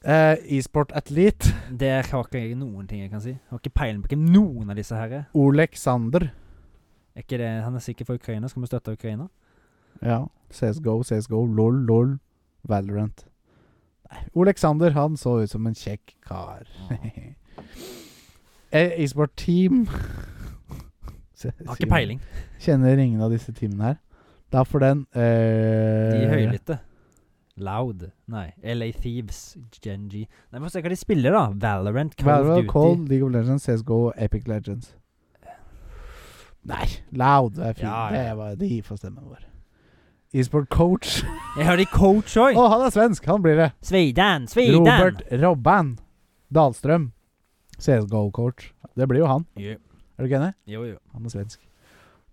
Speaker 1: Eh, E-sport athlete
Speaker 2: Der har ikke jeg noen ting jeg kan si. Jeg har ikke peiling på hvem noen av disse her er.
Speaker 1: Oleksander.
Speaker 2: Er ikke det, han er sikkert fra Ukraina. Skal vi støtte Ukraina?
Speaker 1: Ja. CSGO, CSGO, LOL, LOL, Valorant. Nei, Oleksander, han så ut som en kjekk kar. Eh, E-sport team
Speaker 2: Jeg har ikke peiling.
Speaker 1: Kjenner ingen av disse teamene her. Da får den eh,
Speaker 2: De høylytte. Loud. Nei. LA Thieves. Genji. Nei, Vi får se hva de spiller, da. Valorant, Call
Speaker 1: Valorant,
Speaker 2: of Duty.
Speaker 1: Cold, League of Legends, CSGO, Epic Legends. Nei, Loud er fint.
Speaker 2: Ja, ja.
Speaker 1: Det var de får stemmen vår. E-sport coach.
Speaker 2: Jeg har de coach
Speaker 1: Å,
Speaker 2: òg!
Speaker 1: han er svensk! Han blir det.
Speaker 2: Sveidan! Sveidan!
Speaker 1: Robert Robban Dahlstrøm. CSGO-coach. Det blir jo han.
Speaker 2: Jo,
Speaker 1: Er du ikke enig?
Speaker 2: jo. jo.
Speaker 1: Han er svensk.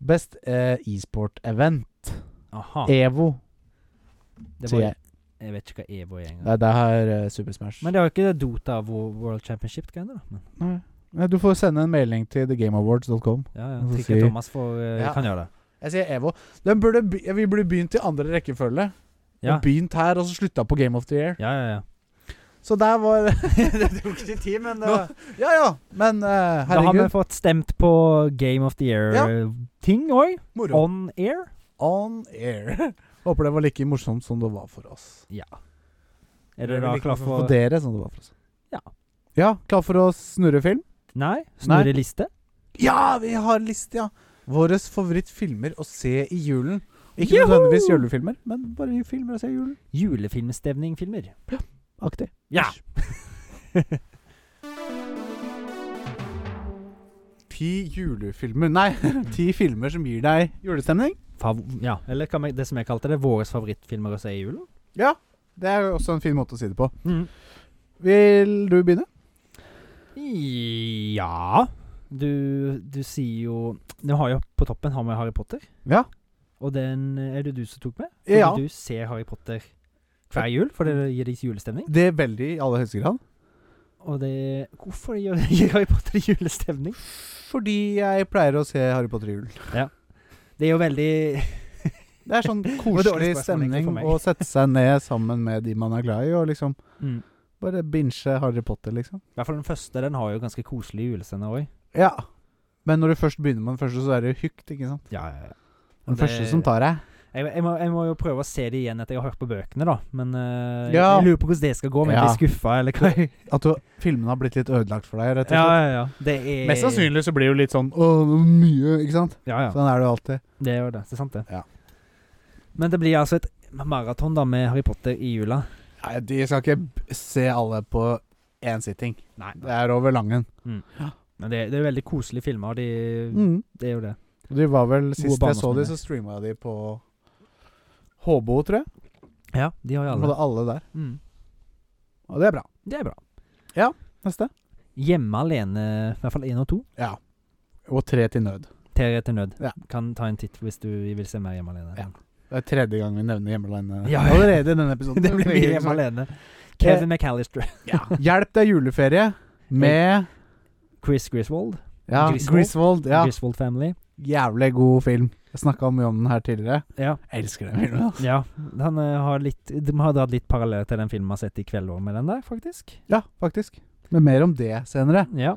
Speaker 1: Best eh, e-sport-event.
Speaker 2: Aha.
Speaker 1: EVO,
Speaker 2: Ah. Det
Speaker 1: sier
Speaker 2: var,
Speaker 1: jeg.
Speaker 2: jeg vet ikke hva EVO er engang.
Speaker 1: Nei, det er eh, Super Smash.
Speaker 2: Men det var ikke Dota Wo- World Championship-greiene, da. Men,
Speaker 1: Nei. Nei, Du får sende en melding til thegameawards.com.
Speaker 2: ja, ja.
Speaker 1: Vi får
Speaker 2: Trikken
Speaker 1: se.
Speaker 2: Thomas får, eh,
Speaker 1: Ja.
Speaker 2: kan gjøre det.
Speaker 1: Jeg sier EVO. Den burde be vi burde begynt i andre rekkefølge.
Speaker 2: Ja.
Speaker 1: Og Begynt her, og så slutta på Game of the Year.
Speaker 2: Ja, ja, ja.
Speaker 1: Så der var
Speaker 2: det tok ikke tid, men
Speaker 1: Nå- Ja ja, men eh,
Speaker 2: Da har vi
Speaker 1: herregud.
Speaker 2: fått stemt på Game of the Year-ting òg.
Speaker 1: Moro.
Speaker 2: On air.
Speaker 1: On air. Håper det var like morsomt som det var for oss.
Speaker 2: Er dere
Speaker 1: Eller
Speaker 2: da
Speaker 1: like
Speaker 2: klar
Speaker 1: morsomt for
Speaker 2: for
Speaker 1: dere som det var for oss.
Speaker 2: Ja.
Speaker 1: Ja, Klar for å snurre film?
Speaker 2: Nei? Snurre liste?
Speaker 1: Ja, vi har en liste, ja! Våre favorittfilmer å se i julen. Ikke
Speaker 2: Juhu!
Speaker 1: nødvendigvis julefilmer, men bare filmer å se i julen.
Speaker 2: Julefilmstevningfilmer.
Speaker 1: Aktig.
Speaker 2: Ja.
Speaker 1: Ti julefilmer Nei, ti filmer som gir deg julestemning.
Speaker 2: Fav ja. Eller kan vi, det som jeg kalte det, våre favorittfilmer å se i julen.
Speaker 1: Ja, det er jo også en fin måte å si det på. Vil du begynne?
Speaker 2: Ja du, du sier jo Nå har jeg på toppen har vi Harry Potter.
Speaker 1: Ja.
Speaker 2: Og den er det du som tok med? Fordi
Speaker 1: Ja.
Speaker 2: du ser Harry Potter hver jul, for det gir deg julestemning.
Speaker 1: Det er veldig i aller høyeste grad.
Speaker 2: Og det Hvorfor gjør gir Harry Potter julestemning?
Speaker 1: Fordi jeg pleier å se Harry Potter i julen.
Speaker 2: Det er jo veldig
Speaker 1: Det er sånn
Speaker 2: var dårlig
Speaker 1: koselig
Speaker 2: spørsmål egentlig
Speaker 1: stemning
Speaker 2: for meg.
Speaker 1: å sette seg ned sammen med de man er glad i, og liksom
Speaker 2: mm.
Speaker 1: bare binche Harry Potter, liksom.
Speaker 2: I hvert fall den første. Den har jo ganske koselige julescener òg.
Speaker 1: Ja. Men når du først begynner med den første, så er det jo hykt, ikke sant?
Speaker 2: Ja, ja, ja.
Speaker 1: Den første som tar deg.
Speaker 2: jeg, jeg, må, jeg må jo prøve å se det igjen etter jeg har hørt på bøkene, da. Men eh,
Speaker 1: Ja.
Speaker 2: jeg lurer på hvordan det skal gå, om jeg
Speaker 1: Ja.
Speaker 2: blir skuffa, eller hva.
Speaker 1: At du, filmen har blitt litt ødelagt for deg, rett og
Speaker 2: Ja,
Speaker 1: slett.
Speaker 2: ja, ja. Det er
Speaker 1: Mest sannsynlig så blir det jo litt sånn Å, det var mye, ikke sant?
Speaker 2: Ja, ja.
Speaker 1: Sånn er det jo alltid.
Speaker 2: Det er jo det. Det er sant, det.
Speaker 1: Ja.
Speaker 2: Men det blir altså et maraton da med Harry Potter i jula.
Speaker 1: Nei, de skal ikke b- se alle på én sitting.
Speaker 2: Nei,
Speaker 1: Det er over langen.
Speaker 2: Men det, det er jo veldig koselige filmer. De,
Speaker 1: Mm.
Speaker 2: Det er jo det.
Speaker 1: De var vel Sist jeg så
Speaker 2: barndomsminner.
Speaker 1: de, så streama de på HBO, tror jeg.
Speaker 2: Ja, de har jo
Speaker 1: De
Speaker 2: alle.
Speaker 1: hadde alle der.
Speaker 2: Mm.
Speaker 1: Og det er bra.
Speaker 2: Det er bra.
Speaker 1: Neste.
Speaker 2: Hjemme alene, i hvert fall én og to.
Speaker 1: Ja. Og tre til nød.
Speaker 2: Terje til nød.
Speaker 1: Ja.
Speaker 2: Kan ta en titt hvis du vil se mer Hjemme alene.
Speaker 1: Ja. Det er tredje gang vi nevner hjemmelandet
Speaker 2: Ja.
Speaker 1: allerede i denne episoden.
Speaker 2: Det blir
Speaker 1: Vi-
Speaker 2: mye hjemme alene.
Speaker 1: Eh.
Speaker 2: Kevin McAllister.
Speaker 1: Ja. Hjelp, det er juleferie med
Speaker 2: Chris Griswold.
Speaker 1: ja,
Speaker 2: Griswold.
Speaker 1: Griswold. Ja.
Speaker 2: Griswold Family.
Speaker 1: Jævlig god film. Jeg snakka mye om den her tidligere.
Speaker 2: Ja.
Speaker 1: Jeg elsker den filmen. altså.
Speaker 2: ja. Han eh, har litt De har dratt litt parallell til den filmen vi har sett i kveld òg, med den der, faktisk.
Speaker 1: Ja, faktisk. Men mer om det senere.
Speaker 2: Ja.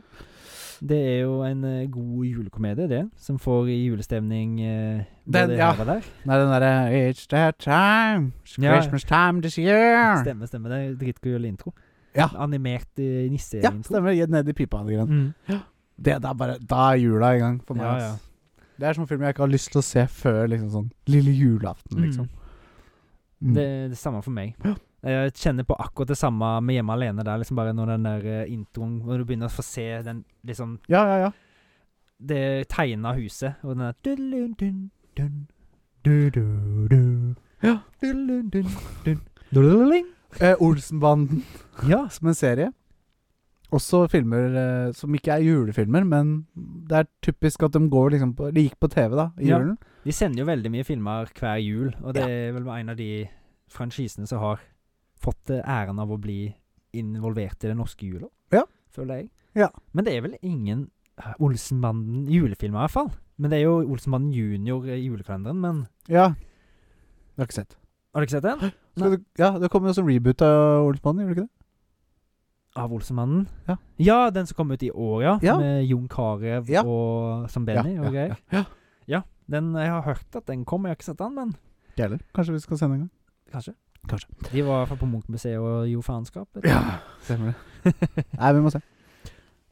Speaker 2: Det er jo en eh, god julekomedie, det. Som får i julestemning eh,
Speaker 1: Den,
Speaker 2: både
Speaker 1: ja.
Speaker 2: her og der.
Speaker 1: Nei, den derre It's that time. It's
Speaker 2: Ja.
Speaker 1: Christmas time this year.
Speaker 2: Stemmer, stemmer. Det er dritgøy juleintro.
Speaker 1: Ja.
Speaker 2: Animert eh,
Speaker 1: Ja,
Speaker 2: nisseintro.
Speaker 1: stemmer. Gitt ned i pipa. og grann.
Speaker 2: Mm.
Speaker 1: Det, det er bare, da er jula i gang for meg.
Speaker 2: Ja,
Speaker 1: ass. Det er sånn film jeg ikke har lyst til å se før liksom sånn lille julaften, liksom. Mm.
Speaker 2: Det er det samme for meg. Jeg kjenner på akkurat det samme med Hjemme alene. der liksom Bare når den der eh, introen Når du begynner å få se den liksom
Speaker 1: Ja, ja, ja.
Speaker 2: det tegna huset, og den der dun, dun, dun, du, du, du.
Speaker 1: Ja.
Speaker 2: Dun, dun, dun, dun. Dun.
Speaker 1: Eh, Olsenbanden
Speaker 2: Ja.
Speaker 1: som en serie. Også filmer eh, som ikke er julefilmer, men det er typisk at de går liksom på De gikk på TV, da, i
Speaker 2: Ja.
Speaker 1: julen.
Speaker 2: De sender jo veldig mye filmer hver jul, og det er vel en av de franchisene som har fått eh, æren av å bli involvert i den norske jula,
Speaker 1: Ja.
Speaker 2: føler jeg.
Speaker 1: Ja.
Speaker 2: Men det er vel ingen eh, Olsenbanden julefilmer, i hvert fall. Men det er jo Olsenbanden junior i julekalenderen, men
Speaker 1: Ja. Du har ikke sett.
Speaker 2: Har du ikke sett den?
Speaker 1: Skal du, ja, det kommer jo som reboot av Olsenbanden, gjør det ikke det?
Speaker 2: Av Olsenmannen?
Speaker 1: Ja.
Speaker 2: ja, den som kom ut i år, ja.
Speaker 1: Ja.
Speaker 2: Med Jon Carew
Speaker 1: Ja.
Speaker 2: og som Benny og greier.
Speaker 1: ja.
Speaker 2: Ja, den, jeg har hørt at den kom, jeg har ikke sett den, men
Speaker 1: Ikke heller. Kanskje vi skal sende en gang.
Speaker 2: kanskje.
Speaker 1: Kanskje.
Speaker 2: De var i hvert fall på Munchmuseet og gjorde faenskap. vet du.
Speaker 1: Ja, stemmer det. Nei, vi må se.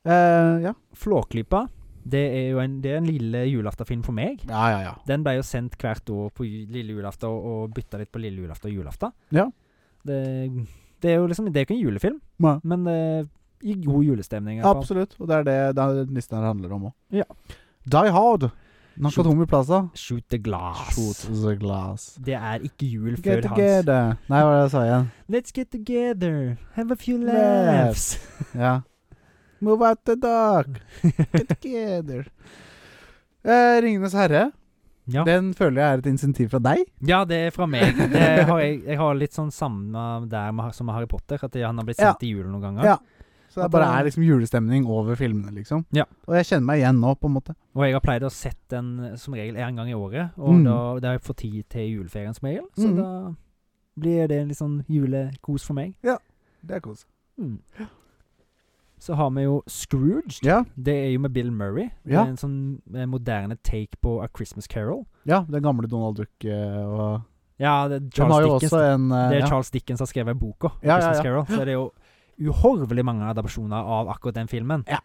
Speaker 1: Eh, ja.
Speaker 2: Flåklypa, det er jo en, det er en lille julaftenfilm for meg.
Speaker 1: Ja, ja, ja.
Speaker 2: Den ble jo sendt hvert år på ju- lille julaften, og, og bytta litt på lille julaften og julaften.
Speaker 1: Ja.
Speaker 2: Det, det er jo liksom, det er jo ikke en julefilm,
Speaker 1: Nei.
Speaker 2: men det gir god julestemning. i hvert fall.
Speaker 1: Absolutt. Og det er det den listen her handler om òg.
Speaker 2: Ja.
Speaker 1: Die Hard. Nakatomi Plaza.
Speaker 2: Shoot the glass.
Speaker 1: Shoot the glass.
Speaker 2: Det er ikke jul
Speaker 1: Get
Speaker 2: før hans
Speaker 1: together. Nei, hva var det jeg sa igjen?
Speaker 2: Let's get together, have a few
Speaker 1: Laughs.
Speaker 2: laughs.
Speaker 1: Ja. Move out the dog. Get together. Eh, Ringenes herre.
Speaker 2: Ja.
Speaker 1: Den føler jeg er et insentiv fra deg.
Speaker 2: ja, det er fra meg. Det har jeg, jeg har litt sånn samme der med, som med Harry Potter, at jeg- han har blitt
Speaker 1: Ja.
Speaker 2: sendt i julen noen ganger.
Speaker 1: Ja. Så det
Speaker 2: At
Speaker 1: bare
Speaker 2: han-
Speaker 1: er liksom julestemning over filmene, liksom.
Speaker 2: Ja.
Speaker 1: Og jeg kjenner meg igjen nå, på en måte.
Speaker 2: Og jeg har pleid å sett den eh, som regel en gang i året, og
Speaker 1: Mm.
Speaker 2: da, det har jeg fått tid til i juleferien som regel, så
Speaker 1: Mm.
Speaker 2: da blir det en litt sånn julekos for meg.
Speaker 1: Det er kos.
Speaker 2: Så har vi jo Scrooge.
Speaker 1: Mm. Ja,
Speaker 2: Det er jo med Bill Murray. Det
Speaker 1: Ja.
Speaker 2: er En sånn eh, moderne take på A Christmas Carol.
Speaker 1: ja, den gamle Donald Duck eh, og
Speaker 2: Ja, det er
Speaker 1: Den har
Speaker 2: Charles
Speaker 1: jo
Speaker 2: Dickens.
Speaker 1: også en eh,
Speaker 2: Det er
Speaker 1: ja.
Speaker 2: Charles Dickens som har skrevet boka,
Speaker 1: Ja, ja, ja.
Speaker 2: 'Christmas Carol'. Så det er jo uhorvelig mange adopsjoner av akkurat den filmen.
Speaker 1: Ja.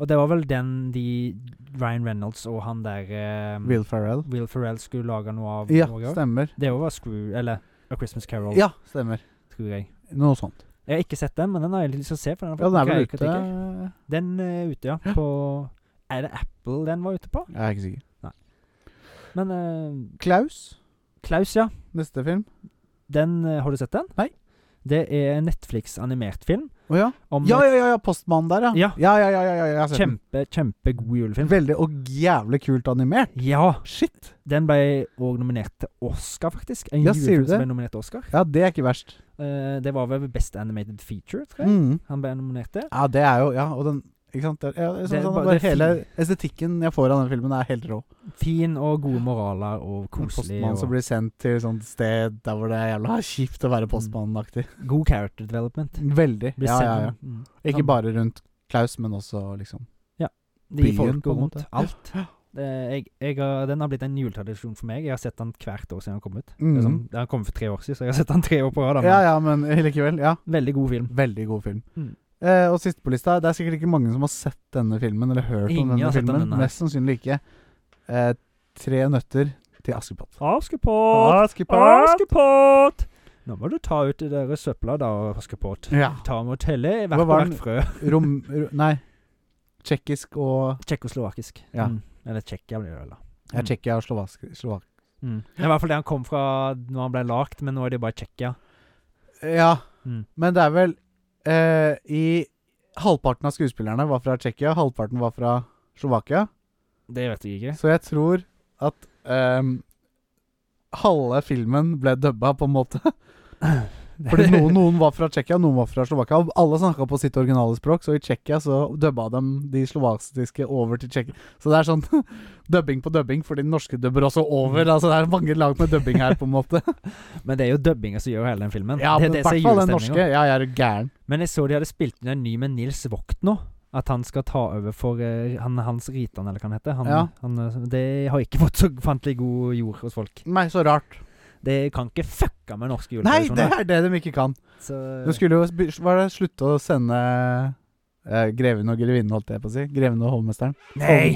Speaker 2: Og det var vel den de Ryan Reynolds og han der eh, Will.
Speaker 1: Will Ferrell.
Speaker 2: Ferrell skulle lage noe av.
Speaker 1: Ja,
Speaker 2: noe.
Speaker 1: stemmer.
Speaker 2: Det var Screw Eller A Christmas Carol,
Speaker 1: Ja, stemmer.
Speaker 2: tror jeg.
Speaker 1: Noe sånt.
Speaker 2: Jeg har ikke sett den, men den har jeg lyst til å se. For den, har
Speaker 1: Ja, den
Speaker 2: fått
Speaker 1: er vel
Speaker 2: greie
Speaker 1: ute
Speaker 2: kritikker.
Speaker 1: Jeg
Speaker 2: Den er ute, ja. På Er det Apple den var ute på?
Speaker 1: er ikke sikker.
Speaker 2: Men eh,
Speaker 1: Klaus,
Speaker 2: Klaus, ja.
Speaker 1: neste film.
Speaker 2: Den, eh, har du sett den?
Speaker 1: Nei.
Speaker 2: Det er en Netflix-animert film.
Speaker 1: Å ja.
Speaker 2: Om
Speaker 1: Ja, ja, ja, ja, postmannen der, ja.
Speaker 2: Ja.
Speaker 1: Ja, ja, ja, ja, ja, jeg har sett den.
Speaker 2: kjempe, kjempegod julefilm.
Speaker 1: Veldig og jævlig kult animert.
Speaker 2: Ja!
Speaker 1: Shit.
Speaker 2: Den ble òg nominert til Oscar, faktisk. En
Speaker 1: Ja, sier
Speaker 2: julefilm
Speaker 1: du
Speaker 2: som
Speaker 1: det?
Speaker 2: ble nominert til Oscar.
Speaker 1: Ja, det er ikke verst.
Speaker 2: Eh, det var vel Best Animated Feature, tror jeg.
Speaker 1: Mm.
Speaker 2: Han ble nominert til.
Speaker 1: Ja, det er jo Ja, og den Ikke sant? Det er, ja, det er sånn,
Speaker 2: Det er
Speaker 1: sånn,
Speaker 2: bare-
Speaker 1: bare
Speaker 2: det er
Speaker 1: hele
Speaker 2: fint.
Speaker 1: estetikken jeg får av den filmen, er helt rå.
Speaker 2: Fin og gode moraler og
Speaker 1: En
Speaker 2: koselig.
Speaker 1: postmann
Speaker 2: Og
Speaker 1: som blir sendt til et sånt sted der hvor det er jævla kjipt å være postmannaktig.
Speaker 2: God character development.
Speaker 1: Veldig.
Speaker 2: Blir
Speaker 1: Ja, ja, ja.
Speaker 2: sendt- Mm.
Speaker 1: Ikke bare rundt Klaus, men også liksom
Speaker 2: De
Speaker 1: byen,
Speaker 2: folk
Speaker 1: på en
Speaker 2: og rundt.
Speaker 1: måte.
Speaker 2: Alt. Det, jeg, jeg, har- den har blitt en juletradisjon for meg. Jeg har sett den hvert år siden den kom ut.
Speaker 1: Mhm.
Speaker 2: Liksom, den har kommet for tre år siden, så jeg har sett den tre år på rad. da, men
Speaker 1: Ja, ja, men likevel. Ja.
Speaker 2: Veldig god film.
Speaker 1: Veldig god film.
Speaker 2: Mm.
Speaker 1: Eh, og sist på lista Det er sikkert ikke mange som har sett denne filmen, eller hørt om
Speaker 2: Ingen har
Speaker 1: denne
Speaker 2: sett om
Speaker 1: filmen.
Speaker 2: denne her.
Speaker 1: Mest sannsynlig ikke. Eh, tre nøtter til Askepott.
Speaker 2: Askepott! Askepott! Nå må du ta ut det der søpla da, Askepott.
Speaker 1: Ja.
Speaker 2: Ta med å telle i
Speaker 1: Hva
Speaker 2: hvert, på
Speaker 1: var den?
Speaker 2: hvert frø.
Speaker 1: Rom... ro- Nei. Tsjekkisk og
Speaker 2: Tsjekkoslovakisk.
Speaker 1: Ja.
Speaker 2: Mm. Eller Tsjekkia blir det vel, da.
Speaker 1: Ja,
Speaker 2: Mm.
Speaker 1: Tsjekkia og Slovak... Slovak.
Speaker 2: Mm. Det er i hvert fall det han kom fra når han ble lagt, men nå er det bare Tsjekkia.
Speaker 1: Ja.
Speaker 2: Mm.
Speaker 1: Men det er vel eh, I Halvparten av skuespillerne var fra Tsjekkia, halvparten var fra Slovakia.
Speaker 2: Det vet jeg ikke.
Speaker 1: Så jeg tror at ehm, halve filmen ble dubba, på en måte. Fordi noen, noen var fra Tsjekkia, noen var fra Slovakia. og Alle snakka på sitt originale språk, så i Tsjekkia så dubba de de slovakiske over til Tsjekkia. Så det er sånn dubbing på dubbing, fordi den norske dubber også over. Altså det er mange lag med dubbing her, på en måte.
Speaker 2: Men det er jo dubbinga som gjør hele den filmen.
Speaker 1: Ja,
Speaker 2: det, er
Speaker 1: men i
Speaker 2: det som er
Speaker 1: hvert fall den
Speaker 2: julestemningen.
Speaker 1: norske. Ja, jeg er gæren.
Speaker 2: Men jeg så de hadde spilt inn en ny med Nils Vogt nå. At han skal ta over for eh, han, Hans Ritan, eller hva han heter. Han,
Speaker 1: Ja.
Speaker 2: han, eh, det har ikke fått så fantelig god jord hos folk.
Speaker 1: Nei, så rart.
Speaker 2: Det kan ikke fucka med norske
Speaker 1: Nei, det
Speaker 2: juletradisjoner.
Speaker 1: er det de ikke kan.
Speaker 2: Så
Speaker 1: De skulle jo sp- var det slutte å sende eh, Greven og grevinnen, holdt jeg på å si. Greven og hovmesteren.
Speaker 2: eh, Nei!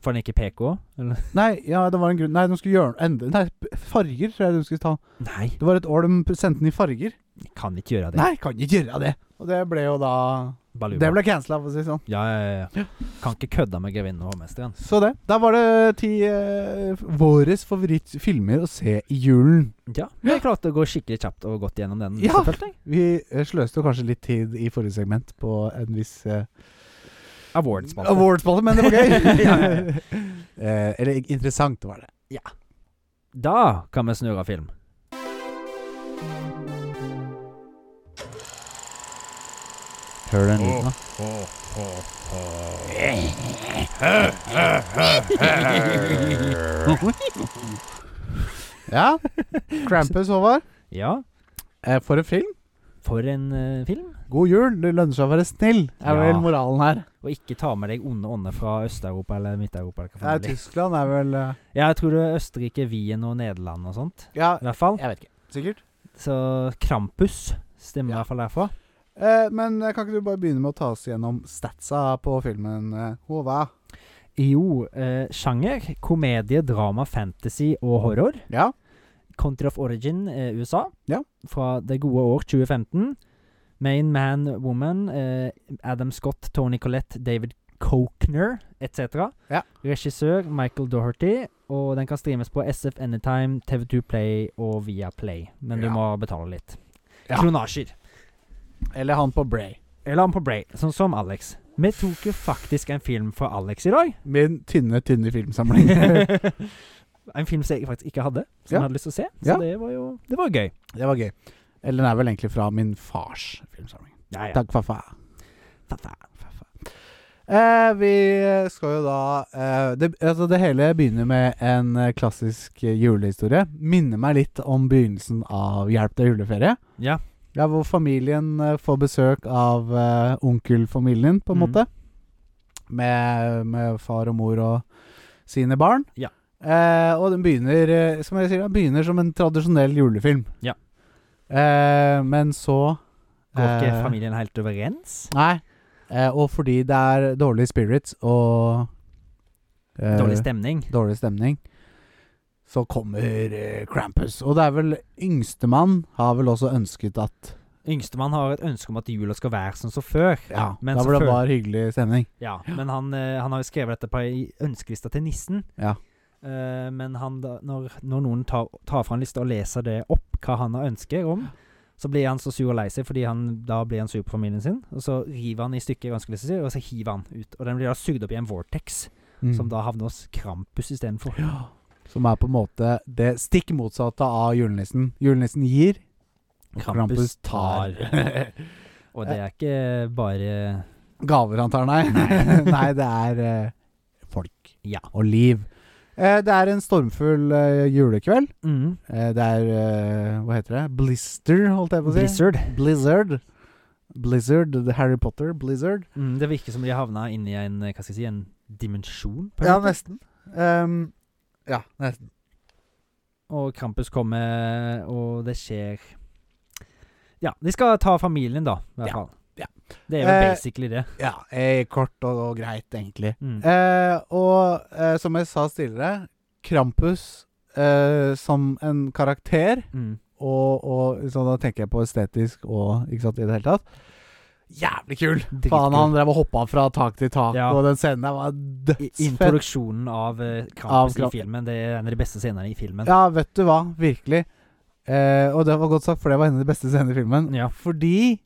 Speaker 2: Får han ikke PK? Eller?
Speaker 1: Nei, ja, det var en grunn Nei, de skulle gjøre endre Nei, p- farger, tror jeg de skulle ta.
Speaker 2: Nei,
Speaker 1: Det var et år de sendte den i farger.
Speaker 2: jeg kan ikke gjøre det.
Speaker 1: Nei, kan ikke gjøre det. Og det ble jo da
Speaker 2: Baluba.
Speaker 1: Det ble cancela, for å si det sånn.
Speaker 2: Ja, ja, ja. Kan ikke kødde med grevinnen og hovmesteren.
Speaker 1: Så det. Der var det ti eh, våres favorittfilmer å se i julen.
Speaker 2: Ja, jeg klarte å gå skikkelig kjapt og godt gjennom den.
Speaker 1: Ja.
Speaker 2: selvfølgelig.
Speaker 1: Vi eh, sløste jo kanskje litt tid i forrige segment på en viss eh,
Speaker 2: Awards-spalte.
Speaker 1: awardspalte, men det var gøy.
Speaker 2: Ja, ja, ja.
Speaker 1: Eh, eller interessant var det.
Speaker 2: Da kan vi snurre film.
Speaker 1: Hør den lyden, da. Ja. Krampus, Håvard.
Speaker 2: Ja,
Speaker 1: Eh, for en film.
Speaker 2: for en eh, film.
Speaker 1: God jul. Det lønner seg å være snill, er
Speaker 2: Ja.
Speaker 1: vel moralen her.
Speaker 2: Og ikke ta med deg onde ånder fra Øst-Europa eller Midt-Europa. eller hva
Speaker 1: Ja,
Speaker 2: faen det er.
Speaker 1: Tyskland er vel eh,
Speaker 2: Ja, jeg tror det er Østerrike, Wien og Nederland og sånt.
Speaker 1: Ja,
Speaker 2: I hvert fall.
Speaker 1: jeg vet ikke. Sikkert.
Speaker 2: Så Krampus stemmer
Speaker 1: Ja.
Speaker 2: i hvert fall derfra.
Speaker 1: Eh, men eh, kan ikke du bare begynne med å ta oss gjennom statsa på filmen, eh, Håvard?
Speaker 2: Jo, eh, sjanger. Komedie, drama, fantasy og horror.
Speaker 1: Ja.
Speaker 2: Country of Origin, eh, USA.
Speaker 1: Ja.
Speaker 2: Fra det gode år 2015. Main Man Woman, eh, Adam Scott, Tony Collette, David Cochner etc.
Speaker 1: Ja.
Speaker 2: Regissør Michael Doherty. Og den kan streames på SF Anytime, TV2 Play og via Play. Men du
Speaker 1: Ja.
Speaker 2: må betale litt.
Speaker 1: Ja.
Speaker 2: Kronasjer.
Speaker 1: Eller han på Bray.
Speaker 2: Eller han på Bray, sånn som Alex. Vi tok jo faktisk en film fra Alex i dag.
Speaker 1: Min tynne, tynne filmsamling. det
Speaker 2: en film som jeg faktisk ikke hadde, som
Speaker 1: Ja.
Speaker 2: jeg hadde lyst til å se. Så
Speaker 1: Ja.
Speaker 2: det var jo det var gøy.
Speaker 1: var gøy. Eller den er vel egentlig fra min fars filmsamling.
Speaker 2: Ja, ja.
Speaker 1: Takk, faffa.
Speaker 2: Fa-fa.
Speaker 1: Eh, vi skal jo da eh, det, altså det hele begynner med en eh, klassisk eh, julehistorie. Minner meg litt om begynnelsen av Hjelp, det er juleferie.
Speaker 2: Ja.
Speaker 1: Ja, hvor familien eh, får besøk av eh, onkelfamilien, på en
Speaker 2: Mm.
Speaker 1: måte. Med, med far og mor og sine barn.
Speaker 2: Ja.
Speaker 1: Eh, og den begynner, eh, som jeg sier, den begynner som en tradisjonell julefilm.
Speaker 2: Ja.
Speaker 1: Eh, men så
Speaker 2: Går ikke
Speaker 1: eh,
Speaker 2: familien helt overens?
Speaker 1: Nei. Eh, og fordi det er dårlige spirits og eh,
Speaker 2: Dårlig stemning?
Speaker 1: dårlig stemning, så kommer eh, Krampus. Og det er vel yngstemann har vel også ønsket at
Speaker 2: Yngstemann har et ønske om at jula skal være sånn som før.
Speaker 1: Ja,
Speaker 2: men
Speaker 1: da
Speaker 2: så
Speaker 1: var det
Speaker 2: føl-
Speaker 1: bare hyggelig stemning.
Speaker 2: Ja, men han, eh, han har jo skrevet dette på ei ønskelista til nissen.
Speaker 1: Ja.
Speaker 2: Eh, men han da, når, når noen tar, tar fra en liste og leser det opp, hva han har ønsker om, så blir han så sur og lei seg, fordi han, da blir han sur på familien sin. Og så river han i stykker ønskelista si, og så hiver han ut. Og den blir da sugd opp i en vortex,
Speaker 1: Mm.
Speaker 2: som da havner hos Krampus istedenfor.
Speaker 1: Som er på en måte det stikk motsatte av julenissen. Julenissen gir, og Krampus, tar.
Speaker 2: og det er ikke bare
Speaker 1: Gaver, antar jeg. Nei, Nei det er eh, folk
Speaker 2: Ja.
Speaker 1: og liv. Eh, det er en stormfull eh, julekveld.
Speaker 2: Mm.
Speaker 1: Eh, det er eh, Hva heter det? Blister, holdt jeg på å si.
Speaker 2: Blizzard.
Speaker 1: Blizzard. Blizzard, the Harry Potter, Blizzard.
Speaker 2: Mm, det virker som de har havna inni en, eh, hva skal jeg si, en dimensjon. på en
Speaker 1: Ja,
Speaker 2: måte.
Speaker 1: nesten. Ehm, ja, nesten.
Speaker 2: Og Krampus kommer, og det skjer Ja, de skal ta familien, da, i hvert
Speaker 1: Ja,
Speaker 2: fall.
Speaker 1: ja.
Speaker 2: Det er vel
Speaker 1: Eh,
Speaker 2: basically det.
Speaker 1: Ja, eh, kort og, og greit, egentlig.
Speaker 2: Mm.
Speaker 1: Eh, og eh, som jeg sa tidligere, Krampus eh, som en karakter,
Speaker 2: Mm.
Speaker 1: og, og så da tenker jeg på estetisk og ikke sant, i det hele tatt. Jævlig kul!
Speaker 2: Dritkult.
Speaker 1: Faen, han drev og hoppa fra tak til tak,
Speaker 2: Ja.
Speaker 1: og den scenen der var
Speaker 2: I-
Speaker 1: dødsfett.
Speaker 2: Introduksjonen av eh,
Speaker 1: Av
Speaker 2: Krampus
Speaker 1: Kramp-
Speaker 2: i filmen, det er en av de beste scenene i filmen.
Speaker 1: Ja, vet du hva? Virkelig. Eh, og det var godt sagt, for det var en av de beste scenene i filmen.
Speaker 2: Ja.
Speaker 1: Fordi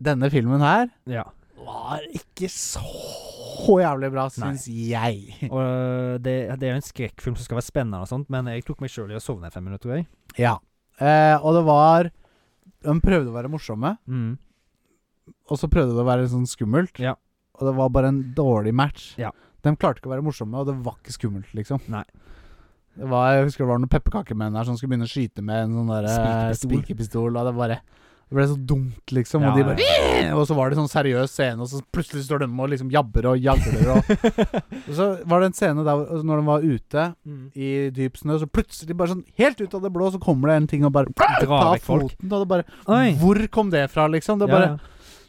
Speaker 1: denne filmen her
Speaker 2: Ja.
Speaker 1: var ikke så jævlig bra,
Speaker 2: Nei.
Speaker 1: syns jeg.
Speaker 2: Og eh, det, det er jo en skrekkfilm som skal være spennende, og sånt men jeg tok meg sjøl i å sovne i fem minutter, tror jeg.
Speaker 1: Ja. Eh, og det var De prøvde å være morsomme,
Speaker 2: Mm.
Speaker 1: og så prøvde det å være litt sånn skummelt.
Speaker 2: Ja.
Speaker 1: Og det var bare en dårlig match.
Speaker 2: Ja.
Speaker 1: De klarte ikke å være morsomme, og det var ikke skummelt, liksom.
Speaker 2: Nei.
Speaker 1: Det var, jeg husker det var noen pepperkakemenn her som skulle begynne å skyte med en sånn der, eh,
Speaker 2: Spikerpistol.
Speaker 1: spikerpistol, og det bare det ble så dumt, liksom.
Speaker 2: Ja,
Speaker 1: og, de
Speaker 2: ja,
Speaker 1: bare, og så var det sånn seriøs scene, og så plutselig står de og liksom jabber og jagler. Og, og så var det en scene der hvor- når de var ute
Speaker 2: Mm.
Speaker 1: i dyp snø, så plutselig bare sånn helt ut av det blå, så kommer det en ting og bare
Speaker 2: Drar
Speaker 1: tar
Speaker 2: vekk folk.
Speaker 1: foten. Og det bare
Speaker 2: Oi!
Speaker 1: Hvor kom det fra, liksom? Det bare,
Speaker 2: ja, ja.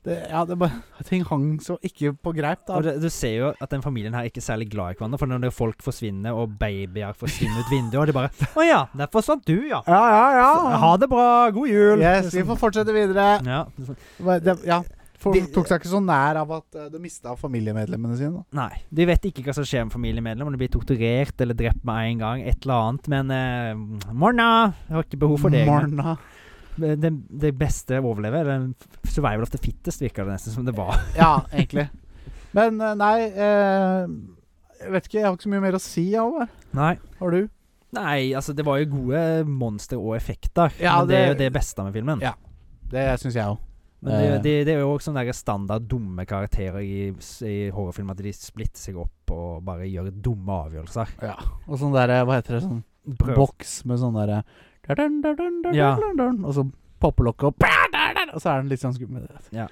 Speaker 1: Det, ja, det bare Ting hang så ikke på greip, da.
Speaker 2: Og det, du ser jo at den familien her ikke er særlig glad i hverandre. For når det er folk forsvinner, og babyer forsvinner ut vinduet, og de bare 'Å ja, der forsvant du,
Speaker 1: ja,
Speaker 2: ja'.
Speaker 1: ja, ja.
Speaker 2: Ha det bra, god jul! sånn,
Speaker 1: Yes, vi får fortsette videre.
Speaker 2: Ja. sånn,
Speaker 1: Hva- Det, ja. For,
Speaker 2: De-
Speaker 1: tok seg ikke så nær av at eh, du mista familiemedlemmene sine. Da.
Speaker 2: Nei, de vet ikke hva som skjer med familiemedlem, om de blir torturert eller drept med en gang, et eller annet, men eh, morna! Jeg har ikke behov for deg. men
Speaker 1: Morna.
Speaker 2: Det, det beste å overleve, er den f- survival of the fittest, virker det nesten som det var.
Speaker 1: Ja, egentlig. Men eh, nei eh, Jeg vet ikke, jeg har ikke så mye mer å si, Halvard.
Speaker 2: Nei.
Speaker 1: Har du?
Speaker 2: Nei, altså, det var jo gode monstre og effekter,
Speaker 1: Ja,
Speaker 2: men det, er jo
Speaker 1: det-
Speaker 2: det beste med filmen.
Speaker 1: Ja. Det syns jeg òg.
Speaker 2: Men det,
Speaker 1: Eh.
Speaker 2: det, det er jo også sånne der standard dumme karakterer i, i horrorfilmer, at de splitter seg opp og bare gjør dumme avgjørelser.
Speaker 1: Og sånn derre Hva heter det? Sånn
Speaker 2: Prøv.
Speaker 1: boks med sånn derre dun, dun, dun, dun,
Speaker 2: Ja.
Speaker 1: dun, dun, Og så popper lokket opp, dun, dun, dun, og så er den litt sånn skummel.
Speaker 2: Ja.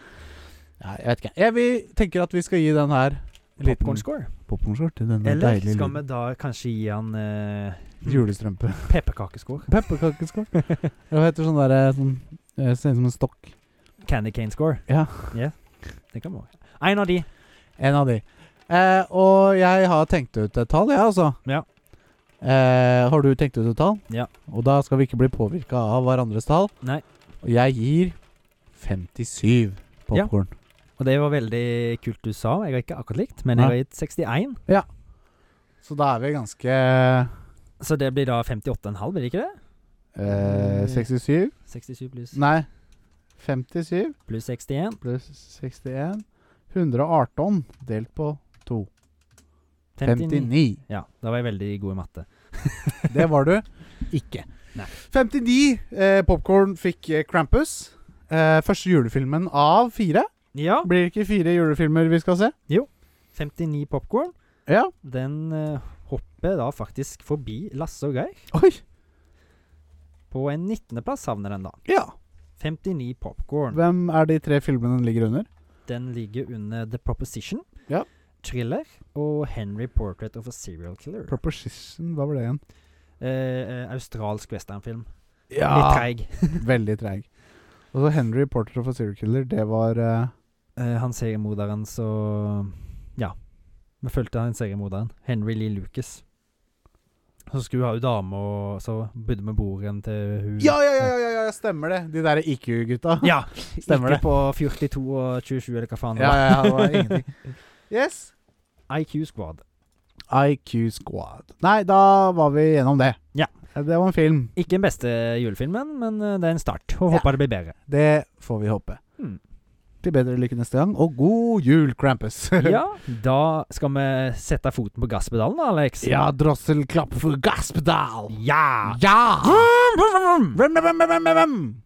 Speaker 1: Ja, jeg vet ikke. Jeg, vi tenker at vi skal gi den her en liten
Speaker 2: Popcorn score.
Speaker 1: popcornskjort til denne
Speaker 2: Eller
Speaker 1: deilige
Speaker 2: skal vi
Speaker 1: lille
Speaker 2: da kanskje gi han eh,
Speaker 1: julestrømpe.
Speaker 2: pepperkakescore?
Speaker 1: Pepperkakeskål. Eller hva heter sånn derre sånn eh, Ser ut som en stokk.
Speaker 2: Candy cane score?
Speaker 1: Ja.
Speaker 2: Det kan vi også. En av de.
Speaker 1: En av de. Eh, og jeg har tenkt ut et tall, jeg, ja, altså.
Speaker 2: Ja.
Speaker 1: Eh, har du tenkt ut et tall?
Speaker 2: Ja.
Speaker 1: Og da skal vi ikke bli påvirka av hverandres tall.
Speaker 2: Nei.
Speaker 1: Og jeg gir 57
Speaker 2: Ja.
Speaker 1: popkorn.
Speaker 2: Og det var veldig kult du sa. Jeg har ikke akkurat likt, men
Speaker 1: Nei.
Speaker 2: jeg har gitt 61.
Speaker 1: Så da er vi ganske
Speaker 2: Så det blir da 58,5, blir det ikke det? Mm.
Speaker 1: eh, 67
Speaker 2: 67 pluss,
Speaker 1: Nei, 57
Speaker 2: pluss 61.
Speaker 1: pluss 61 118 delt på
Speaker 2: 59.
Speaker 1: 59.
Speaker 2: Ja, da var jeg veldig god i matte.
Speaker 1: Det var du ikke.
Speaker 2: Nei.
Speaker 1: 59 eh, popkorn fikk eh, Krampus. Eh, første julefilmen av fire.
Speaker 2: Ja.
Speaker 1: Blir det ikke fire julefilmer vi skal se?
Speaker 2: 59 popkorn.
Speaker 1: Ja.
Speaker 2: Den eh, hopper da faktisk forbi Lasse og Geir.
Speaker 1: Oi.
Speaker 2: På en 19.-plass havner den da.
Speaker 1: Ja.
Speaker 2: 59 popkorn.
Speaker 4: Hvem er de tre filmene den ligger under?
Speaker 2: Den ligger under The Proposition,
Speaker 4: Ja.
Speaker 2: Thriller og Henry Portrait of a Serial Killer.
Speaker 4: Proposition, hva var det igjen?
Speaker 2: eh, eh, australsk westernfilm. Litt
Speaker 4: Ja,
Speaker 2: treig.
Speaker 4: veldig treig. Og så Henry Porter of a Serial Killer, det var eh,
Speaker 2: Eh, han seriemorderen, så Ja. Vi fulgte han seriemorderen. Henry Lee Lucas. Så skulle hun ha ei dame, og så bodde vi broren til hun
Speaker 1: Ja, ja, ja,
Speaker 2: ja,
Speaker 1: ja, stemmer det. De der IQ-gutta.
Speaker 2: Ja,
Speaker 1: Stemmer
Speaker 2: Stemmer
Speaker 1: det.
Speaker 2: ikke på 42 og 27, eller hva faen det
Speaker 1: Ja,
Speaker 2: var.
Speaker 1: ja, det var ingenting. Yes.
Speaker 2: IQ Squad.
Speaker 4: IQ Squad. Nei, da var vi gjennom det.
Speaker 2: Ja.
Speaker 4: Eh, Det var en film.
Speaker 2: Ikke den beste julefilmen, men eh, det er en start. Og
Speaker 4: Ja.
Speaker 2: håper det blir bedre.
Speaker 4: Det får vi håpe.
Speaker 2: Hmm.
Speaker 4: Til bedre lykke neste gang, og god jul, Krampus.
Speaker 2: Ja, da skal vi sette foten på gasspedalen, da, Alex.
Speaker 4: ja drossel, klapp for Gaspedal!
Speaker 2: Ja!
Speaker 4: Ja! Vem, vem, vem, vem, vem.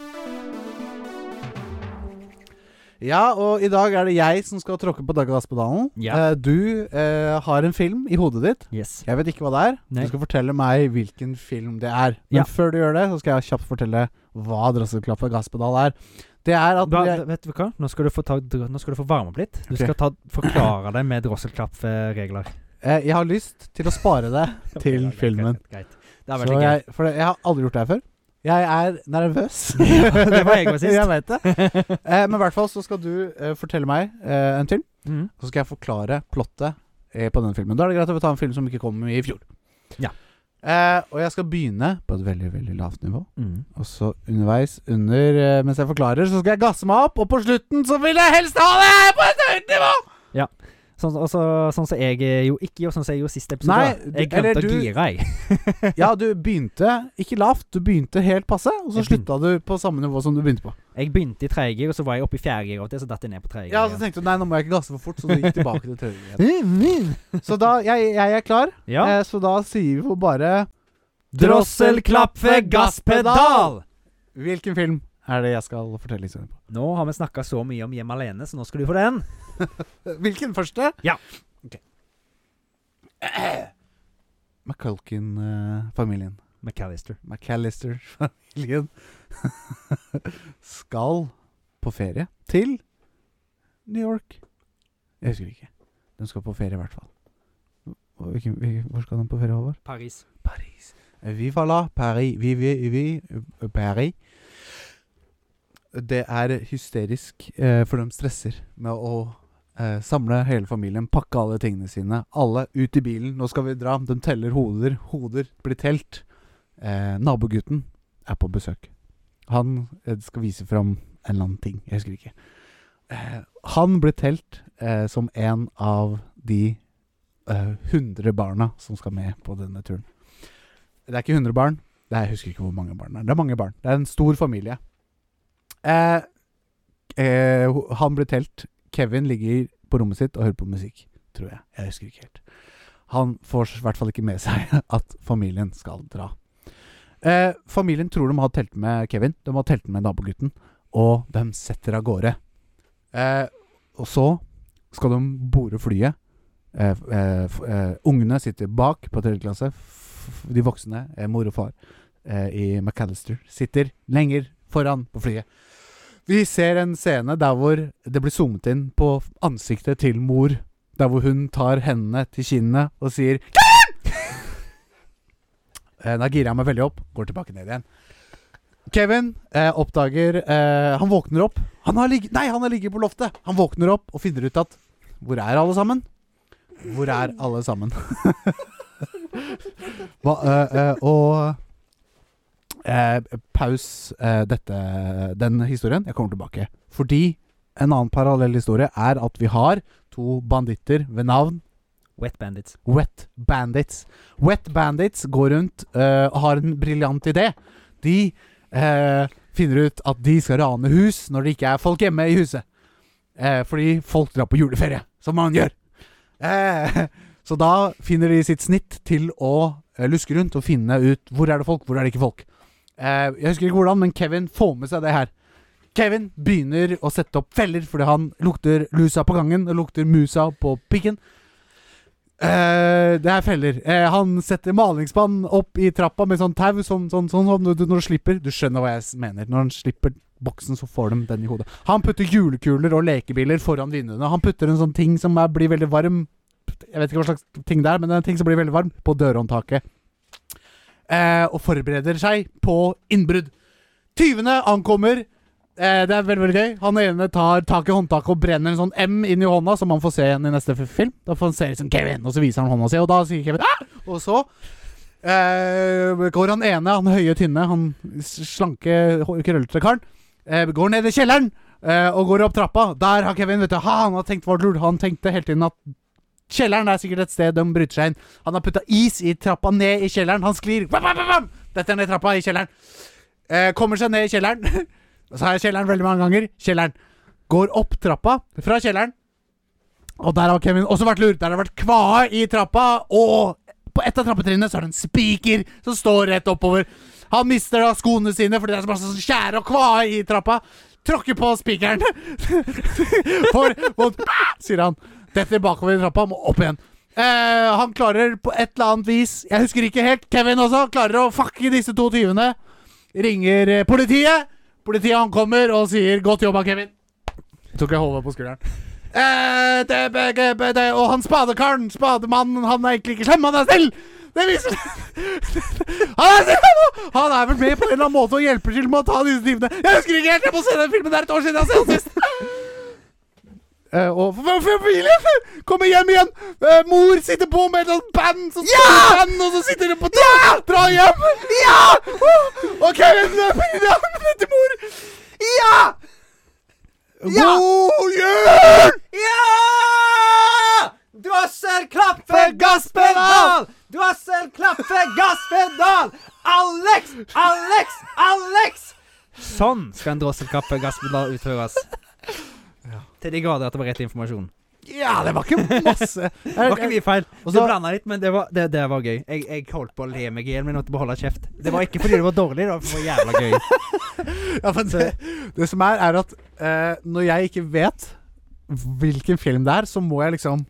Speaker 1: Ja, og i dag er det jeg som skal tråkke på Dag Aspedalen.
Speaker 2: Ja.
Speaker 1: Eh, du eh, har en film i hodet ditt.
Speaker 2: Yes.
Speaker 1: Jeg vet ikke hva det er.
Speaker 2: Nei.
Speaker 1: Du skal fortelle meg hvilken film det er. Men
Speaker 2: Ja.
Speaker 1: før du gjør det, så skal jeg kjapt fortelle hva Drosselklapp og gasspedal er. Det er at
Speaker 2: Da,
Speaker 1: jeg,
Speaker 2: vet du hva? Nå skal du få, ta, nå skal du få varme opp litt. Du
Speaker 1: Ok.
Speaker 2: skal ta, forklare deg med drosselklapp-regler.
Speaker 1: eh, jeg har lyst til å spare det til
Speaker 2: Ok, greit,
Speaker 1: filmen.
Speaker 2: Greit, greit. Det er
Speaker 1: Så
Speaker 2: veldig gøy.
Speaker 1: jeg, for det, jeg har aldri gjort det her før. Jeg er nervøs.
Speaker 2: Ja, det var jeg også sist.
Speaker 1: jeg vet det. Eh, men i hvert fall så skal du eh, fortelle meg eh, en film,
Speaker 2: Mm.
Speaker 1: og så skal jeg forklare plottet eh, på den filmen. Da er det greit å ta en film som ikke kom i fjor.
Speaker 2: Ja.
Speaker 1: Eh, og jeg skal begynne på et veldig, veldig lavt nivå.
Speaker 2: Mm.
Speaker 1: Og så underveis, under eh, mens jeg forklarer, så skal jeg gasse meg opp, og på slutten så vil jeg helst ha det her på et høyt nivå!
Speaker 2: Sånn som så, sånn som jeg eh, jo ikke gjorde, sånn som jeg gjorde sist episode.
Speaker 1: Nei,
Speaker 2: da.
Speaker 1: du-
Speaker 2: jeg
Speaker 1: eller
Speaker 2: glemte å
Speaker 1: du-
Speaker 2: gire, jeg.
Speaker 1: Ja, du begynte ikke lavt, du begynte helt passe, og så
Speaker 2: Jeg begynte-
Speaker 1: slutta du på samme nivå som du begynte på.
Speaker 2: Jeg begynte i tredje gir, og så var jeg oppe i fjerde gir, og så datt jeg ned på tredje
Speaker 1: Ja, så
Speaker 2: gir igjen.
Speaker 1: tenkte du nei, nå må jeg ikke gasse for fort, så du gikk tilbake til tredje. igjen.
Speaker 2: Mm, mm.
Speaker 1: Så da, jeg, jeg er klar,
Speaker 2: Ja.
Speaker 1: eh, så da sier vi jo bare
Speaker 2: Drosselklaffe gasspedal!
Speaker 1: Hvilken film er det jeg skal fortelle historien på?
Speaker 2: Nå har vi snakka så mye om Hjem alene, så nå skal du få den.
Speaker 1: Eh, Hvilken første?
Speaker 2: Ja.
Speaker 1: Ok. eh, McCulkin-familien.
Speaker 2: McAllister.
Speaker 1: McAllister-familien skal på ferie til New York. Jeg husker ikke. De skal på ferie i hvert fall. Og hvilken- hvilken- Hvor skal de på ferie, Håvard?
Speaker 2: Paris.
Speaker 1: Paris. Viva la Paris. Vi, vi, vi, Paris. Det er hysterisk, eh, for de stresser med å eh, samle hele familien, pakke alle tingene sine. Alle ut i bilen, nå skal vi dra. De teller hoder. Hoder blir telt. Eh, nabogutten er på besøk. Han eh, skal vise fram en eller annen ting. Jeg husker ikke. Eh, han blir telt eh, som en av de eh, 100 barna som skal med på denne turen. Det er ikke 100 barn. Det er, jeg husker ikke hvor mange barn det er. Det er mange barn. Det er en stor familie. Eh, eh, ho- han blir telt. Kevin ligger på rommet sitt og hører på musikk, tror jeg. Jeg husker ikke helt. Han får i hvert fall ikke med seg at familien skal dra. Eh, familien tror de har telt med Kevin. De har telt med nabogutten. Og de setter av gårde. Eh, og så skal de borde flyet. Eh, f- eh, f- eh, ungene sitter bak på tredje klasse. F- De voksne, eh, mor og far, eh, i McAllister, sitter lenger foran på flyet. Vi ser en scene der hvor det blir zoomet inn på f- ansiktet til mor. Der hvor hun tar hendene til kinnene og sier Eh, Da girer jeg meg veldig opp, går tilbake ned igjen. Kevin eh, oppdager eh, Han våkner opp. Han har ligget, nei, han har ligget på loftet! Han våkner opp og finner ut at Hvor er alle sammen? Hvor er alle sammen? Hva, eh, eh, og eh, Paus eh, dette, den historien. Jeg kommer tilbake. Fordi en annen parallell historie er at vi har to banditter ved navn
Speaker 2: Wet Bandits.
Speaker 1: Wet Bandits. Wet Bandits går rundt eh, og har en briljant idé. De eh, finner ut at de skal rane hus når det ikke er folk hjemme i huset. Eh, fordi folk drar på juleferie, som man gjør. Eh, så da finner de sitt snitt til å eh, luske rundt og finne ut hvor er det folk, hvor er det ikke folk. Eh, jeg husker ikke hvordan, men Kevin får med seg det her. Kevin begynner å sette opp feller fordi han lukter lusa på gangen og lukter musa på pikken. Eh, det er feller. Eh, han setter malingsspann opp i trappa med sånn tau, sånn, sånn, sånn, sånn du, du, når du slipper. Du skjønner hva jeg s- mener. Når han slipper boksen, så får de den i hodet. Han putter julekuler og lekebiler foran vinduene. Han putter en sånn ting som er, blir veldig varm Jeg vet ikke hva slags ting det er, men det er en ting som blir veldig varm på dørhåndtaket. Eh, og forbereder seg på innbrudd. Tyvene ankommer. Eh, det er veldig veldig gøy. Han ene tar tak i håndtaket og brenner en sånn M inn i hånda, som man får se igjen i neste f- film. Da får han se liksom Kevin, og så viser han hånda si, og da sier Kevin ah! Og så eh, går han ene, han høye, tynne, han s- slanke, hå- krøllete karen, eh, går ned i kjelleren eh, og går opp trappa. Der har Kevin, vet du, ha, han har tenkt vårt lurt. Han tenkte hele tiden at kjelleren er sikkert et sted de bryter seg inn. Han har putta is i trappa ned i kjelleren. Han sklir. Bam, bam, bam, bam! Detter ned trappa i kjelleren. Eh, kommer seg ned i kjelleren. Så har jeg kjelleren veldig mange ganger. Kjelleren. Går opp trappa fra kjelleren. Og der har Kevin også vært lur. Der har det vært kvae i trappa, og på ett av trappetrinnene så er det en spiker som står rett oppover. Han mister da skoene sine fordi det er så masse sånn skjære og kvae i trappa. Tråkker på spikeren. For vondt, sier han. Detter bakover i trappa, må opp igjen. Eh, han klarer på et eller annet vis Jeg husker ikke helt. Kevin også klarer å fucke disse to tyvene. Ringer eh, politiet. Politiet ankommer og sier 'godt jobba, Kevin'. Tok jeg hodet på skulderen. Eh, det, det, det, det, og han spadekaren, spademannen, han er egentlig ikke slem, han er snill! Det viser Han er snill! han! Han er vel med på en eller annen måte og hjelper til med å ta disse timene. Jeg husker ikke helt, jeg må se den filmen der et år siden jeg har sett den sist. Eh, og f- f- familien kommer hjem igjen. Eh, mor sitter på med et sånt band, som spiller band, og så sitter de på dra, dra hjem. Ja! Og Kevin løper inn i armene til mor. Ja! God jul!
Speaker 2: Ja! Drosser, klaffer,
Speaker 1: gasspedal!
Speaker 2: Drosser, klaffer, gasspedal! Alex, Alex, Alex! Sånn skal en drosselklaffer, gasspedal utføres. Til de grader at det var rett informasjon.
Speaker 1: Ja, det var ikke masse.
Speaker 2: Det var ikke mye feil.
Speaker 1: Og
Speaker 2: Du
Speaker 1: så-
Speaker 2: blanda litt, men det var, det, det var gøy. Jeg, jeg holdt på å le meg i hjel, men måtte beholde kjeft. Det var ikke fordi det var dårlig, det var for det var jævla gøy.
Speaker 1: Ja, men det, det som er, er at eh, når jeg ikke vet hvilken film det er, så må jeg liksom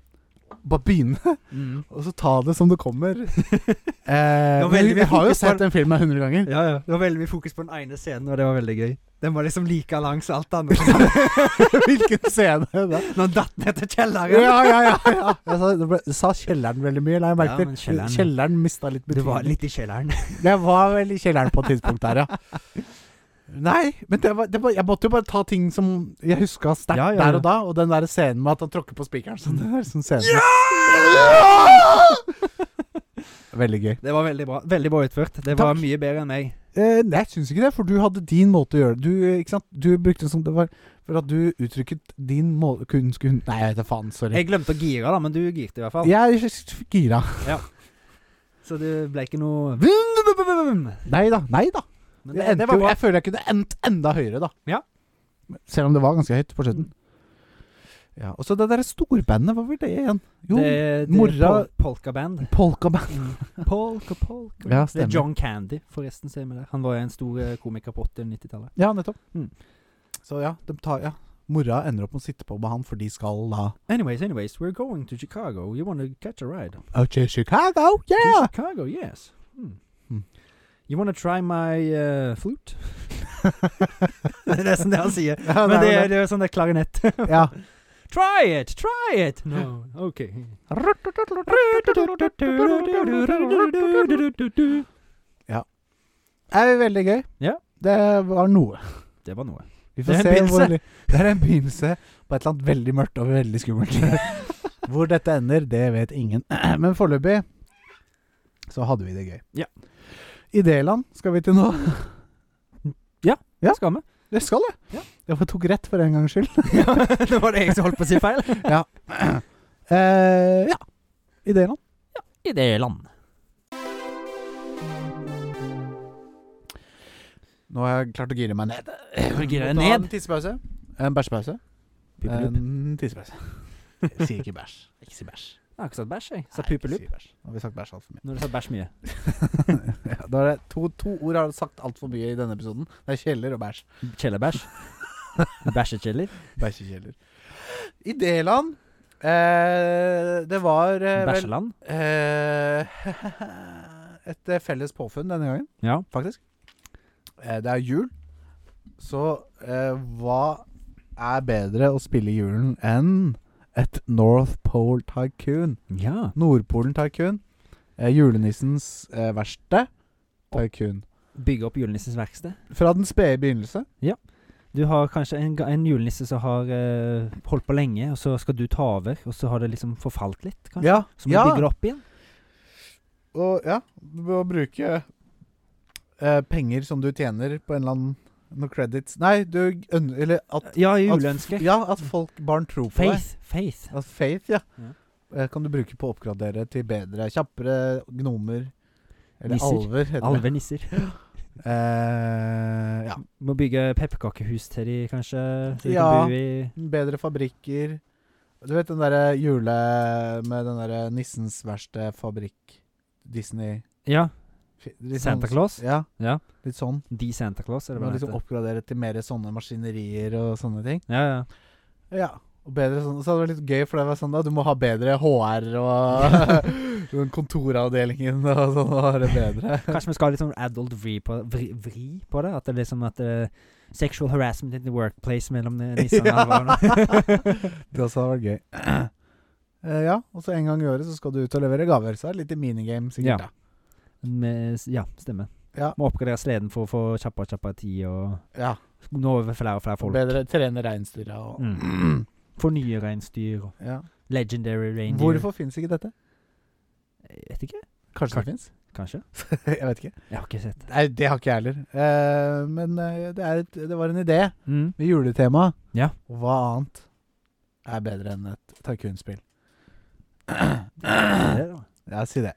Speaker 1: bare begynne,
Speaker 2: Mm.
Speaker 1: og så ta det som det kommer. Eh,
Speaker 2: var
Speaker 1: men
Speaker 2: veldig
Speaker 1: vi
Speaker 2: mye
Speaker 1: har jo
Speaker 2: fokus på
Speaker 1: sett
Speaker 2: det.
Speaker 1: den filmen hundre ganger.
Speaker 2: Ja, ja. Det var veldig mye fokus på den ene scenen, og det var veldig gøy. Den var liksom like lang som alt annet. Når
Speaker 1: Hvilken scene det er.
Speaker 2: han datt ned til kjelleren.
Speaker 1: Ja, ja, ja. ja. Jeg sa, det ble, sa kjelleren veldig mye, la jeg
Speaker 2: Ja,
Speaker 1: merke
Speaker 2: men
Speaker 1: til.
Speaker 2: kjelleren-
Speaker 1: kjelleren mista litt
Speaker 2: Det var
Speaker 1: betydning.
Speaker 2: litt i kjelleren.
Speaker 1: Det var vel i kjelleren på et tidspunkt der, ja. Nei, men det var, det var, jeg måtte jo bare ta ting som jeg huska sterkt
Speaker 2: Ja, ja, ja.
Speaker 1: der og da, og den der scenen med at han tråkker på spikeren. Så det er sånn scene. Veldig gøy.
Speaker 2: Det var veldig bra. Veldig bra utført. Det var mye bedre enn meg.
Speaker 1: Eh, nei, jeg syns ikke det, for du hadde din måte å gjøre det Du, eh, ikke sant? Du brukte det som det var For at du uttrykket din må kun, kun, Nei, jeg vet da faen. Sorry.
Speaker 2: Jeg glemte å gire, da, men du girte i hvert fall.
Speaker 1: Jeg er gira.
Speaker 2: Så det ble ikke noe Men
Speaker 1: Nei da. Nei da.
Speaker 2: det,
Speaker 1: jeg, endte
Speaker 2: det var
Speaker 1: jo-
Speaker 2: bra.
Speaker 1: jeg føler jeg kunne endt enda høyere, da.
Speaker 2: Ja. Mm.
Speaker 1: Selv om det var ganske høyt på slutten. Ja, og så det derre storbandet, hva var det igjen? Jo,
Speaker 2: Det, det
Speaker 1: mora-
Speaker 2: pol- Polkaband.
Speaker 1: polkaband.
Speaker 2: Polka, polka.
Speaker 1: Ja,
Speaker 2: det
Speaker 1: stemmer.
Speaker 2: er John Candy, forresten. ser vi der. Han var jo en stor eh, komiker på 80- og 90-tallet.
Speaker 1: Ja, nettopp.
Speaker 2: Mm.
Speaker 1: Så ja, de tar Ja. Mora ender opp med å sitte på med han, for de skal da
Speaker 2: Anyways, anyways, we're going to Chicago. You want to catch a ride?
Speaker 1: Out to Chicago,
Speaker 2: To
Speaker 1: yeah!
Speaker 2: Chicago, yes. Hmm.
Speaker 1: Hmm.
Speaker 2: You wanna try my uh, flute? det er nesten det han sier.
Speaker 1: Ja,
Speaker 2: Men det,
Speaker 1: er
Speaker 2: er-
Speaker 1: vel
Speaker 2: det er jo sånn det er klarinett.
Speaker 1: det. ja.
Speaker 2: try it! Try it! No, ok.
Speaker 1: Det er veldig gøy.
Speaker 2: Ja.
Speaker 1: Det var noe.
Speaker 2: Det var noe.
Speaker 1: Vi
Speaker 2: Det er en
Speaker 1: se
Speaker 2: begynnelse.
Speaker 1: Hvor, det er en begynnelse på et eller annet veldig mørkt og veldig skummelt. hvor dette ender, det vet ingen. Men foreløpig så hadde vi det gøy.
Speaker 2: Ja.
Speaker 1: Idéland skal vi til nå. Ja.
Speaker 2: Skal vi?
Speaker 1: Det skal det.
Speaker 2: Ja.
Speaker 1: Jeg tok rett for en gangs skyld.
Speaker 2: Nå var det jeg som holdt på å si feil.
Speaker 1: Eh, ja. Idéland.
Speaker 2: I det land.
Speaker 1: Nå har jeg klart å gire meg ned.
Speaker 2: Gire deg
Speaker 1: Må ta
Speaker 2: ned?
Speaker 1: En tissepause. En bæsjepause.
Speaker 2: Puppelupp.
Speaker 1: En tissepause. Jeg sier ikke bæsj. Ikke si bæsj.
Speaker 2: Jeg har ikke sagt bæsj, jeg. Sa
Speaker 1: Nei, ikke
Speaker 2: puppelupp.
Speaker 1: si bæsj. Nå har vi sagt bæsj altfor mye.
Speaker 2: Når du sa bæsj mye.
Speaker 1: Ja, da er det to, to ord har du sagt altfor mye i denne episoden. Det er kjeller og bæsj.
Speaker 2: Kjellerbæsj. Bæsjekjeller.
Speaker 1: Bæsjekjeller. Idéland eh, Det var eh, vel
Speaker 2: Bæsjeland.
Speaker 1: eh, Et eh, felles påfunn denne gangen,
Speaker 2: Ja.
Speaker 1: faktisk. Eh, det er jul. Så eh, hva er bedre å spille i julen enn et North Pole Tycoon?
Speaker 2: Ja.
Speaker 1: Nordpolen Tycoon. Eh, julenissens eh, verste tycoon.
Speaker 2: Bygge opp julenissens verksted.
Speaker 1: Fra den spede begynnelse.
Speaker 2: Du har kanskje en, ga- en julenisse som har eh, holdt på lenge, og så skal du ta over, og så har det liksom forfalt litt, kanskje.
Speaker 1: Ja.
Speaker 2: Så må du bygge det opp igjen.
Speaker 1: Og ja, du må bruke eh, penger som du tjener på en eller annen Noen credits Nei, du øn- Eller at
Speaker 2: Ja,
Speaker 1: at,
Speaker 2: juleønsker.
Speaker 1: ja, at folk, barn tror på
Speaker 2: Faith. Faith.
Speaker 1: deg. At faith, ja.
Speaker 2: Ja.
Speaker 1: Eh, kan du bruke på å oppgradere til bedre, kjappere gnomer. Eller
Speaker 2: Nisser.
Speaker 1: alver, heter det.
Speaker 2: Alvenisser.
Speaker 1: Eh, ja.
Speaker 2: Må bygge pepperkakehus til de, kanskje. Så de
Speaker 1: Ja.
Speaker 2: kan bo i
Speaker 1: Bedre fabrikker. Du vet den derre jule... Med den derre nissens verste fabrikk. Disney
Speaker 2: Ja.
Speaker 1: Fi- litt
Speaker 2: Santa
Speaker 1: sånn-
Speaker 2: Claus?
Speaker 1: Ja,
Speaker 2: Ja.
Speaker 1: litt sånn.
Speaker 2: De Santa Claus, er
Speaker 1: Du
Speaker 2: det
Speaker 1: må
Speaker 2: hva det
Speaker 1: liksom
Speaker 2: heter.
Speaker 1: oppgradere til mer sånne maskinerier og sånne ting.
Speaker 2: Ja, ja.
Speaker 1: Ja, og bedre sånn Så hadde det vært litt gøy, for det var sånn da Du må ha bedre HR og den kontoravdelingen og sånn. Og ha det bedre.
Speaker 2: Kanskje vi skal ha litt sånn adult vri på, vri, vri på det? At det er liksom at det er Sexual harassment in the workplace mellom eh, nissene.
Speaker 1: Ja.
Speaker 2: eller hva det var.
Speaker 1: Det også hadde vært gøy. Eh, ja, og så en gang i året så skal du ut og levere gaver. Så er det litt minigame,
Speaker 2: Ja.
Speaker 1: sikkert. da
Speaker 2: Med, s- ja, stemmer.
Speaker 1: Ja.
Speaker 2: Må oppgradere sleden for å få kjappere og kjappere tid, og
Speaker 1: Ja,
Speaker 2: nå over flere og flere
Speaker 1: og
Speaker 2: folk.
Speaker 1: bedre trene reinsdyra og
Speaker 2: Mm. Få nye reinsdyr. og
Speaker 1: ja.
Speaker 2: Legendary reindeer.
Speaker 1: Hvorfor fins ikke dette?
Speaker 2: Jeg vet ikke.
Speaker 1: Kanskje det fins?
Speaker 2: Kanskje.
Speaker 1: jeg vet ikke.
Speaker 2: Jeg har ikke sett.
Speaker 1: Nei, det har ikke jeg heller. Eh, men eh, det, er et, det var en idé
Speaker 2: Mm.
Speaker 1: med juletema.
Speaker 2: Ja.
Speaker 1: Og Hva annet er bedre enn et tycoon-spill?
Speaker 2: Det, da.
Speaker 1: Ja, si det.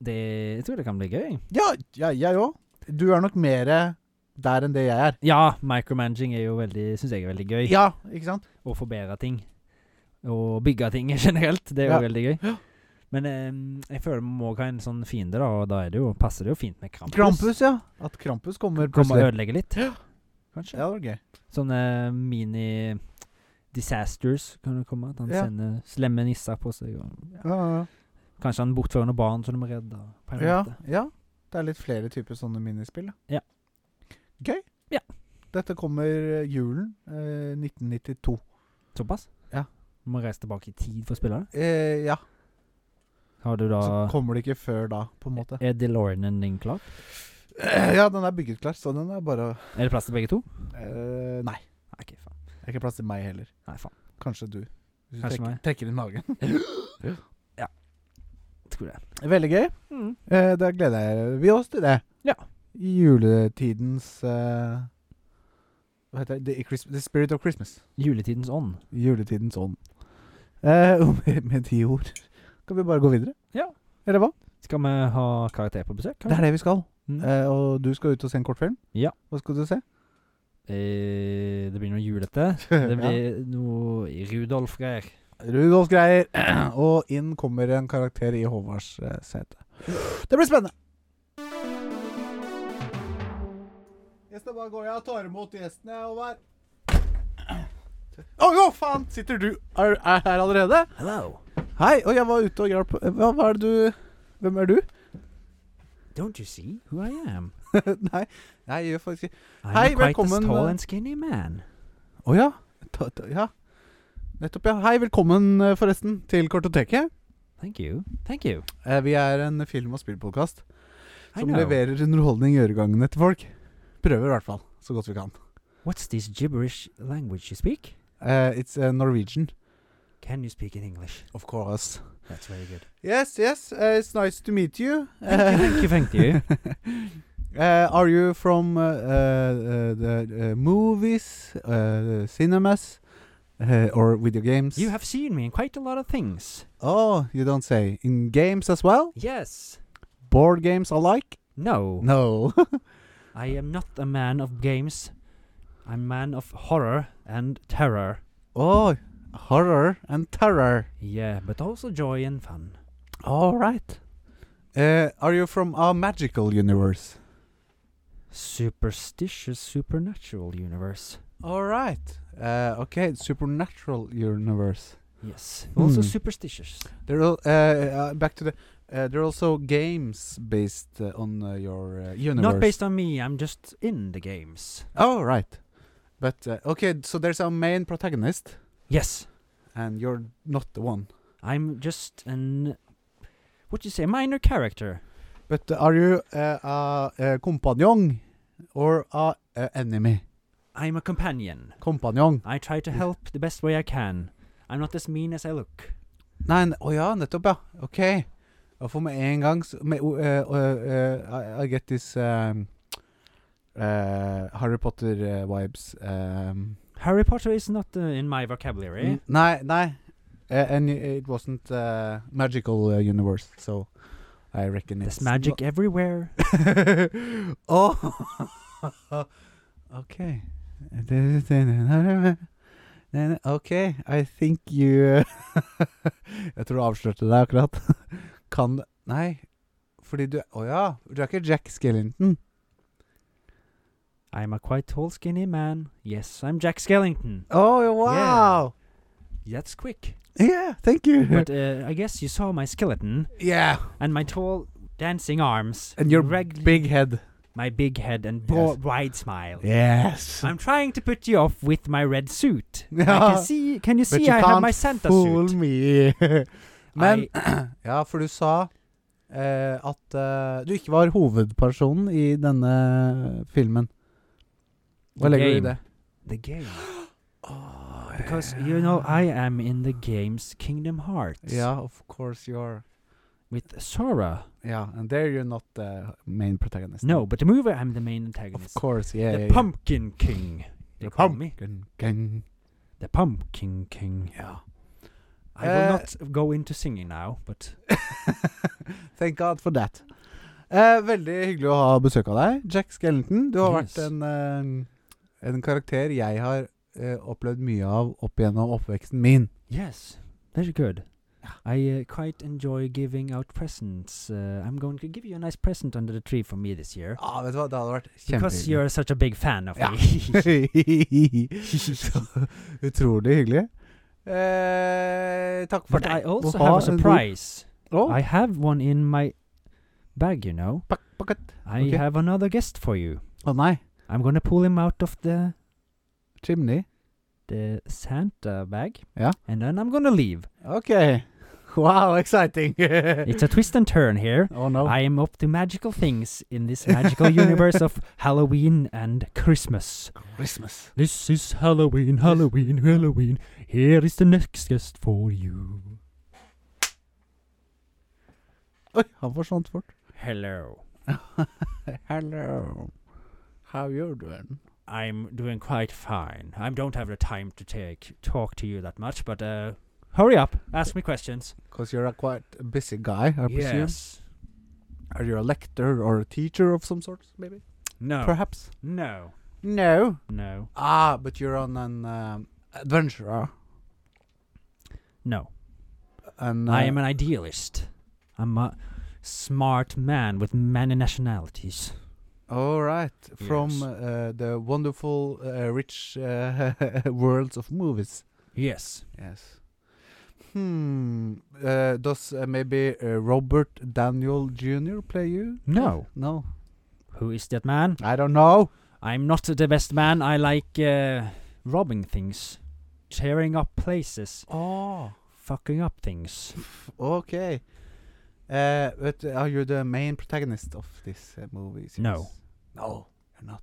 Speaker 2: det, jeg tror det kan bli gøy.
Speaker 1: Ja, ja, jeg òg. Du er nok mer der enn det jeg er.
Speaker 2: Ja, micromanaging er jo veldig Syns jeg er veldig gøy.
Speaker 1: Ja, ikke sant?
Speaker 2: Å forbedre ting. Og bygge ting generelt. Det er jo
Speaker 1: Ja.
Speaker 2: veldig gøy. Men eh, jeg føler vi må ha en sånn fiende, da, og da er det jo, passer det jo fint med Krampus.
Speaker 1: Krampus, ja. At Krampus kommer
Speaker 2: Kommer og
Speaker 1: plutselig.
Speaker 2: ødelegge litt,
Speaker 1: Ja.
Speaker 2: kanskje.
Speaker 1: Ja, det var gøy.
Speaker 2: Sånne mini-disasters kan det komme. At han
Speaker 1: Ja.
Speaker 2: sender slemme nisser på seg. Og
Speaker 1: Ja, ja,
Speaker 2: kanskje han bortfører noen barn som de er redde. På en
Speaker 1: ja.
Speaker 2: måte.
Speaker 1: ja, ja. Det er litt flere typer sånne minispill. da.
Speaker 2: Ja.
Speaker 1: Gøy.
Speaker 2: Ja.
Speaker 1: Dette kommer eh, julen eh, 1992.
Speaker 2: Såpass?
Speaker 1: Ja.
Speaker 2: Du må reise tilbake i tid for å spille det?
Speaker 1: Eh, ja,
Speaker 2: Har du da
Speaker 1: så kommer det ikke før da, på en måte.
Speaker 2: Er DeLoreanen din klar?
Speaker 1: Eh, Ja, den er bygget klar, så den er bare
Speaker 2: Er det plass til begge to?
Speaker 1: eh, Nei.
Speaker 2: Nei, okay, faen.
Speaker 1: Det er ikke plass til meg heller.
Speaker 2: Nei, faen.
Speaker 1: Kanskje du. Hvis du
Speaker 2: Kanskje
Speaker 1: trekker,
Speaker 2: meg.
Speaker 1: trekker inn magen.
Speaker 2: Jeg tror det.
Speaker 1: Veldig gøy.
Speaker 2: Mm.
Speaker 1: Eh, da gleder vi oss til det.
Speaker 2: Ja.
Speaker 1: I juletidens eh, Hva heter det? The, Chris- the spirit of Christmas.
Speaker 2: Juletidens ånd.
Speaker 1: Juletidens ånd. Eh, og med, med de ord kan vi bare gå videre.
Speaker 2: Ja.
Speaker 1: Eller hva?
Speaker 2: Skal vi ha karakter på besøk?
Speaker 1: Det er det vi skal.
Speaker 2: Mm.
Speaker 1: Eh, og du skal ut og se en kortfilm.
Speaker 2: Ja.
Speaker 1: Hva skal du se?
Speaker 2: Eh, det blir noe julete. Det blir noe Rudolf-greier.
Speaker 1: Rudolf greier, og inn kommer en karakter i Håvards eh, sete. Det blir spennende! Jeg skal bare gå, jeg tar imot gjesten, jeg, Håvard. Å, jo, faen! Sitter du er, er her allerede?
Speaker 5: Hello.
Speaker 1: Hei, og jeg var ute og hjalp hva, hva er det du Hvem er du?
Speaker 5: Don't you see?
Speaker 2: Who I am.
Speaker 1: Nei, nei, jeg gjør faktisk ikke
Speaker 5: I'm
Speaker 1: Hei,
Speaker 5: quite
Speaker 1: velkommen,
Speaker 5: this tall
Speaker 1: eh,
Speaker 5: and skinny man.
Speaker 1: Å ja. Ta, ta, ja. Nettopp, ja. Hei, velkommen, eh, forresten, til Kortoteket.
Speaker 5: Thank you. Thank you.
Speaker 1: Eh, Vi er en film- og spillpodkast
Speaker 5: I
Speaker 1: som
Speaker 5: know.
Speaker 1: leverer underholdning i øregangene til folk. Prøver i hvert fall, så godt vi kan.
Speaker 5: What's this gibberish language you speak?
Speaker 1: Eh, it's eh, Norwegian.
Speaker 5: Can you speak in English?
Speaker 1: Of course.
Speaker 5: That's very good.
Speaker 1: Yes, yes, eh, it's nice to meet you.
Speaker 5: Thank you, thank you.
Speaker 1: Eh, are you from eh, eh, the eh, movies, eh, cinemas, eh, or video games?
Speaker 5: you have seen me in quite a lot of things.
Speaker 1: oh, you don't say. In games as well?
Speaker 5: Yes.
Speaker 1: Board games alike?
Speaker 5: No.
Speaker 1: No.
Speaker 5: I am not a man of games. I'm a man of horror and terror.
Speaker 1: oh, horror and terror.
Speaker 5: Yeah, but also joy and fun.
Speaker 1: All right. Eh, are you from a magical universe?
Speaker 5: Superstitious supernatural universe.
Speaker 1: All right. Uh, okay, supernatural universe.
Speaker 2: Yes. Also
Speaker 6: Hmm.
Speaker 2: superstitious.
Speaker 1: There are, uh, uh, back to the uh, there are also games based uh, on uh, your uh, universe.
Speaker 2: Not based on me, I'm just in the games.
Speaker 1: Oh, right. But uh, okay, so there's a main protagonist,
Speaker 2: Yes.
Speaker 1: and you're not the one.
Speaker 2: I'm just an what you say, minor character.
Speaker 1: But uh, are you uh, a, a companion or a, a enemy?
Speaker 2: I'm a companion.
Speaker 1: Companion.
Speaker 2: I try to help the best way I can. I'm not as mean as I look.
Speaker 1: Nei, n- å ja, nettopp, ja. Ok. Og for med en gang så med, o- eh, eh, eh, I, I get this um, eh, Harry Potter eh, vibes. Um,
Speaker 2: Harry Potter is not uh, in my vocabulary.
Speaker 1: n- nei, nei. Eh, and it wasn't uh, magical uh, universe, so I reckon
Speaker 2: There's
Speaker 1: it's
Speaker 2: magic everywhere.
Speaker 1: oh. okay. OK, I think you Jeg tror du avslørte deg akkurat. Kan Nei, fordi du Å ja, du er ikke Jack Skellington.
Speaker 2: I'm a quite tall, skinny man. Yes, I'm Jack Skellington.
Speaker 1: Oh, wow!
Speaker 2: That's quick.
Speaker 1: Yeah, thank you.
Speaker 2: But uh, I guess you saw my skeleton
Speaker 1: yeah,
Speaker 2: and my tall, dancing arms
Speaker 1: and your
Speaker 2: reg-
Speaker 1: big head.
Speaker 2: my big head and
Speaker 1: Yes.
Speaker 2: broad, wide smile.
Speaker 1: Yes.
Speaker 2: I'm trying to put you off with my red suit. I
Speaker 1: Ja.
Speaker 2: can see. Can you
Speaker 1: But
Speaker 2: see?
Speaker 1: you
Speaker 2: I have
Speaker 1: can't
Speaker 2: my Santa
Speaker 1: Fool
Speaker 2: suit.
Speaker 1: me. Men Ja, for du sa eh, at eh, du ikke var hovedpersonen i denne filmen.
Speaker 2: The
Speaker 1: Hva legger du i
Speaker 2: game.
Speaker 1: det?
Speaker 2: the game. Because you know I am in the game's Kingdom Hearts
Speaker 1: Ja, of course you are.
Speaker 2: with Sora.
Speaker 1: Ja, and there you're not the main protagonist.
Speaker 2: No, but the movie I'm the main
Speaker 1: Of
Speaker 2: antagonist.
Speaker 1: course, yeah.
Speaker 2: the
Speaker 1: yeah, yeah.
Speaker 2: Pumpkin King. They
Speaker 1: The
Speaker 2: call me
Speaker 1: Pumpkin King.
Speaker 2: the Pumpkin King.
Speaker 1: Ja.
Speaker 2: I will
Speaker 1: Uh,
Speaker 2: not go into singing now, but
Speaker 1: Thank God for that. Eh, veldig hyggelig å ha besøk av deg, Jack Skellington. Du har
Speaker 2: Yes.
Speaker 1: vært en, eh, en karakter jeg har eh, opplevd mye av opp gjennom oppveksten min.
Speaker 2: yes, very good.
Speaker 1: Ah.
Speaker 2: I uh, quite enjoy giving out presents. Uh, I'm going to give you a nice present under the tree for me this year
Speaker 1: Ja, Ah, vet du hva, det hadde vært
Speaker 2: because
Speaker 1: kjempehyggelig.
Speaker 2: you're such a big fan of
Speaker 1: Ja.
Speaker 2: me.
Speaker 1: Så utrolig hyggelig. Eh, takk for
Speaker 2: but I
Speaker 1: deg.
Speaker 2: also
Speaker 1: Ha
Speaker 2: have a
Speaker 1: en god-
Speaker 2: surprise.
Speaker 1: Å,
Speaker 2: I have one in my bag, you know.
Speaker 1: pak- pakket.
Speaker 2: I
Speaker 1: Okay.
Speaker 2: have another guest for you.
Speaker 1: Å nei.
Speaker 2: I'm gonna pull him out of the
Speaker 1: Chimney.
Speaker 2: the Santa bag.
Speaker 1: Yeah.
Speaker 2: And then I'm gonna leave.
Speaker 1: OK. Wow, exciting.
Speaker 2: It's a twist and turn here.
Speaker 1: oh no.
Speaker 2: I am up to magical things in this magical universe of Halloween and Christmas.
Speaker 1: Christmas.
Speaker 2: This is Halloween, Halloween, Halloween. Here is the next guest for you.
Speaker 1: Oi, han forsvant fort.
Speaker 2: Hello.
Speaker 1: Hello. How you doing?
Speaker 2: I'm doing quite fine. I don't have the time to take talk to you that much, but uh hurry up. Ask me questions.
Speaker 1: Because you're a quite busy guy, I presume.
Speaker 2: yes.
Speaker 1: Are you a lecturer or a teacher of some sort, maybe?
Speaker 2: No.
Speaker 1: Perhaps.
Speaker 2: no.
Speaker 1: No.
Speaker 2: Oh. No.
Speaker 1: Ah, but you're on an um, adventurer.
Speaker 2: No.
Speaker 1: An,
Speaker 2: I
Speaker 1: uh,
Speaker 2: am an idealist. I'm a smart man with many nationalities.
Speaker 1: All right, from
Speaker 2: Yes.
Speaker 1: uh, the wonderful, uh, rich uh, worlds of movies.
Speaker 2: Yes.
Speaker 1: Yes. Hmm. Uh, does uh, maybe uh, Robert Daniel Jr. play you?
Speaker 2: No.
Speaker 1: No,
Speaker 2: Who is that man?
Speaker 1: I don't know.
Speaker 2: I'm not the best man. I like uh, robbing things, tearing up places,
Speaker 1: Oh,
Speaker 2: fucking up things.
Speaker 1: okay. Uh, but are you the main protagonist of this uh, movie? Series?
Speaker 2: No.
Speaker 1: No, you're not.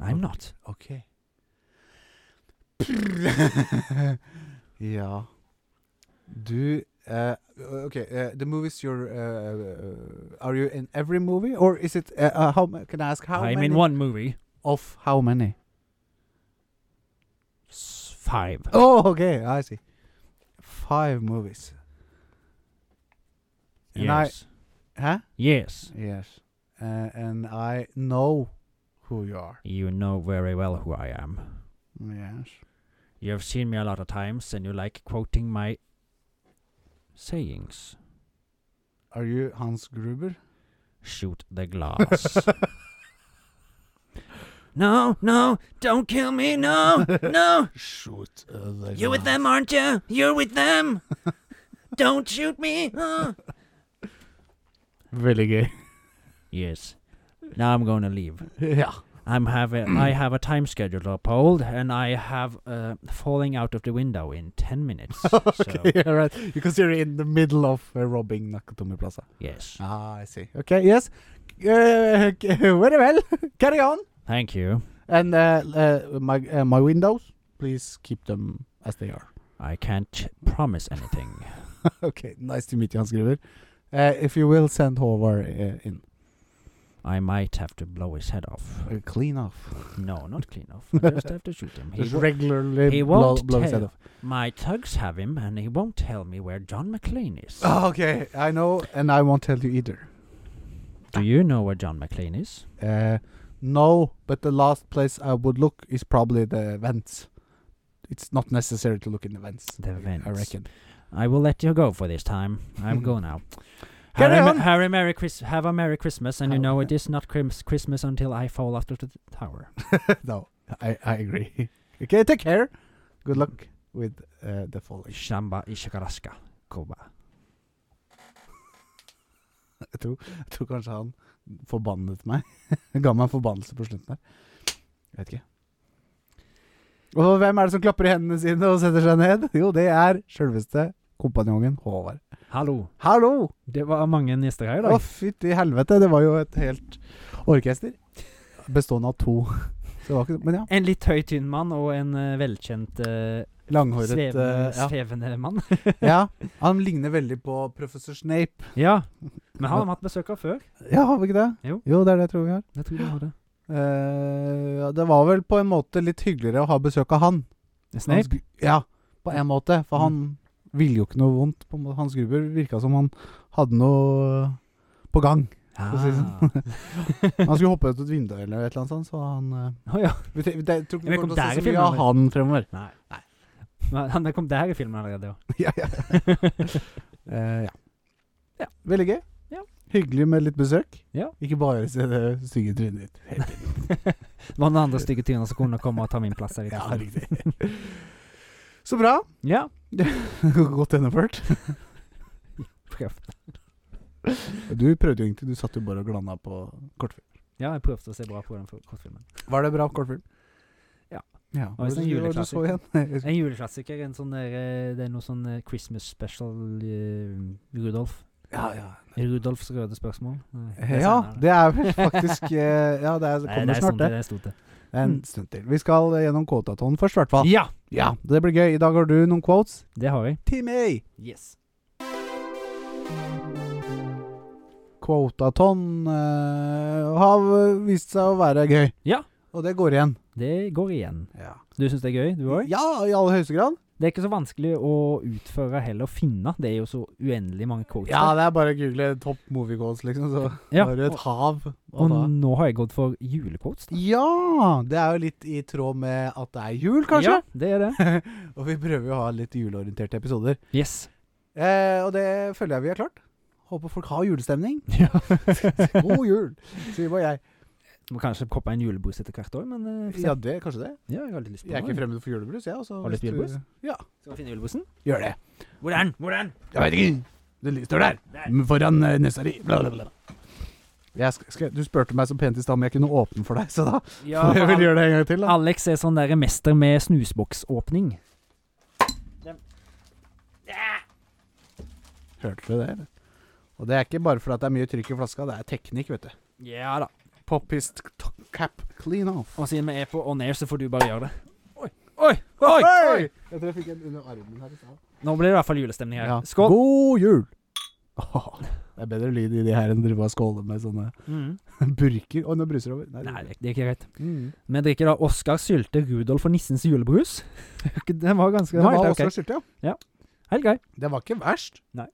Speaker 2: I'm not.
Speaker 1: Okay. ja. Du eh, Okay, eh, the movies you're eh, Are you in every movie, or is it eh, uh, how ma- Can I ask how
Speaker 2: I'm
Speaker 1: many?
Speaker 2: in one movie.
Speaker 1: Of how many?
Speaker 2: S- five.
Speaker 1: Oh, okay, I see. Five movies. And I-
Speaker 2: yes.
Speaker 1: Huh?
Speaker 2: yes.
Speaker 1: Yes. Eh, and I know who you are.
Speaker 2: You know very well who I am.
Speaker 1: Yes.
Speaker 2: You have seen me a lot of times, and you like quoting my sayings.
Speaker 1: Are you Hans Gruber?
Speaker 2: Shoot the glass.
Speaker 7: No, no, don't kill me, no, no.
Speaker 1: Shoot. Uh,
Speaker 7: You're with them, aren't you? You're with them. don't shoot me.
Speaker 2: Ah.
Speaker 7: uh.
Speaker 1: Veldig gøy.
Speaker 7: Yes. Now I'm going to leave.
Speaker 1: ja.
Speaker 7: I'm have
Speaker 1: Mm.
Speaker 7: a, I have a time schedule uphold, and I have uh, falling out of the window in ten minutes. So
Speaker 1: yeah, right. Because you're in the middle of uh, robbing Nakatomi Plaza.
Speaker 7: yes,
Speaker 1: Ah, I see. Okay, yes. Uh, okay, very well. Carry on.
Speaker 7: thank you.
Speaker 1: And uh, uh, my uh, my windows, please keep them as they are.
Speaker 7: I can't promise anything.
Speaker 1: okay, nice to meet you, han skriver. Uh, if you will send Håvard uh, in.
Speaker 7: I might have to blow his head off.
Speaker 1: Uh, clean off.
Speaker 7: No, not clean off. I just have to shoot him. He
Speaker 1: Just
Speaker 7: wo-
Speaker 1: regularly
Speaker 7: he
Speaker 1: blow,
Speaker 7: won't
Speaker 1: blow his head
Speaker 7: tell.
Speaker 1: off.
Speaker 7: my thugs have him, and he won't tell me where John McClane is.
Speaker 1: Ah, okay, I know, and I won't tell you either.
Speaker 7: Do you know where John McClane is?
Speaker 1: Uh, no, but the last place I would look is probably the vents. It's not necessary to look in the vents.
Speaker 7: The vents.
Speaker 1: I reckon.
Speaker 7: I will let you go for this time. I'm going now.
Speaker 1: Hmm. Carry
Speaker 7: Harry,
Speaker 1: on.
Speaker 7: Harry, Merry Chris- have a Merry Christmas, and you
Speaker 1: Have a
Speaker 7: know it
Speaker 1: Merry-
Speaker 7: is not Chris- Christmas until I fall out of the tower.
Speaker 1: no, I, I agree. okay, take care. Good luck with uh, the falling.
Speaker 7: Shamba Ishikaraska, Koba.
Speaker 1: Jeg tror, jeg tror kanskje han forbannet meg. Han ga meg en forbannelse på slutten der. Jeg vet ikke. Og hvem er det som klapper i hendene sine og setter seg ned? Jo, det er sjølveste kompanjongen Håvard.
Speaker 7: Hallo.
Speaker 1: Hallo!
Speaker 2: Det var mange gjester her i
Speaker 1: Å,
Speaker 2: dag.
Speaker 1: fytti helvete. Det var jo et helt orkester. Bestående av to. Så det var ikke, men ja.
Speaker 2: En litt høy, tynn mann og en eh, velkjent eh,
Speaker 1: Langhåret
Speaker 2: svevende,
Speaker 1: eh, ja.
Speaker 2: svevende mann.
Speaker 1: ja. Han ligner veldig på professor Snape.
Speaker 2: ja. Men han har vi hatt besøk av før.
Speaker 1: Ja, har vi ikke det?
Speaker 2: Jo.
Speaker 1: det er det jeg tror vi har.
Speaker 2: Jeg tror vi har det.
Speaker 1: Eh, ja, det var vel på en måte litt hyggeligere å ha besøk av han. Hans
Speaker 2: Snape?
Speaker 1: Gru- Ja, på en måte. For han ville jo ikke noe vondt. På en måte. Hans Gruber virka som han hadde noe eh, på gang. å si det
Speaker 2: Ah.
Speaker 1: Han skulle hoppe ut et vindu eller et eller annet sånt, så han eh,
Speaker 2: Å ja.
Speaker 1: vi tre- vi- det- Jeg tror ikke
Speaker 2: Jeg
Speaker 1: vi
Speaker 2: vet
Speaker 1: kommer til å
Speaker 2: ikke om det
Speaker 1: se
Speaker 2: er i
Speaker 1: så mye
Speaker 2: filmen,
Speaker 1: av han fremover.
Speaker 2: Men Han kom der i filmen allerede, ja.
Speaker 1: ja, ja. Eh, ja.
Speaker 2: Ja.
Speaker 1: Veldig gøy.
Speaker 2: Ja.
Speaker 1: Hyggelig med litt besøk.
Speaker 2: Ja.
Speaker 1: Ikke bare se det stygge trynet ditt. hele tiden.
Speaker 2: Det var noen andre stygge tyner som kunne komme og ta min plass her. i
Speaker 1: Ja,
Speaker 2: filmen.
Speaker 1: riktig. Sånn. Så bra.
Speaker 2: ja.
Speaker 1: Godt gjennomført.
Speaker 2: Prøvde.
Speaker 1: Du prøvde jo egentlig, du satt jo bare og glana på kortfilm.
Speaker 2: ja, jeg prøvde å se bra på den for- kortfilmen.
Speaker 1: Var det bra kortfilm?
Speaker 2: Ja.
Speaker 1: ja.
Speaker 2: Og hvis det er
Speaker 1: Hva var det du så
Speaker 2: juleklassiker.
Speaker 1: igjen?
Speaker 2: En juleklassiker. En sånn der, eh, det er noe sånn eh, Christmas special eh, Rudolf.
Speaker 1: Ja, ja.
Speaker 2: Rudolfs røde spørsmål. Nei, det er
Speaker 1: Ja,
Speaker 2: senere.
Speaker 1: det er vel faktisk eh, Ja, det er,
Speaker 2: Nei,
Speaker 1: kommer
Speaker 2: det er
Speaker 1: snart,
Speaker 2: sånn
Speaker 1: det.
Speaker 2: det sto til.
Speaker 1: Det er en stund til. Vi skal eh, gjennom quotaton først, i hvert fall.
Speaker 2: Ja!
Speaker 1: Ja, det blir gøy. I dag har du noen quotes.
Speaker 2: Det har jeg.
Speaker 1: Til meg!
Speaker 2: Yes.
Speaker 1: Quotaton eh, har vist seg å være gøy.
Speaker 2: Ja.
Speaker 1: Og det går igjen.
Speaker 2: Det går igjen.
Speaker 1: Ja,
Speaker 2: Du syns det er gøy, du òg?
Speaker 1: i aller høyeste grad.
Speaker 2: Det er ikke så vanskelig å utføre heller, å finne. Det er jo så uendelig mange quotes.
Speaker 1: Ja,
Speaker 2: der.
Speaker 1: det er bare å google top movie quotes, liksom. Så
Speaker 2: Ja,
Speaker 1: har du et
Speaker 2: og-
Speaker 1: hav. å
Speaker 2: Og
Speaker 1: ta.
Speaker 2: nå har jeg gått for julequotes. da.
Speaker 1: Ja! Det er jo litt i tråd med at det er jul, kanskje.
Speaker 2: Ja, det er det.
Speaker 1: Og vi prøver jo å ha litt juleorienterte episoder.
Speaker 2: Yes.
Speaker 1: Eh, og det føler jeg vi har klart. Håper folk har julestemning.
Speaker 2: Ja.
Speaker 1: God jul, sier bare jeg.
Speaker 2: Må kanskje koppe en julebrus etter hvert òg, men eh,
Speaker 1: Ja, det, kanskje det.
Speaker 2: ja, jeg har litt lyst på
Speaker 1: Jeg er ikke
Speaker 2: det.
Speaker 1: fremmed for julebrus, jeg. altså,
Speaker 2: Har du
Speaker 1: hvis
Speaker 2: lyst på julebrus?
Speaker 1: Ja.
Speaker 2: Skal vi finne julebrusen?
Speaker 1: Gjør det.
Speaker 2: Hvor er den? Hvor er den?
Speaker 1: Jeg veit ikke. Det li- står der. Men Foran eh, nesa di. Bla, bla, bla. Jeg sk skal, du spurte meg så pent i stad om jeg kunne åpne for deg, så da
Speaker 2: Ja,
Speaker 1: får jeg vel gjøre det en gang til. da.
Speaker 2: Alex er sånn derre mester med snusboksåpning.
Speaker 1: Hørte du det? eller? Og det er ikke bare fordi det er mye trykk i flaska, det er teknikk, vet du.
Speaker 2: Ja da.
Speaker 1: Poppist cap clean off.
Speaker 2: Og siden vi er på on air, så får du bare gjøre det. Oi, oi, oi!
Speaker 1: Oi! Jeg tror jeg fikk en under armen her i stad.
Speaker 2: Nå blir det i hvert fall julestemning her.
Speaker 1: Ja.
Speaker 2: Skål!
Speaker 1: God jul! Åh, det er bedre lyd i de her enn å drive og skåle med sånne
Speaker 2: Mm.
Speaker 1: burker. Å, nå bruser det over. Nei, det-
Speaker 2: Nei, det det er ikke greit.
Speaker 1: Mm.
Speaker 2: Vi drikker da Oskar sylte Rudolf og nissens julebrus. Den var ganske
Speaker 1: Det
Speaker 2: den var
Speaker 1: var
Speaker 2: helt
Speaker 1: også
Speaker 2: ok.
Speaker 1: skyldt, ja.
Speaker 2: Helt grei.
Speaker 1: Det var ikke verst.
Speaker 2: Nei.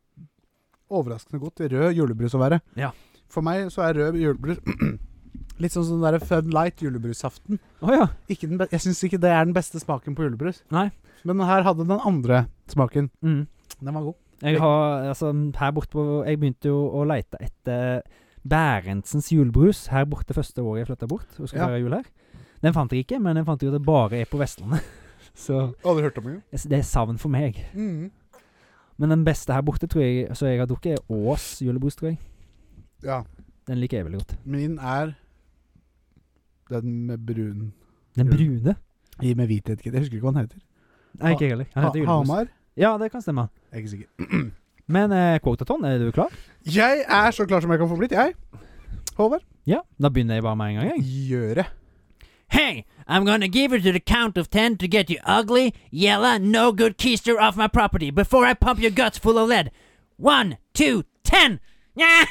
Speaker 1: Overraskende godt til rød julebrus å være.
Speaker 2: Ja.
Speaker 1: For meg så er rød julebrus litt sånn sånn der Fun Light julebrusaften.
Speaker 2: Å ja.
Speaker 1: Ikke den be- Jeg syns ikke det er den beste smaken på julebrus.
Speaker 2: Nei.
Speaker 1: Men her hadde den andre smaken.
Speaker 2: Mm.
Speaker 1: Den var god.
Speaker 2: Jeg har altså her borte på Jeg begynte jo å leite etter Bærentsens julebrus her borte første året jeg flytta bort og skulle
Speaker 1: Ja.
Speaker 2: feire jul her. Den fant jeg ikke, men jeg fant jo at det bare er på Vestlandet. Så
Speaker 4: Aldri hørt om det.
Speaker 2: det er savn for meg.
Speaker 4: Mm.
Speaker 2: Men den beste her borte tror jeg Så jeg har drukket, er Ås julebrus, tror jeg.
Speaker 4: Ja.
Speaker 2: Den liker jeg veldig godt.
Speaker 4: Min er den med brun
Speaker 2: Den
Speaker 4: Jul-
Speaker 2: brune?
Speaker 4: I med hvithet. Jeg husker ikke hva den heter.
Speaker 2: Nei, ikke jeg heller. Den
Speaker 4: Ha
Speaker 2: heter julebrus.
Speaker 4: Hamar?
Speaker 2: Ja, det kan stemme.
Speaker 4: Jeg er ikke sikker.
Speaker 2: Men eh, Quotaton, er du klar?
Speaker 4: Jeg er så klar som jeg kan få blitt, jeg. Håvard?
Speaker 2: Ja. Da begynner jeg bare med en gang, jeg.
Speaker 4: Gjøre.
Speaker 5: Hey, I'm gonna give you to the count of ten to get you ugly, yellow, no good keister off my property before I pump your guts full of lead. One, two, ten!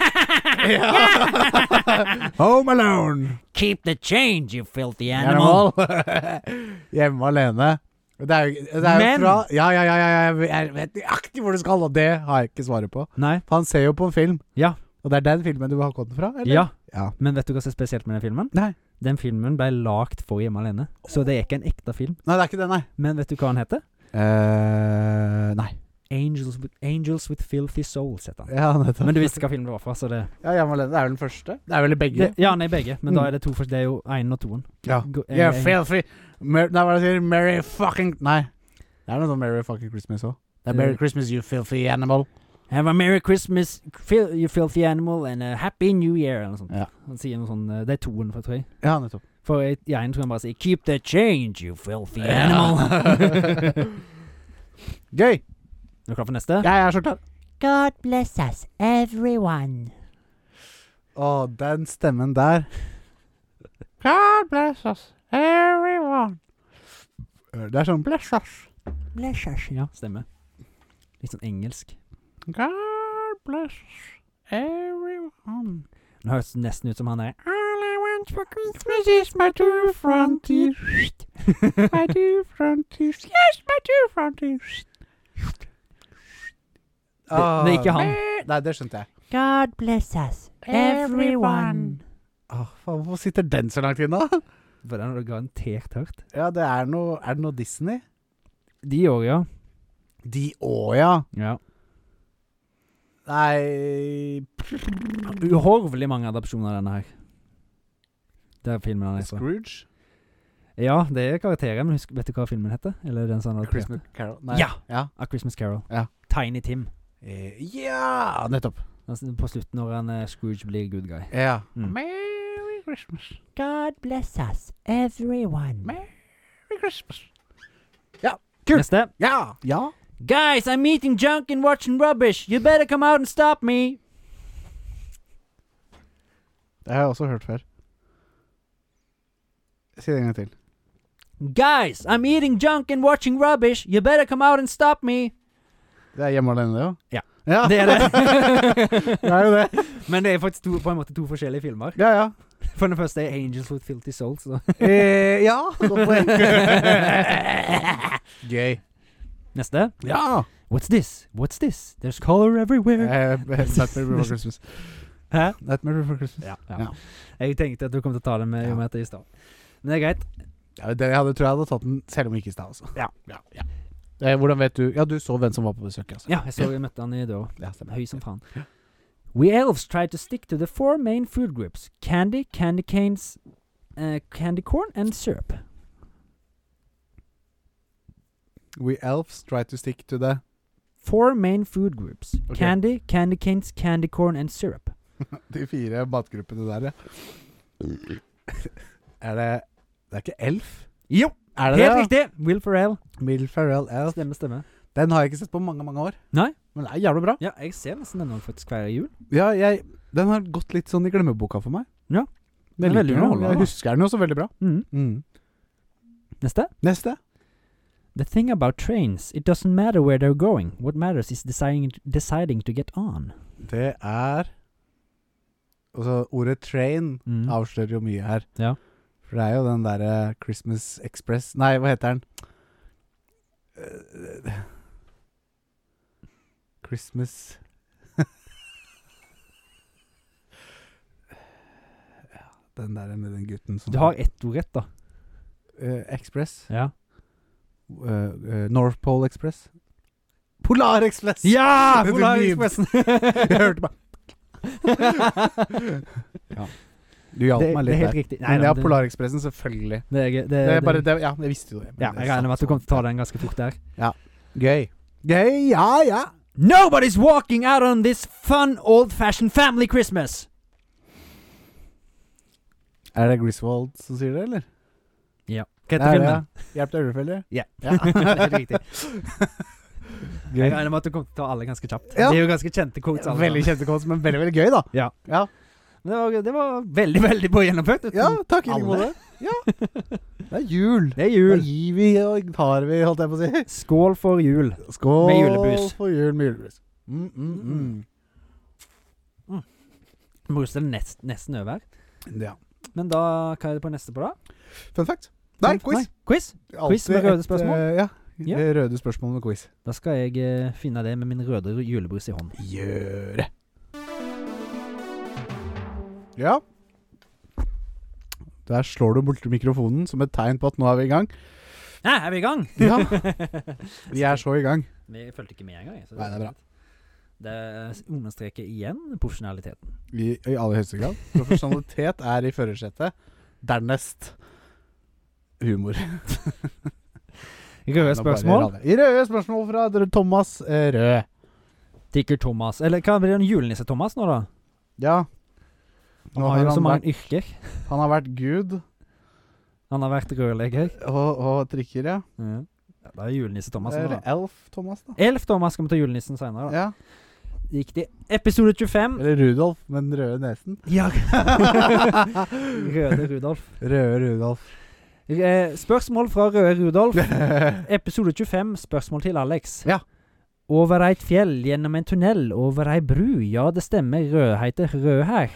Speaker 4: Home alone!
Speaker 5: Keep the change, you filthy animal.
Speaker 1: Animal. Hjemme alene. Det er jo, det er jo
Speaker 2: Men-
Speaker 1: fra Ja, ja, ja, ja, jeg- jeg vet nøyaktig hvor du skal, og det har jeg ikke svaret på.
Speaker 2: Nei.
Speaker 1: For han ser jo på en film.
Speaker 2: Ja.
Speaker 1: Og det er den filmen du har koden fra? eller?
Speaker 2: Ja.
Speaker 1: Ja.
Speaker 2: Men vet du hva som er spesielt med den filmen?
Speaker 1: Nei.
Speaker 2: Den filmen ble lagd for Hjemme alene, så det er ikke en ekte film.
Speaker 1: Nei, det er ikke den, nei.
Speaker 2: Men vet du hva han heter?
Speaker 1: eh nei.
Speaker 2: Angels with, Angels with Filthy Souls, heter han.
Speaker 1: Ja, nettopp.
Speaker 2: Men du visste hva filmen det var fra, så det, Mm.
Speaker 1: Ja, Hjemme alene. Det er vel den første? Det er vel i begge.
Speaker 2: det Ja, nei, begge. Men da er det to for Det er jo én og toen.
Speaker 1: Ja.
Speaker 2: Go- eh,
Speaker 1: You're
Speaker 2: eh,
Speaker 1: filthy Mer Nei, hva er det jeg sier? Merry fucking Nei. Det er noe sånn Merry fucking Christmas òg. Det er Merry
Speaker 2: Eh.
Speaker 1: Christmas, you filthy animal.
Speaker 5: Have a Merry Christmas, fil you filthy animal, and a Happy New Year, eller noe sånt.
Speaker 1: Ja.
Speaker 2: Han sier noe sånn eh, Det er toen, for, tror jeg.
Speaker 1: Ja, nettopp.
Speaker 2: For i i én tror jeg han bare sier
Speaker 5: Keep the change, you filthy animal.
Speaker 1: Animal. Gøy.
Speaker 2: Er du klar for neste?
Speaker 1: Jeg er så klar.
Speaker 8: God bless us, everyone.
Speaker 1: Å, den stemmen der. God bless us, everyone. Det er sånn bless us.
Speaker 8: Bless us.
Speaker 2: Ja, stemmer. Litt sånn engelsk.
Speaker 1: God bless us, everyone.
Speaker 2: Det høres nesten ut som han er
Speaker 8: All I want for Christmas.
Speaker 1: This is my two frontiers. My two frontiers. Yes, my two frontiers.
Speaker 2: Det, det er ikke han.
Speaker 1: Ah. Eh, Nei, det skjønte jeg.
Speaker 8: God bless us, everyone.
Speaker 1: Åh, Ah, faen, Hvorfor sitter den så langt inne? da?
Speaker 2: For den har du garantert hørt.
Speaker 1: Ja, det er noe Er det noe Disney?
Speaker 2: De òg, ja.
Speaker 1: De òg, ja.
Speaker 2: ja.
Speaker 1: Nei
Speaker 2: Uhorvelig mange adopsjoner av denne her. Det er filmen han er fra.
Speaker 1: Scrooge?
Speaker 2: Ja, det er karakterer, men husk, vet du hva filmen heter? Eller den som han
Speaker 1: A
Speaker 2: adopterte?
Speaker 1: Christmas Carol? Nei.
Speaker 2: sånn Ja.
Speaker 1: Ja,
Speaker 2: A Christmas Carol.
Speaker 1: Ja.
Speaker 2: Tiny Tim.
Speaker 1: Eh, ja nettopp.
Speaker 2: Altså, På slutten når han eh, Scrooge blir good guy.
Speaker 1: Ja.
Speaker 2: Mm.
Speaker 1: Merry Christmas.
Speaker 8: God bless us, everyone.
Speaker 1: Merry Christmas. Kult.
Speaker 2: Neste.
Speaker 1: Ja. Ja.
Speaker 5: Guys, I'm eating junk and watching rubbish. You better come out and stop me.
Speaker 1: Det har jeg også hørt før. Si det en gang til.
Speaker 5: Guys, I'm eating junk and watching rubbish. You better come out and stop me.
Speaker 1: Det er hjemme alene, det òg?
Speaker 2: Ja.
Speaker 1: ja.
Speaker 2: Det er det.
Speaker 1: det er jo det.
Speaker 2: Men det er faktisk to, på en måte to forskjellige filmer.
Speaker 1: Ja, ja.
Speaker 2: For den første er Angels with Filthy Souls. Så.
Speaker 1: Eh, ja. Godt poeng. Gøy.
Speaker 2: Neste.
Speaker 1: Ja.
Speaker 2: What's this? What's this? There's color everywhere.
Speaker 1: Eh, Nightmare Before Christmas.
Speaker 2: Hæ?
Speaker 1: Nightmare Before Christmas.
Speaker 2: Ja,
Speaker 1: Ja.
Speaker 2: Jeg tenkte at du kom til å ta den med i og med at det er i stad. Men det er greit.
Speaker 1: Ja, det jeg hadde, tror jeg hadde tatt den selv om jeg ikke i stad. Altså.
Speaker 2: Ja.
Speaker 1: Ja, ja. Eh, hvordan vet du Ja, du så hvem som var på besøk. Altså.
Speaker 2: Ja, jeg så jeg møtte han i døra.
Speaker 1: Ja, stemmer.
Speaker 2: Høy som faen.
Speaker 5: We elves try to stick to the four main food groups candy, candy canes,
Speaker 2: eh,
Speaker 5: uh, candy corn, and syrup.
Speaker 1: We elves try to stick to the
Speaker 5: Four main food groups
Speaker 1: Okay.
Speaker 5: candy, candy canes, candy corn, and syrup.
Speaker 1: De fire matgruppene der, ja.
Speaker 2: Mm.
Speaker 1: Er det Det er ikke Elf?
Speaker 2: Jo,
Speaker 1: Er det
Speaker 2: helt
Speaker 1: det?
Speaker 2: riktig! Will Ferrell.
Speaker 1: riktig. Will Ferrell Elf.
Speaker 2: Stemme, stemme.
Speaker 1: Den har jeg ikke sett på mange, mange år.
Speaker 2: Nei.
Speaker 1: Men det er jævlig bra.
Speaker 2: Ja, jeg ser nesten den nå faktisk hver jul.
Speaker 1: Ja, jeg, den har gått litt sånn i glemmeboka for meg.
Speaker 2: Ja.
Speaker 1: Den
Speaker 2: Den er
Speaker 1: liker
Speaker 2: veldig
Speaker 1: jeg.
Speaker 2: underholdende, da.
Speaker 1: Jeg husker den også veldig bra.
Speaker 2: Mhm. Neste.
Speaker 1: Neste.
Speaker 5: The thing about trains, it doesn't matter where they're going. What matters is deciding, deciding to get on.
Speaker 1: Det er Altså, ordet 'train'
Speaker 2: Mm.
Speaker 1: avslører jo mye her.
Speaker 2: Ja.
Speaker 1: For det er jo den derre Christmas Express Nei, hva heter den? Eh, Christmas Ja, Den der med den gutten som
Speaker 2: Du har ett ord rett, da.
Speaker 1: Eh, Express.
Speaker 2: Ja!
Speaker 1: Eh, eh, North Pole Express. Polar Express!
Speaker 2: Ja!
Speaker 1: Det er
Speaker 2: Polar
Speaker 1: min.
Speaker 2: Expressen!
Speaker 1: Jeg hørte bare Du hjalp
Speaker 2: Det,
Speaker 1: meg
Speaker 2: det
Speaker 1: litt
Speaker 2: er helt
Speaker 1: der.
Speaker 2: riktig. Nei
Speaker 1: Men det
Speaker 2: da,
Speaker 1: er Polarekspressen, selvfølgelig.
Speaker 2: det, er gøy- det,
Speaker 1: Det
Speaker 2: det,
Speaker 1: er bare, det, ja, jeg visste jo det. men
Speaker 2: Ja,
Speaker 1: det
Speaker 2: jeg regner med at du
Speaker 1: satt
Speaker 2: kommer til å ta den ganske fort der.
Speaker 1: sånn. Gøy. Gøy, ja, ja.
Speaker 2: Nobody's walking out on this fun old-fashioned family Christmas!
Speaker 1: Er det Griswold som sier det, eller?
Speaker 2: Ja. Hva
Speaker 1: Nei,
Speaker 2: heter filmen?
Speaker 1: ja. Hjelp til Ørefelle?
Speaker 2: Ja.
Speaker 1: ja.
Speaker 2: Helt riktig. Jeg regner med at du kommer til å ta alle ganske kjapt.
Speaker 1: Ja.
Speaker 2: Det er jo ganske kjente quotes. alle
Speaker 1: Veldig
Speaker 2: sammen.
Speaker 1: kjente kås, men veldig, veldig gøy, da.
Speaker 2: Ja.
Speaker 1: Ja,
Speaker 2: Det var, det var veldig, veldig bra gjennomført.
Speaker 1: ja takk i
Speaker 2: Alle.
Speaker 1: like måte. Ja. Det er jul.
Speaker 2: Det
Speaker 1: Da
Speaker 2: er jul.
Speaker 1: gir vi og tar vi, holdt jeg på å si.
Speaker 2: Skål for jul.
Speaker 1: Skål
Speaker 2: Med julebrus.
Speaker 1: for jul med julebrus. Mm, mm, mm.
Speaker 2: Bruste er nest, nesten over.
Speaker 1: Ja.
Speaker 2: Men da, hva er det på neste på, da?
Speaker 1: Fun fact. Nei, quiz.
Speaker 2: quiz. Quiz med
Speaker 1: Alltid
Speaker 2: røde
Speaker 1: et,
Speaker 2: spørsmål?
Speaker 1: eh, ja.
Speaker 2: Ja.
Speaker 1: Røde spørsmål med quiz.
Speaker 2: Da skal jeg eh, finne det med min røde julebrus i hånd.
Speaker 1: Gjøre. Ja. Der slår du bort mikrofonen som et tegn på at nå er vi i gang.
Speaker 2: Nei, er vi i gang?
Speaker 1: Ja, vi er så i gang.
Speaker 2: Vi fulgte ikke med engang. så
Speaker 1: Nei, det er bra.
Speaker 2: Det understreker igjen profesjonaliteten.
Speaker 1: I, i aller høyeste grad. Profesjonalitet er i førersetet. Dernest humor.
Speaker 2: Røde
Speaker 1: Nå bare
Speaker 2: spørsmål.
Speaker 1: raller jeg. I røde spørsmål fra dr- Thomas eh, Rød.
Speaker 2: Tikker Thomas Eller hva blir det en julenisse-Thomas nå, da?
Speaker 1: Ja.
Speaker 2: Han
Speaker 1: Nå
Speaker 2: har
Speaker 1: har
Speaker 2: jo så
Speaker 1: han, vært,
Speaker 2: mange yrker.
Speaker 1: han har vært gud
Speaker 2: Han har vært rørlegger.
Speaker 1: og, og trikker, ja.
Speaker 2: Ja. Ja, Da er julenisse-Thomas nå,
Speaker 1: Eller
Speaker 2: da.
Speaker 1: Elf Thomas, da.
Speaker 2: Elf Thomas skal vi ta julenissen seinere, da.
Speaker 1: Eh. Ja.
Speaker 2: Gikk det episode 25?
Speaker 1: Eller Rudolf med den røde nesen.
Speaker 2: Ja. Røde Rudolf.
Speaker 1: Røde Rudolf.
Speaker 2: Eh, Spørsmål fra Røde Rudolf. Episode 25, spørsmål til Alex.
Speaker 1: Ja.
Speaker 2: Over eit fjell, gjennom en tunnel, over ei bru, ja det stemmer, Rødheite Rød her.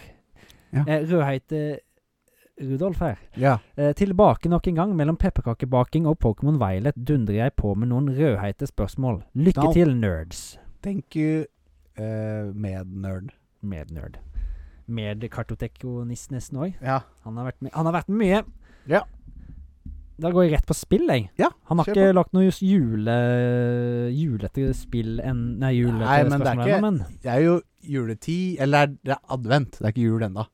Speaker 1: Ja.
Speaker 2: Eh, Rødheite Rudolf her.
Speaker 1: ja.
Speaker 2: Eh, tilbake nok en gang mellom pepperkakebaking og Pokémon Violet dundrer jeg på med noen rødheite spørsmål. Lykke
Speaker 1: Dal.
Speaker 2: til, nerds.
Speaker 1: Thank you, eh, med-nerd.
Speaker 2: Med nerd. Med kartotekoniss nesten òg.
Speaker 1: Ja.
Speaker 2: Han har vært med, han har vært med mye.
Speaker 1: Ja.
Speaker 2: Da går jeg rett på spill, jeg.
Speaker 1: Ja,
Speaker 2: han har
Speaker 1: kjør
Speaker 2: ikke lagt noe just jule, julete spill enn Nei, julete
Speaker 1: Nei, men det er
Speaker 2: spørsmål
Speaker 1: ikke-
Speaker 2: ennå, men
Speaker 1: Det er jo juletid, eller det er- det er advent. Det er ikke jul ennå.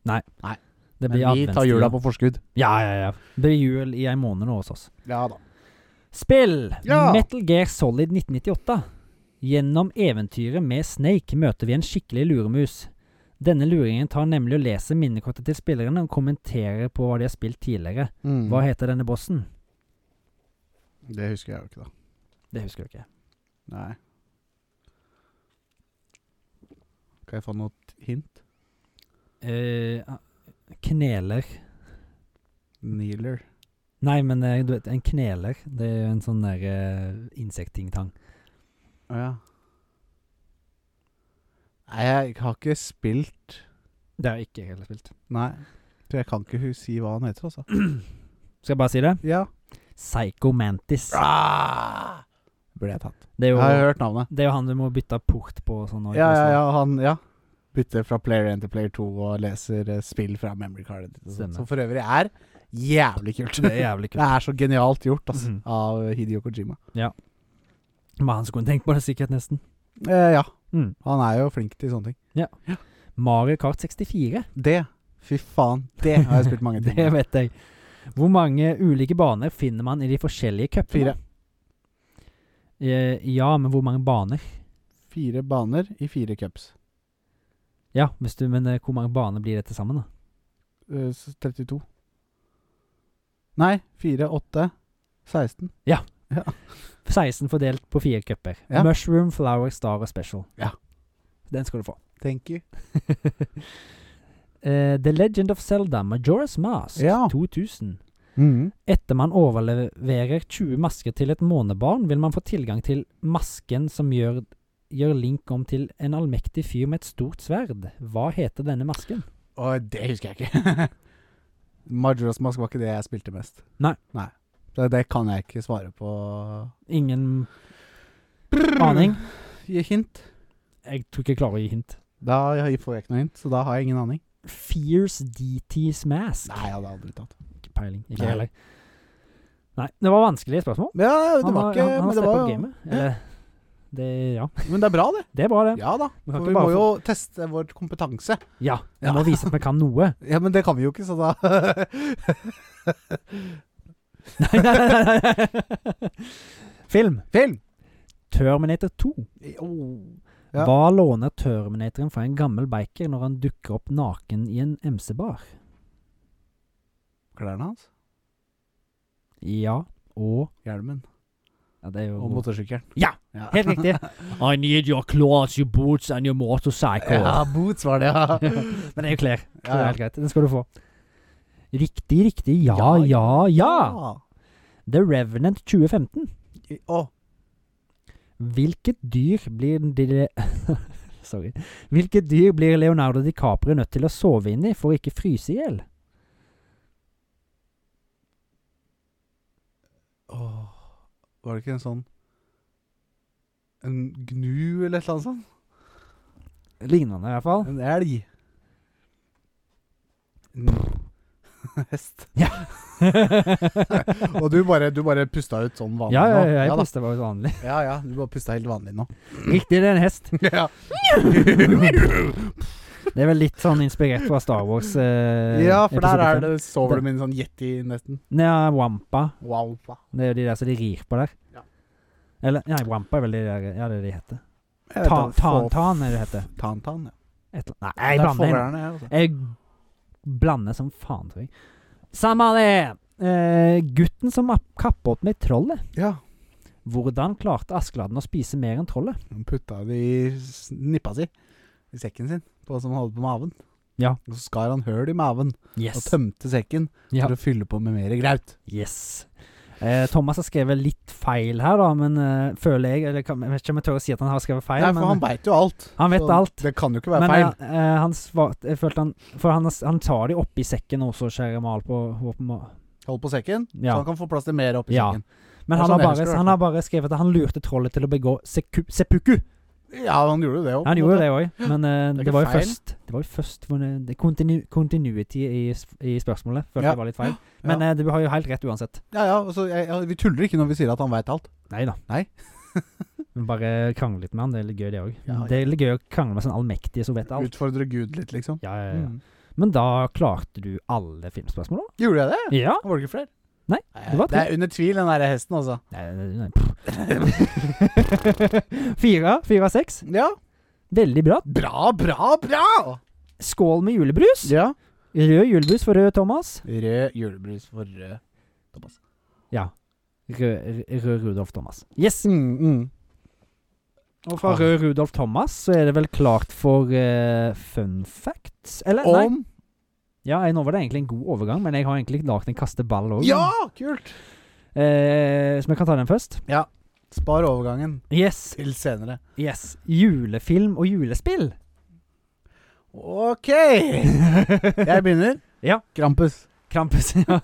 Speaker 1: Men
Speaker 2: det blir
Speaker 1: vi tar
Speaker 2: adventstid.
Speaker 1: jula på forskudd.
Speaker 2: Ja, ja, ja. Det blir jul i en måned nå hos oss.
Speaker 1: Ja da.
Speaker 2: Spill!
Speaker 1: Ja.
Speaker 2: Metal Gear Solid 1998. Gjennom eventyret med Snake møter vi en skikkelig luremus. Denne luringen tar nemlig og leser minnekortet til spillerne og kommenterer på hva de har spilt tidligere.
Speaker 1: Mm.
Speaker 2: Hva heter denne bossen?
Speaker 1: Det husker jeg jo ikke, da.
Speaker 2: Det husker du ikke.
Speaker 1: Nei. Kan jeg få noe hint?
Speaker 2: Eh, kneler
Speaker 1: Kneeler.
Speaker 2: Nei, men eh, du vet, en kneler Det er jo en sånn der eh, insekttingtang.
Speaker 1: Å ja. Nei, jeg har ikke spilt
Speaker 2: Det har jeg ikke heller spilt.
Speaker 1: Nei. Så jeg kan ikke hu- si hva han heter, altså.
Speaker 2: Skal jeg bare si det?
Speaker 1: Ja.
Speaker 2: Psychomantis.
Speaker 1: Ah! Burde jeg tatt.
Speaker 2: Det er
Speaker 1: Jeg har
Speaker 2: jo,
Speaker 1: hørt navnet.
Speaker 2: det er jo han du må bytte port på og sånn. og-
Speaker 1: Ja, ja, ja, han Ja. Bytter fra player 1 til player 2 og leser eh, spill fra memory cardet ditt. og sånt,
Speaker 2: Stemmer.
Speaker 1: Som for øvrig er jævlig kult.
Speaker 2: Det er jævlig
Speaker 1: Det
Speaker 2: kult.
Speaker 1: er så genialt gjort altså,
Speaker 2: Mhm.
Speaker 1: av Hidio Kojima.
Speaker 2: Men han skulle tenkt på det sikkert nesten.
Speaker 1: Eh, ja,
Speaker 2: Mm.
Speaker 1: han er jo flink til sånne ting.
Speaker 2: Mario Kart 64.
Speaker 1: Det, fy faen, det har jeg spilt mange
Speaker 2: Det
Speaker 1: timer.
Speaker 2: vet jeg. Hvor mange ulike baner finner man i de forskjellige cupene?
Speaker 1: Fire.
Speaker 2: Eh, ja, men hvor mange baner?
Speaker 1: Fire baner i fire cups.
Speaker 2: Ja, hvis du, men eh, hvor mange baner blir det til sammen, da?
Speaker 1: Eh, s- 32. Nei, 4, 8, 16.
Speaker 2: 16 fordelt på fire cuper.
Speaker 1: Ja.
Speaker 2: Mushroom, flower, star og special.
Speaker 1: Ja.
Speaker 2: Den skal du få.
Speaker 1: Thank you.
Speaker 2: Eh, The Legend of Zelda, Majora's Mask,
Speaker 1: Ja. Mhm.
Speaker 2: 2000. Etter man overleverer 20 masker til et månebarn, vil man få tilgang til masken som gjør, gjør Link om til en allmektig fyr med et stort sverd. Hva heter denne masken?
Speaker 1: Og det husker jeg ikke. Majora's Mask var ikke det jeg spilte mest.
Speaker 2: Nei.
Speaker 1: Nei. Så det kan jeg ikke svare på.
Speaker 2: Ingen aning.
Speaker 1: Gi hint.
Speaker 2: Jeg tror ikke jeg klarer å gi hint.
Speaker 1: Da får jeg ikke noe hint, så da har jeg ingen aning.
Speaker 2: Fierce DT's Mask.
Speaker 1: Nei, jeg hadde aldri tatt.
Speaker 2: Ikke peiling. Ikke
Speaker 1: Nei.
Speaker 2: heller. Nei, det var vanskelige spørsmål.
Speaker 1: Ja, det
Speaker 2: Han
Speaker 1: var
Speaker 2: har-
Speaker 1: ikke
Speaker 2: han, han
Speaker 1: men
Speaker 2: har
Speaker 1: det
Speaker 2: steppet
Speaker 1: var
Speaker 2: opp
Speaker 1: jo-
Speaker 2: gamet. Eller, Det, ja.
Speaker 1: Men det er bra, det.
Speaker 2: det er bra, det.
Speaker 1: Ja da.
Speaker 2: Vi
Speaker 1: For
Speaker 2: kan ikke
Speaker 1: vi
Speaker 2: bare
Speaker 1: må
Speaker 2: få-
Speaker 1: jo teste vår kompetanse.
Speaker 2: Ja, vi
Speaker 1: Ja.
Speaker 2: må vise at vi kan noe.
Speaker 9: Ja, men det kan vi jo ikke, så da
Speaker 2: Nei, nei, nei, nei, nei. Film.
Speaker 9: Film!
Speaker 2: Terminator 2.
Speaker 9: Ja.
Speaker 2: Hva låner Terminatoren fra en gammel biker når han dukker opp naken i en MC-bar?
Speaker 1: Klærne hans,
Speaker 2: Ja og
Speaker 1: hjelmen
Speaker 2: ja, det er
Speaker 1: og
Speaker 2: jo
Speaker 1: motorsykkelen.
Speaker 2: Ja! Helt riktig. I need your clothes, your boots and your motorcycle.
Speaker 1: Ja, boots var det, ja.
Speaker 2: Men det er jo klær. Så det
Speaker 1: Ja,
Speaker 2: er
Speaker 1: ja.
Speaker 2: helt greit. Den skal du få. Riktig, riktig. Ja,
Speaker 1: Ja,
Speaker 2: ja, ja!
Speaker 1: Ja.
Speaker 2: The Revenant 2015.
Speaker 1: I- Å,
Speaker 2: Hvilket dyr blir de- Sorry. Hvilket dyr blir Leonardo DiCaprio nødt til å sove inni for å ikke fryse i hjel?
Speaker 1: Åh. Var det ikke en sånn En gnu eller et eller annet sånt?
Speaker 2: Lignende, i hvert fall.
Speaker 1: En elg. En hest.
Speaker 9: Og du bare, du bare pusta ut sånn vanlig
Speaker 2: Ja, ja,
Speaker 9: nå?
Speaker 2: ja, jeg
Speaker 9: da.
Speaker 2: puster bare vanlig.
Speaker 1: Ja ja, du bare pusta helt vanlig nå.
Speaker 2: Riktig, det er en hest.
Speaker 9: Ja.
Speaker 2: Det er vel litt sånn inspirert fra Star Wars. Eh,
Speaker 1: Ja, for der er
Speaker 2: episode fem.
Speaker 1: det sover du med en sånn yeti, nesten.
Speaker 2: Nei, Wampa.
Speaker 1: Wow.
Speaker 2: Det er jo de der som de rir på der.
Speaker 1: Ja.
Speaker 2: Eller Nei, Wampa er vel de der Ja, det er de heter.
Speaker 1: Jeg vet
Speaker 2: Ta-
Speaker 1: da, få-
Speaker 2: Tantan er det heter.
Speaker 1: Tantan, ja.
Speaker 2: Et, eller- nei, jeg
Speaker 1: Der
Speaker 2: blander.
Speaker 1: får
Speaker 2: inn.
Speaker 1: jeg den, jeg, altså.
Speaker 2: Jeg blander som faen, tror jeg. Samme det! Eh, gutten som app- kappåt med trollet.
Speaker 1: Ja.
Speaker 2: Hvordan klarte Askeladden å spise mer enn trollet?
Speaker 1: Han putta det i s- nippa si, i sekken sin, på, som han hadde på maven.
Speaker 2: Ja.
Speaker 1: Og så skar han høl i maven og
Speaker 2: Yes.
Speaker 1: tømte sekken
Speaker 2: Ja.
Speaker 1: for å fylle på med mer graut.
Speaker 2: Yes. Eh, Thomas har skrevet litt feil her, da, men eh, føler jeg Eller kan- jeg vet ikke om jeg tør å si at han har skrevet feil.
Speaker 1: Nei, for
Speaker 2: men, eh,
Speaker 1: han veit jo alt.
Speaker 2: Han vet
Speaker 1: så
Speaker 2: alt.
Speaker 1: Det kan jo ikke være
Speaker 2: men
Speaker 1: feil.
Speaker 2: eh, eh, han svarte Jeg følte han For han, han tar de oppi sekken også, kjære Mal, på, på
Speaker 1: Hold på sekken,
Speaker 2: Ja.
Speaker 1: så han kan få plass til mer oppi
Speaker 2: Ja.
Speaker 1: sekken. Det er
Speaker 2: Men han
Speaker 1: sånn
Speaker 2: har,
Speaker 1: jeg husker
Speaker 2: bare,
Speaker 1: det,
Speaker 2: han har bare skrevet at han lurte trollet til å begå seku, seppuku.
Speaker 1: Ja, han gjorde jo det òg.
Speaker 2: Han gjorde det òg, men
Speaker 1: Det
Speaker 2: eh,
Speaker 1: er
Speaker 2: det,
Speaker 1: ikke
Speaker 2: var jo
Speaker 1: feil.
Speaker 2: først Det var jo først for det- det er continu, Continuity i, sp- i spørsmålet. Følte
Speaker 1: Ja.
Speaker 2: jeg var litt feil. Men eh, du har jo helt rett uansett.
Speaker 1: Ja, ja, og så, jeg, ja, vi tuller ikke når vi sier at han veit alt.
Speaker 2: Nei da.
Speaker 1: Nei.
Speaker 2: Men bare krangle litt med han. Det er litt gøy, det òg.
Speaker 1: Ja, ja.
Speaker 2: Det er litt gøy å krangle med sånn allmektige som vet alt.
Speaker 1: Utfordre Gud litt, liksom.
Speaker 2: Ja, ja, ja.
Speaker 1: Mm.
Speaker 2: Men da klarte du alle filmspørsmålene?
Speaker 1: Gjorde jeg det?
Speaker 2: Ja.
Speaker 1: Var det ikke flere?
Speaker 2: Nei, det var to.
Speaker 1: det er under tvil, den der hesten, altså.
Speaker 2: Nei, nei, nei. pff. Fire fire av seks.
Speaker 1: Ja.
Speaker 2: Veldig bra.
Speaker 1: Bra, bra, bra!
Speaker 2: Skål med julebrus.
Speaker 1: Ja.
Speaker 2: Rød julebrus for rød Thomas.
Speaker 1: Rød julebrus for rød Thomas.
Speaker 2: Ja. Rød, rød Rudolf Thomas. Yes. mm, Og fra
Speaker 1: Ah.
Speaker 2: Rød Rudolf Thomas så er det vel klart for eh, fun facts? Eller, nei.
Speaker 1: Om
Speaker 2: Ja, jeg, nå var det egentlig en god overgang, men jeg har egentlig lagd en kasteball òg.
Speaker 1: Ja, kult!
Speaker 2: så vi kan ta den først.
Speaker 1: Spar overgangen
Speaker 2: Yes.
Speaker 1: til senere.
Speaker 2: yes. Julefilm og julespill.
Speaker 1: OK! Jeg begynner.
Speaker 2: Ja.
Speaker 1: Krampus.
Speaker 2: Krampus. ja.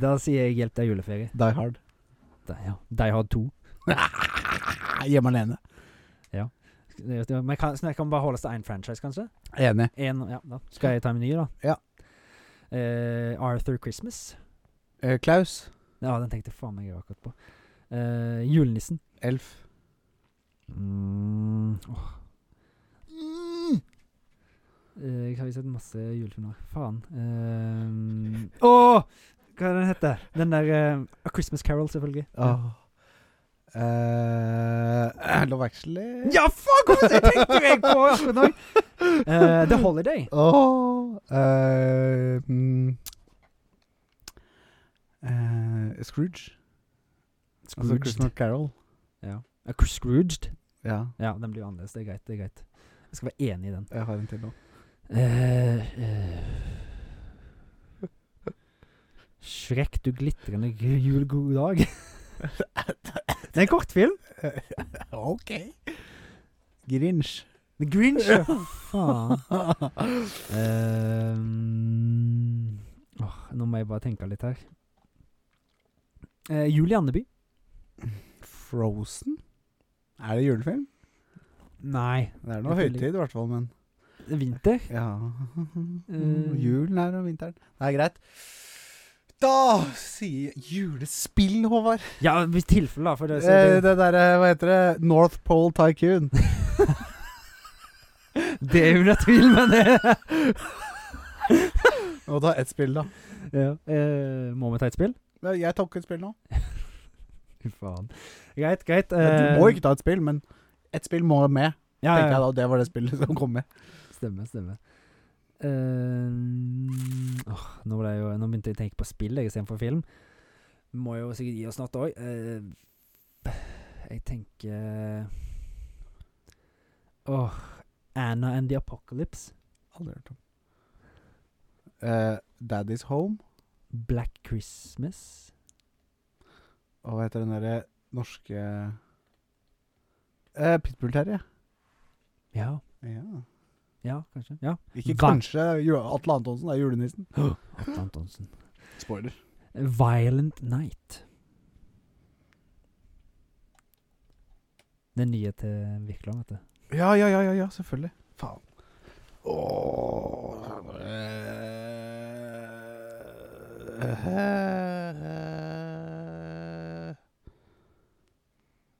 Speaker 2: Da sier jeg 'Hjelp, det er juleferie'.
Speaker 1: Die Hard.
Speaker 2: Da, ja. De har to.
Speaker 1: Hjemme alene.
Speaker 2: Det- det- Men kan, så jeg kan bare holde oss til én franchise, kanskje?
Speaker 1: Enig.
Speaker 2: En, ja, da. Skal jeg ta min nye, da?
Speaker 1: Ja.
Speaker 2: Eh, Arthur Christmas.
Speaker 1: Eh, Klaus.
Speaker 2: Ja, den tenkte jeg faen meg akkurat på. Eh, julenissen.
Speaker 1: Elf.
Speaker 2: Mm. åh. Mm. Eh, jeg har jo sett masse julefilmer. Faen. Eh, åh! Hva er den heter Den der eh, A Christmas Carol, selvfølgelig.
Speaker 1: Åh. Eh, Love Actually.
Speaker 2: Ja, faen! Hvorfor tenkte jeg på akkurat nå? Eh, The Holiday.
Speaker 1: Åh, eh, mm. Eh, Scrooge. Altså Christmas Carol.
Speaker 2: Ja. A Cr- Scrooged.
Speaker 1: Ja,
Speaker 2: Ja, den blir jo annerledes. Det er greit. det er greit Jeg skal være enig i den.
Speaker 1: jeg har en til nå.
Speaker 2: Eh, eh. Shrek, du glitrende gu- jul, god dag. Det er en kortfilm.
Speaker 1: OK. Grinch.
Speaker 2: The Grinch. ja. Faen. Ehm, åh, nå må jeg bare tenke litt her. Eh, Julie Andeby.
Speaker 1: Frozen? Er det julefilm?
Speaker 2: Nei.
Speaker 1: Det er noe
Speaker 2: Jeg føler-
Speaker 1: høytid i hvert fall, men
Speaker 2: Vinter.
Speaker 1: Ja
Speaker 2: Eh. Mm.
Speaker 1: Julen er om vinteren. Det er greit.
Speaker 10: Da sier julespill, Håvard.
Speaker 2: Ja, i tilfelle, da. For det, så
Speaker 1: Eh,
Speaker 2: det,
Speaker 1: det derre, hva heter det? North Pole Tycoon.
Speaker 2: det er jo under tvil, men det
Speaker 1: Nå ta ett spill, da.
Speaker 2: ja. eh, Må vi ta et spill?
Speaker 1: Men Jeg tok et spill nå.
Speaker 2: Fy faen. Greit, greit.
Speaker 1: Du
Speaker 2: eh,
Speaker 1: må ikke ta et spill, men ett spill må med.
Speaker 2: ja,
Speaker 1: Tenkte jeg
Speaker 2: ja,
Speaker 1: da, Det var det spillet som kom med.
Speaker 2: Stemmer, stemmer. Eh, åh, nå, ble jeg jo, nå begynte jeg å tenke på spill jeg, istedenfor film. Må jo sikkert gi oss snart òg. jeg tenker Åh, Anna and the Apocalypse.
Speaker 1: Aldri hørt om. Eh, Daddy's Home.
Speaker 2: Black Christmas.
Speaker 1: Og hva heter den derre norske eh, Pitbull Terje.
Speaker 2: Ja.
Speaker 1: Ja.
Speaker 2: Ja, kanskje. Ja.
Speaker 1: Ikke
Speaker 2: Hva?
Speaker 1: kanskje. det er Ju- Atle Antonsen det er julenissen.
Speaker 2: Atle Antonsen.
Speaker 1: Spoiler.
Speaker 2: Violent Night. Den nye til Vikland, vet du.
Speaker 1: Ja, ja, ja, ja, ja selvfølgelig. Faen. Åh.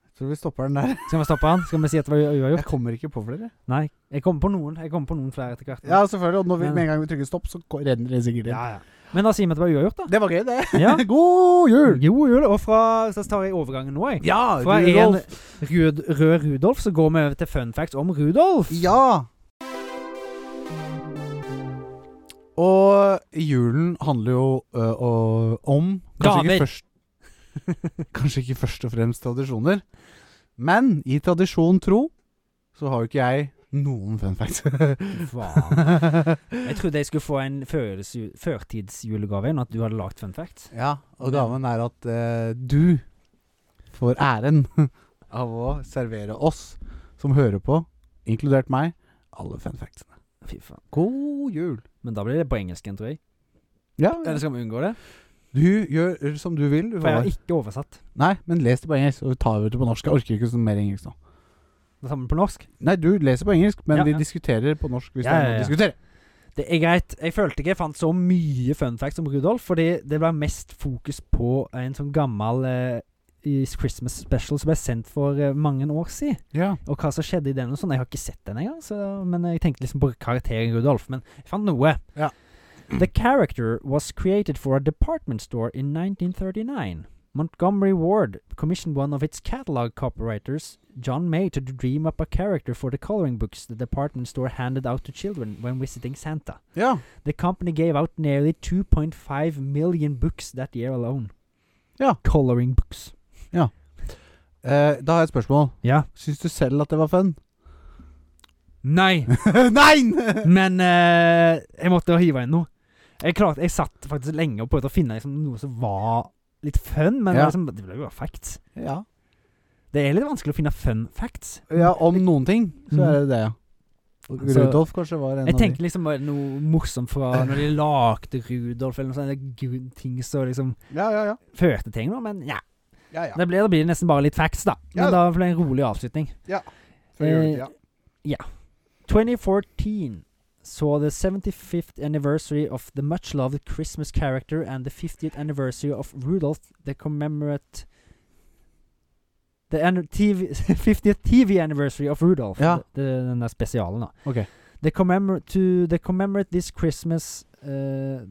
Speaker 1: Jeg tror vi stopper den der.
Speaker 2: Skal vi stoppe han? Skal vi si at det var u- uavgjort?
Speaker 1: Jeg kommer ikke på flere.
Speaker 2: Nei. Jeg kommer på noen Jeg kommer på noen flere etter hvert.
Speaker 1: Ja, selvfølgelig. Og når vi,
Speaker 2: Men-
Speaker 1: med en gang vi trykker stopp, så ko- renner det sikkert inn.
Speaker 2: Ja, ja. Men da sier vi at det var uavgjort,
Speaker 1: Det var gøy, det.
Speaker 2: da. Ja.
Speaker 1: God jul!
Speaker 2: Jo, jul. Og fra Så tar jeg overgangen nå, jeg.
Speaker 1: Ja,
Speaker 2: Fra en rød, rød Rudolf, så går vi over til fun facts om Rudolf.
Speaker 1: Ja! Og julen handler jo ø, å- om kanskje
Speaker 2: Gaver.
Speaker 1: ikke, først, kanskje ikke først og fremst tradisjoner. Men i tradisjon tro så har jo ikke jeg noen fun facts.
Speaker 2: Faen. Jeg trodde jeg skulle få en førjulsju- førtidsjulegave enn at du hadde lagd fun facts.
Speaker 1: ja, og gaven er at ø, du får æren av å servere oss som hører på, inkludert meg, alle fun factsene.
Speaker 2: Fy faen.
Speaker 1: God jul!
Speaker 2: Men da blir det på engelsken, tror jeg.
Speaker 1: Ja,
Speaker 2: Eller skal vi unngå det?
Speaker 1: du gjør som du vil. Du
Speaker 2: For jeg
Speaker 1: Håvard.
Speaker 2: har ikke oversatt.
Speaker 1: Nei, men les det på engelsk, og vi tar det på norsk. Jeg orker ikke sånn mer engelsk nå.
Speaker 2: Det samme på norsk.
Speaker 1: Nei, du leser på engelsk, men
Speaker 2: Ja,
Speaker 1: vi
Speaker 2: ja.
Speaker 1: diskuterer på norsk hvis
Speaker 2: Ja,
Speaker 1: det er
Speaker 2: ja,
Speaker 1: noe
Speaker 2: ja.
Speaker 1: å diskutere.
Speaker 2: Det er greit. Jeg følte ikke jeg fant så mye fun facts om Rudolf, fordi det var mest fokus på en sånn gammel eh, i Christmas special som ble sendt for eh, mange år siden.
Speaker 1: Ja.
Speaker 2: Og hva som skjedde i den og sånn. Jeg har ikke sett den engang, så, men jeg tenkte liksom på karakteren Rudolf. Men jeg fant noe.
Speaker 1: Ja.
Speaker 2: The character was created for a department store in 1939. Montgomery Ward commissioned one of its catalog copywriters, John May, to dream up a character for the coloring books the department store handed out to children when visiting Santa.
Speaker 1: ja.
Speaker 2: The company gave out nearly 2.5 million books that year alone.
Speaker 1: Ja.
Speaker 2: Coloring books.
Speaker 1: Eh, da har jeg et spørsmål.
Speaker 2: Ja.
Speaker 1: Syns du selv at det var fun?
Speaker 2: Nei,
Speaker 1: Nei!
Speaker 2: men eh, jeg måtte hive inn noe. Jeg klarte, jeg satt faktisk lenge og prøvde å finne liksom, noe som var litt fun, men
Speaker 1: Ja.
Speaker 2: liksom, det ble jo bare facts.
Speaker 1: ja.
Speaker 2: Det er litt vanskelig å finne fun facts.
Speaker 1: ja, om noen ting, så er det det, ja. Og
Speaker 2: Mm. Altså,
Speaker 1: Rudolf kanskje var en
Speaker 2: Jeg
Speaker 1: av de.
Speaker 2: tenker liksom bare noe morsomt fra når de lagde Rudolf, eller noe sånt. eller gud- Ting som liksom
Speaker 1: Ja, ja, ja.
Speaker 2: førte til noe, men ja.
Speaker 1: ja, ja.
Speaker 2: Det blir, det blir nesten bare litt facts, da. Men
Speaker 1: Ja
Speaker 2: da
Speaker 1: da.
Speaker 2: blir det en rolig avslutning.
Speaker 1: Før
Speaker 2: eh,
Speaker 1: juletid, ja.
Speaker 2: 2014 saw the 75th anniversary of the much loved Christmas character and the 50th anniversary of Rudolph, the commemorate. The an- TV, 50th TV anniversary of Rudolph.
Speaker 1: Ja.
Speaker 2: Det, det, den der spesialen, da.
Speaker 1: Ok.
Speaker 2: They commemor- to they commemorate this Christmas. Uh,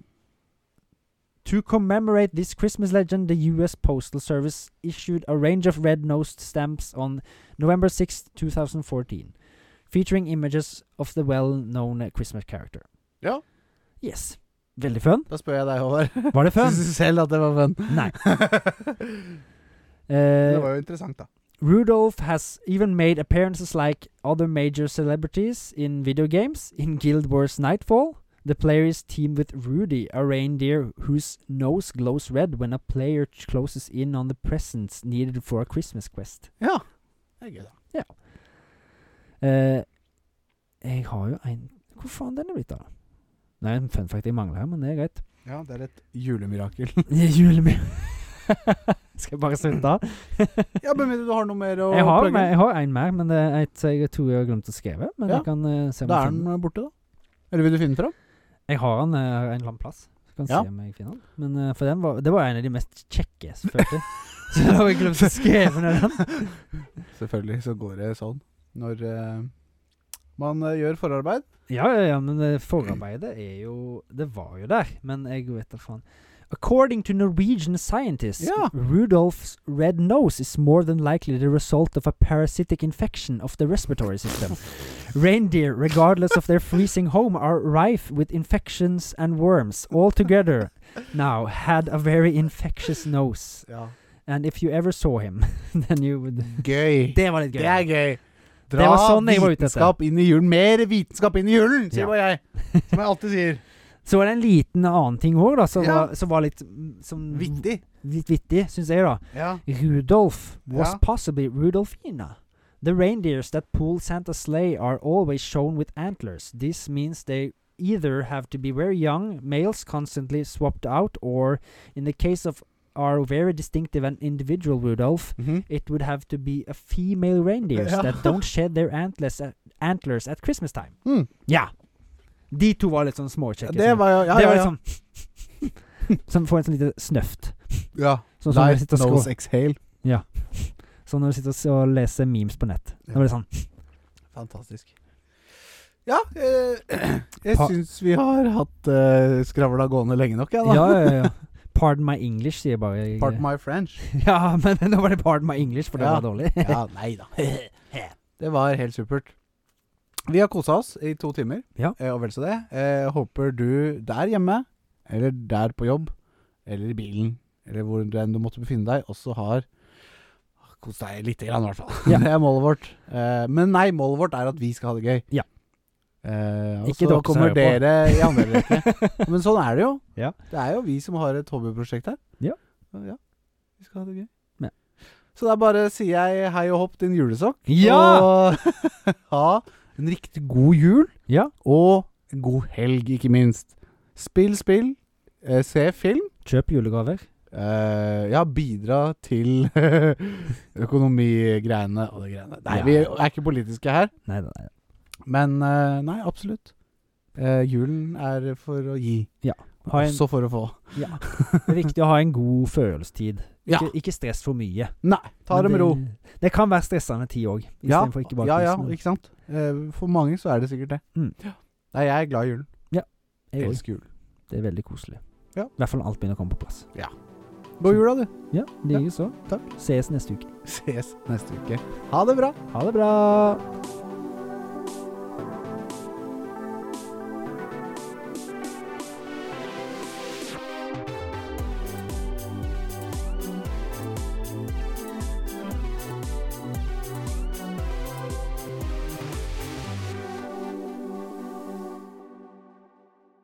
Speaker 2: to commemorate this Christmas legend, the U.S. Postal Service issued a range of red-nosed stamps on November 6, 2014, featuring images of the well-known uh, Christmas character.
Speaker 1: Ja.
Speaker 2: Yes. Veldig fun.
Speaker 1: Da spør jeg deg, Håvard.
Speaker 2: Var det fun?
Speaker 1: Syns du selv at det var fun?
Speaker 2: Nei.
Speaker 1: det
Speaker 2: Eh,
Speaker 1: var jo interessant, da.
Speaker 2: Rudolph has even made appearances like other major celebrities in video games. In Guild Wars Nightfall, the player is teamed with Rudy, a reindeer whose nose glows red when a player ch- closes in on the presents needed for a Christmas quest.
Speaker 1: Ja. Det er gøy, da.
Speaker 2: Eh, jeg har jo en Hvor faen den er blitt av? Det er en fun fact jeg mangler her, men det er greit.
Speaker 1: Ja, det er et julemirakel.
Speaker 2: Julemyr. Skal jeg bare slutte?
Speaker 1: ja, men mener du du har noe mer å
Speaker 2: Jeg har,
Speaker 1: plugge?
Speaker 2: mer- jeg har en mer, men det er et jeg tror jeg har glemt å skrive. Men
Speaker 1: Ja.
Speaker 2: jeg kan eh, se om
Speaker 1: Da
Speaker 2: jeg
Speaker 1: er
Speaker 2: finner
Speaker 1: den borte, da. Eller vil du finne fram?
Speaker 2: Jeg har den eh, en eller annen plass. Kan
Speaker 1: Ja.
Speaker 2: se om jeg finner den. Men eh, for den var, det var en av de mest kjekke, selvfølgelig. Så da har jeg glemt å skrive ned den.
Speaker 1: Selvfølgelig så går det sånn når eh, man eh, gjør forarbeid.
Speaker 2: Ja, ja, ja, men eh, forarbeidet er jo Det var jo der, men jeg vet da faen. According to Norwegian scientists,
Speaker 1: Ja.
Speaker 2: Rudolph's red nose is more than likely the result of a parasitic infection of the respiratory system. Reindeer, regardless of their freezing home, are rife with infections and worms. Altogether, now had a very infectious nose.
Speaker 1: Ja.
Speaker 2: And if you ever saw him, then you would
Speaker 1: Gøy.
Speaker 2: Det var litt gøy.
Speaker 1: Det er gøy. Dra
Speaker 2: var sånn jeg var ute etter.
Speaker 1: vitenskap inn i julen. Mer vitenskap inn i julen, sier
Speaker 2: Ja.
Speaker 1: bare jeg. Som jeg alltid sier.
Speaker 2: Så var det en liten annen ting òg, da, som,
Speaker 1: Ja.
Speaker 2: var, som var litt mm, som,
Speaker 1: Vittig.
Speaker 2: Litt vittig, syns jeg, da.
Speaker 1: Ja.
Speaker 2: Rudolf was
Speaker 1: Ja.
Speaker 2: possibly Rudolfina. The reindeers that pull Santa's sleigh are always shown with antlers. This means they either have to be very young, males constantly swapped out, or in the case of our very distinctive and individual Rudolf,
Speaker 1: Mhm.
Speaker 2: it would have to be a female reindeers
Speaker 1: Ja.
Speaker 2: that don't shed their antlers at, antlers at Christmas time.
Speaker 1: Mm.
Speaker 2: Ja. De to var litt sånn småkjekke.
Speaker 1: Det
Speaker 2: som-
Speaker 1: var jo ja,
Speaker 2: det
Speaker 1: ja,
Speaker 2: var
Speaker 1: ja.
Speaker 2: liksom Som får en sånn lite snøft.
Speaker 1: ja.
Speaker 2: Sånn som når
Speaker 1: Light
Speaker 2: du sitter og
Speaker 1: nose
Speaker 2: skrå-
Speaker 1: exhale.
Speaker 2: sånn når du sitter og s- og leser memes på nett. Da var det sånn
Speaker 1: Fantastisk. Ja, eh, jeg
Speaker 2: Pa-
Speaker 1: syns vi har hatt eh, skravla gående lenge nok, jeg, da.
Speaker 2: Ja, ja, ja. Pardon my English, sier jeg bare jeg.
Speaker 1: Pardon my French.
Speaker 2: Ja, men nå var det pardon my English, for det
Speaker 1: Ja.
Speaker 2: var dårlig.
Speaker 1: Ja, nei da. Det var helt supert. Vi har kosa oss i to timer,
Speaker 2: Ja.
Speaker 1: eh, og vel så det. Eh, håper du der hjemme, eller der på jobb, eller i bilen, eller hvor du enn du måtte befinne deg, også har kost deg lite grann, i hvert fall.
Speaker 2: Ja.
Speaker 1: Det er målet vårt. Eh, men nei, målet vårt er at vi skal ha det gøy.
Speaker 2: Ja.
Speaker 1: Eh, og
Speaker 2: Ikke
Speaker 1: så
Speaker 2: dere som
Speaker 1: kommer
Speaker 2: hører på.
Speaker 1: dere i andre rekke. Men sånn er det jo.
Speaker 2: Ja.
Speaker 1: Det er jo vi som har et hobbyprosjekt her.
Speaker 2: Ja.
Speaker 1: Og ja. Vi skal ha det gøy.
Speaker 2: Ja.
Speaker 1: Så da bare sier jeg hei og hopp, din julesokk.
Speaker 2: Ja!
Speaker 1: Og ha en riktig god jul,
Speaker 2: Ja.
Speaker 1: og en god helg, ikke minst. Spill spill, eh, se film.
Speaker 2: Kjøp julegaver.
Speaker 1: eh, ja, bidra til økonomigreiene og det greiene. Nei,
Speaker 2: Ja.
Speaker 1: vi er ikke politiske her,
Speaker 2: Nei, nei, nei.
Speaker 1: men eh, nei, absolutt. Eh, julen er for å gi,
Speaker 2: Ha en,
Speaker 1: også for å få.
Speaker 2: ja. Det er viktig å ha en god følelsestid.
Speaker 1: Ja.
Speaker 2: Ikke, ikke stress for mye.
Speaker 1: Nei, ta
Speaker 2: Men
Speaker 1: det med ro.
Speaker 2: Det kan være stressende tid òg,
Speaker 1: Ja,
Speaker 2: istedenfor ikke bare
Speaker 1: ja, ja,
Speaker 2: kos, men
Speaker 1: ikke sant? Eh, for mange så er det sikkert det.
Speaker 2: Mm.
Speaker 1: Ja. Nei, jeg er glad i julen.
Speaker 2: jeg også.
Speaker 1: Elsker jul.
Speaker 2: Det er veldig koselig.
Speaker 1: Ja.
Speaker 2: I hvert fall når alt begynner å komme på plass.
Speaker 1: God jul, da, du.
Speaker 2: Ja,
Speaker 1: Ja,
Speaker 2: likeså.
Speaker 1: takk.
Speaker 2: Ses neste uke.
Speaker 1: Ses neste uke. Ha det bra.
Speaker 2: Ha det bra!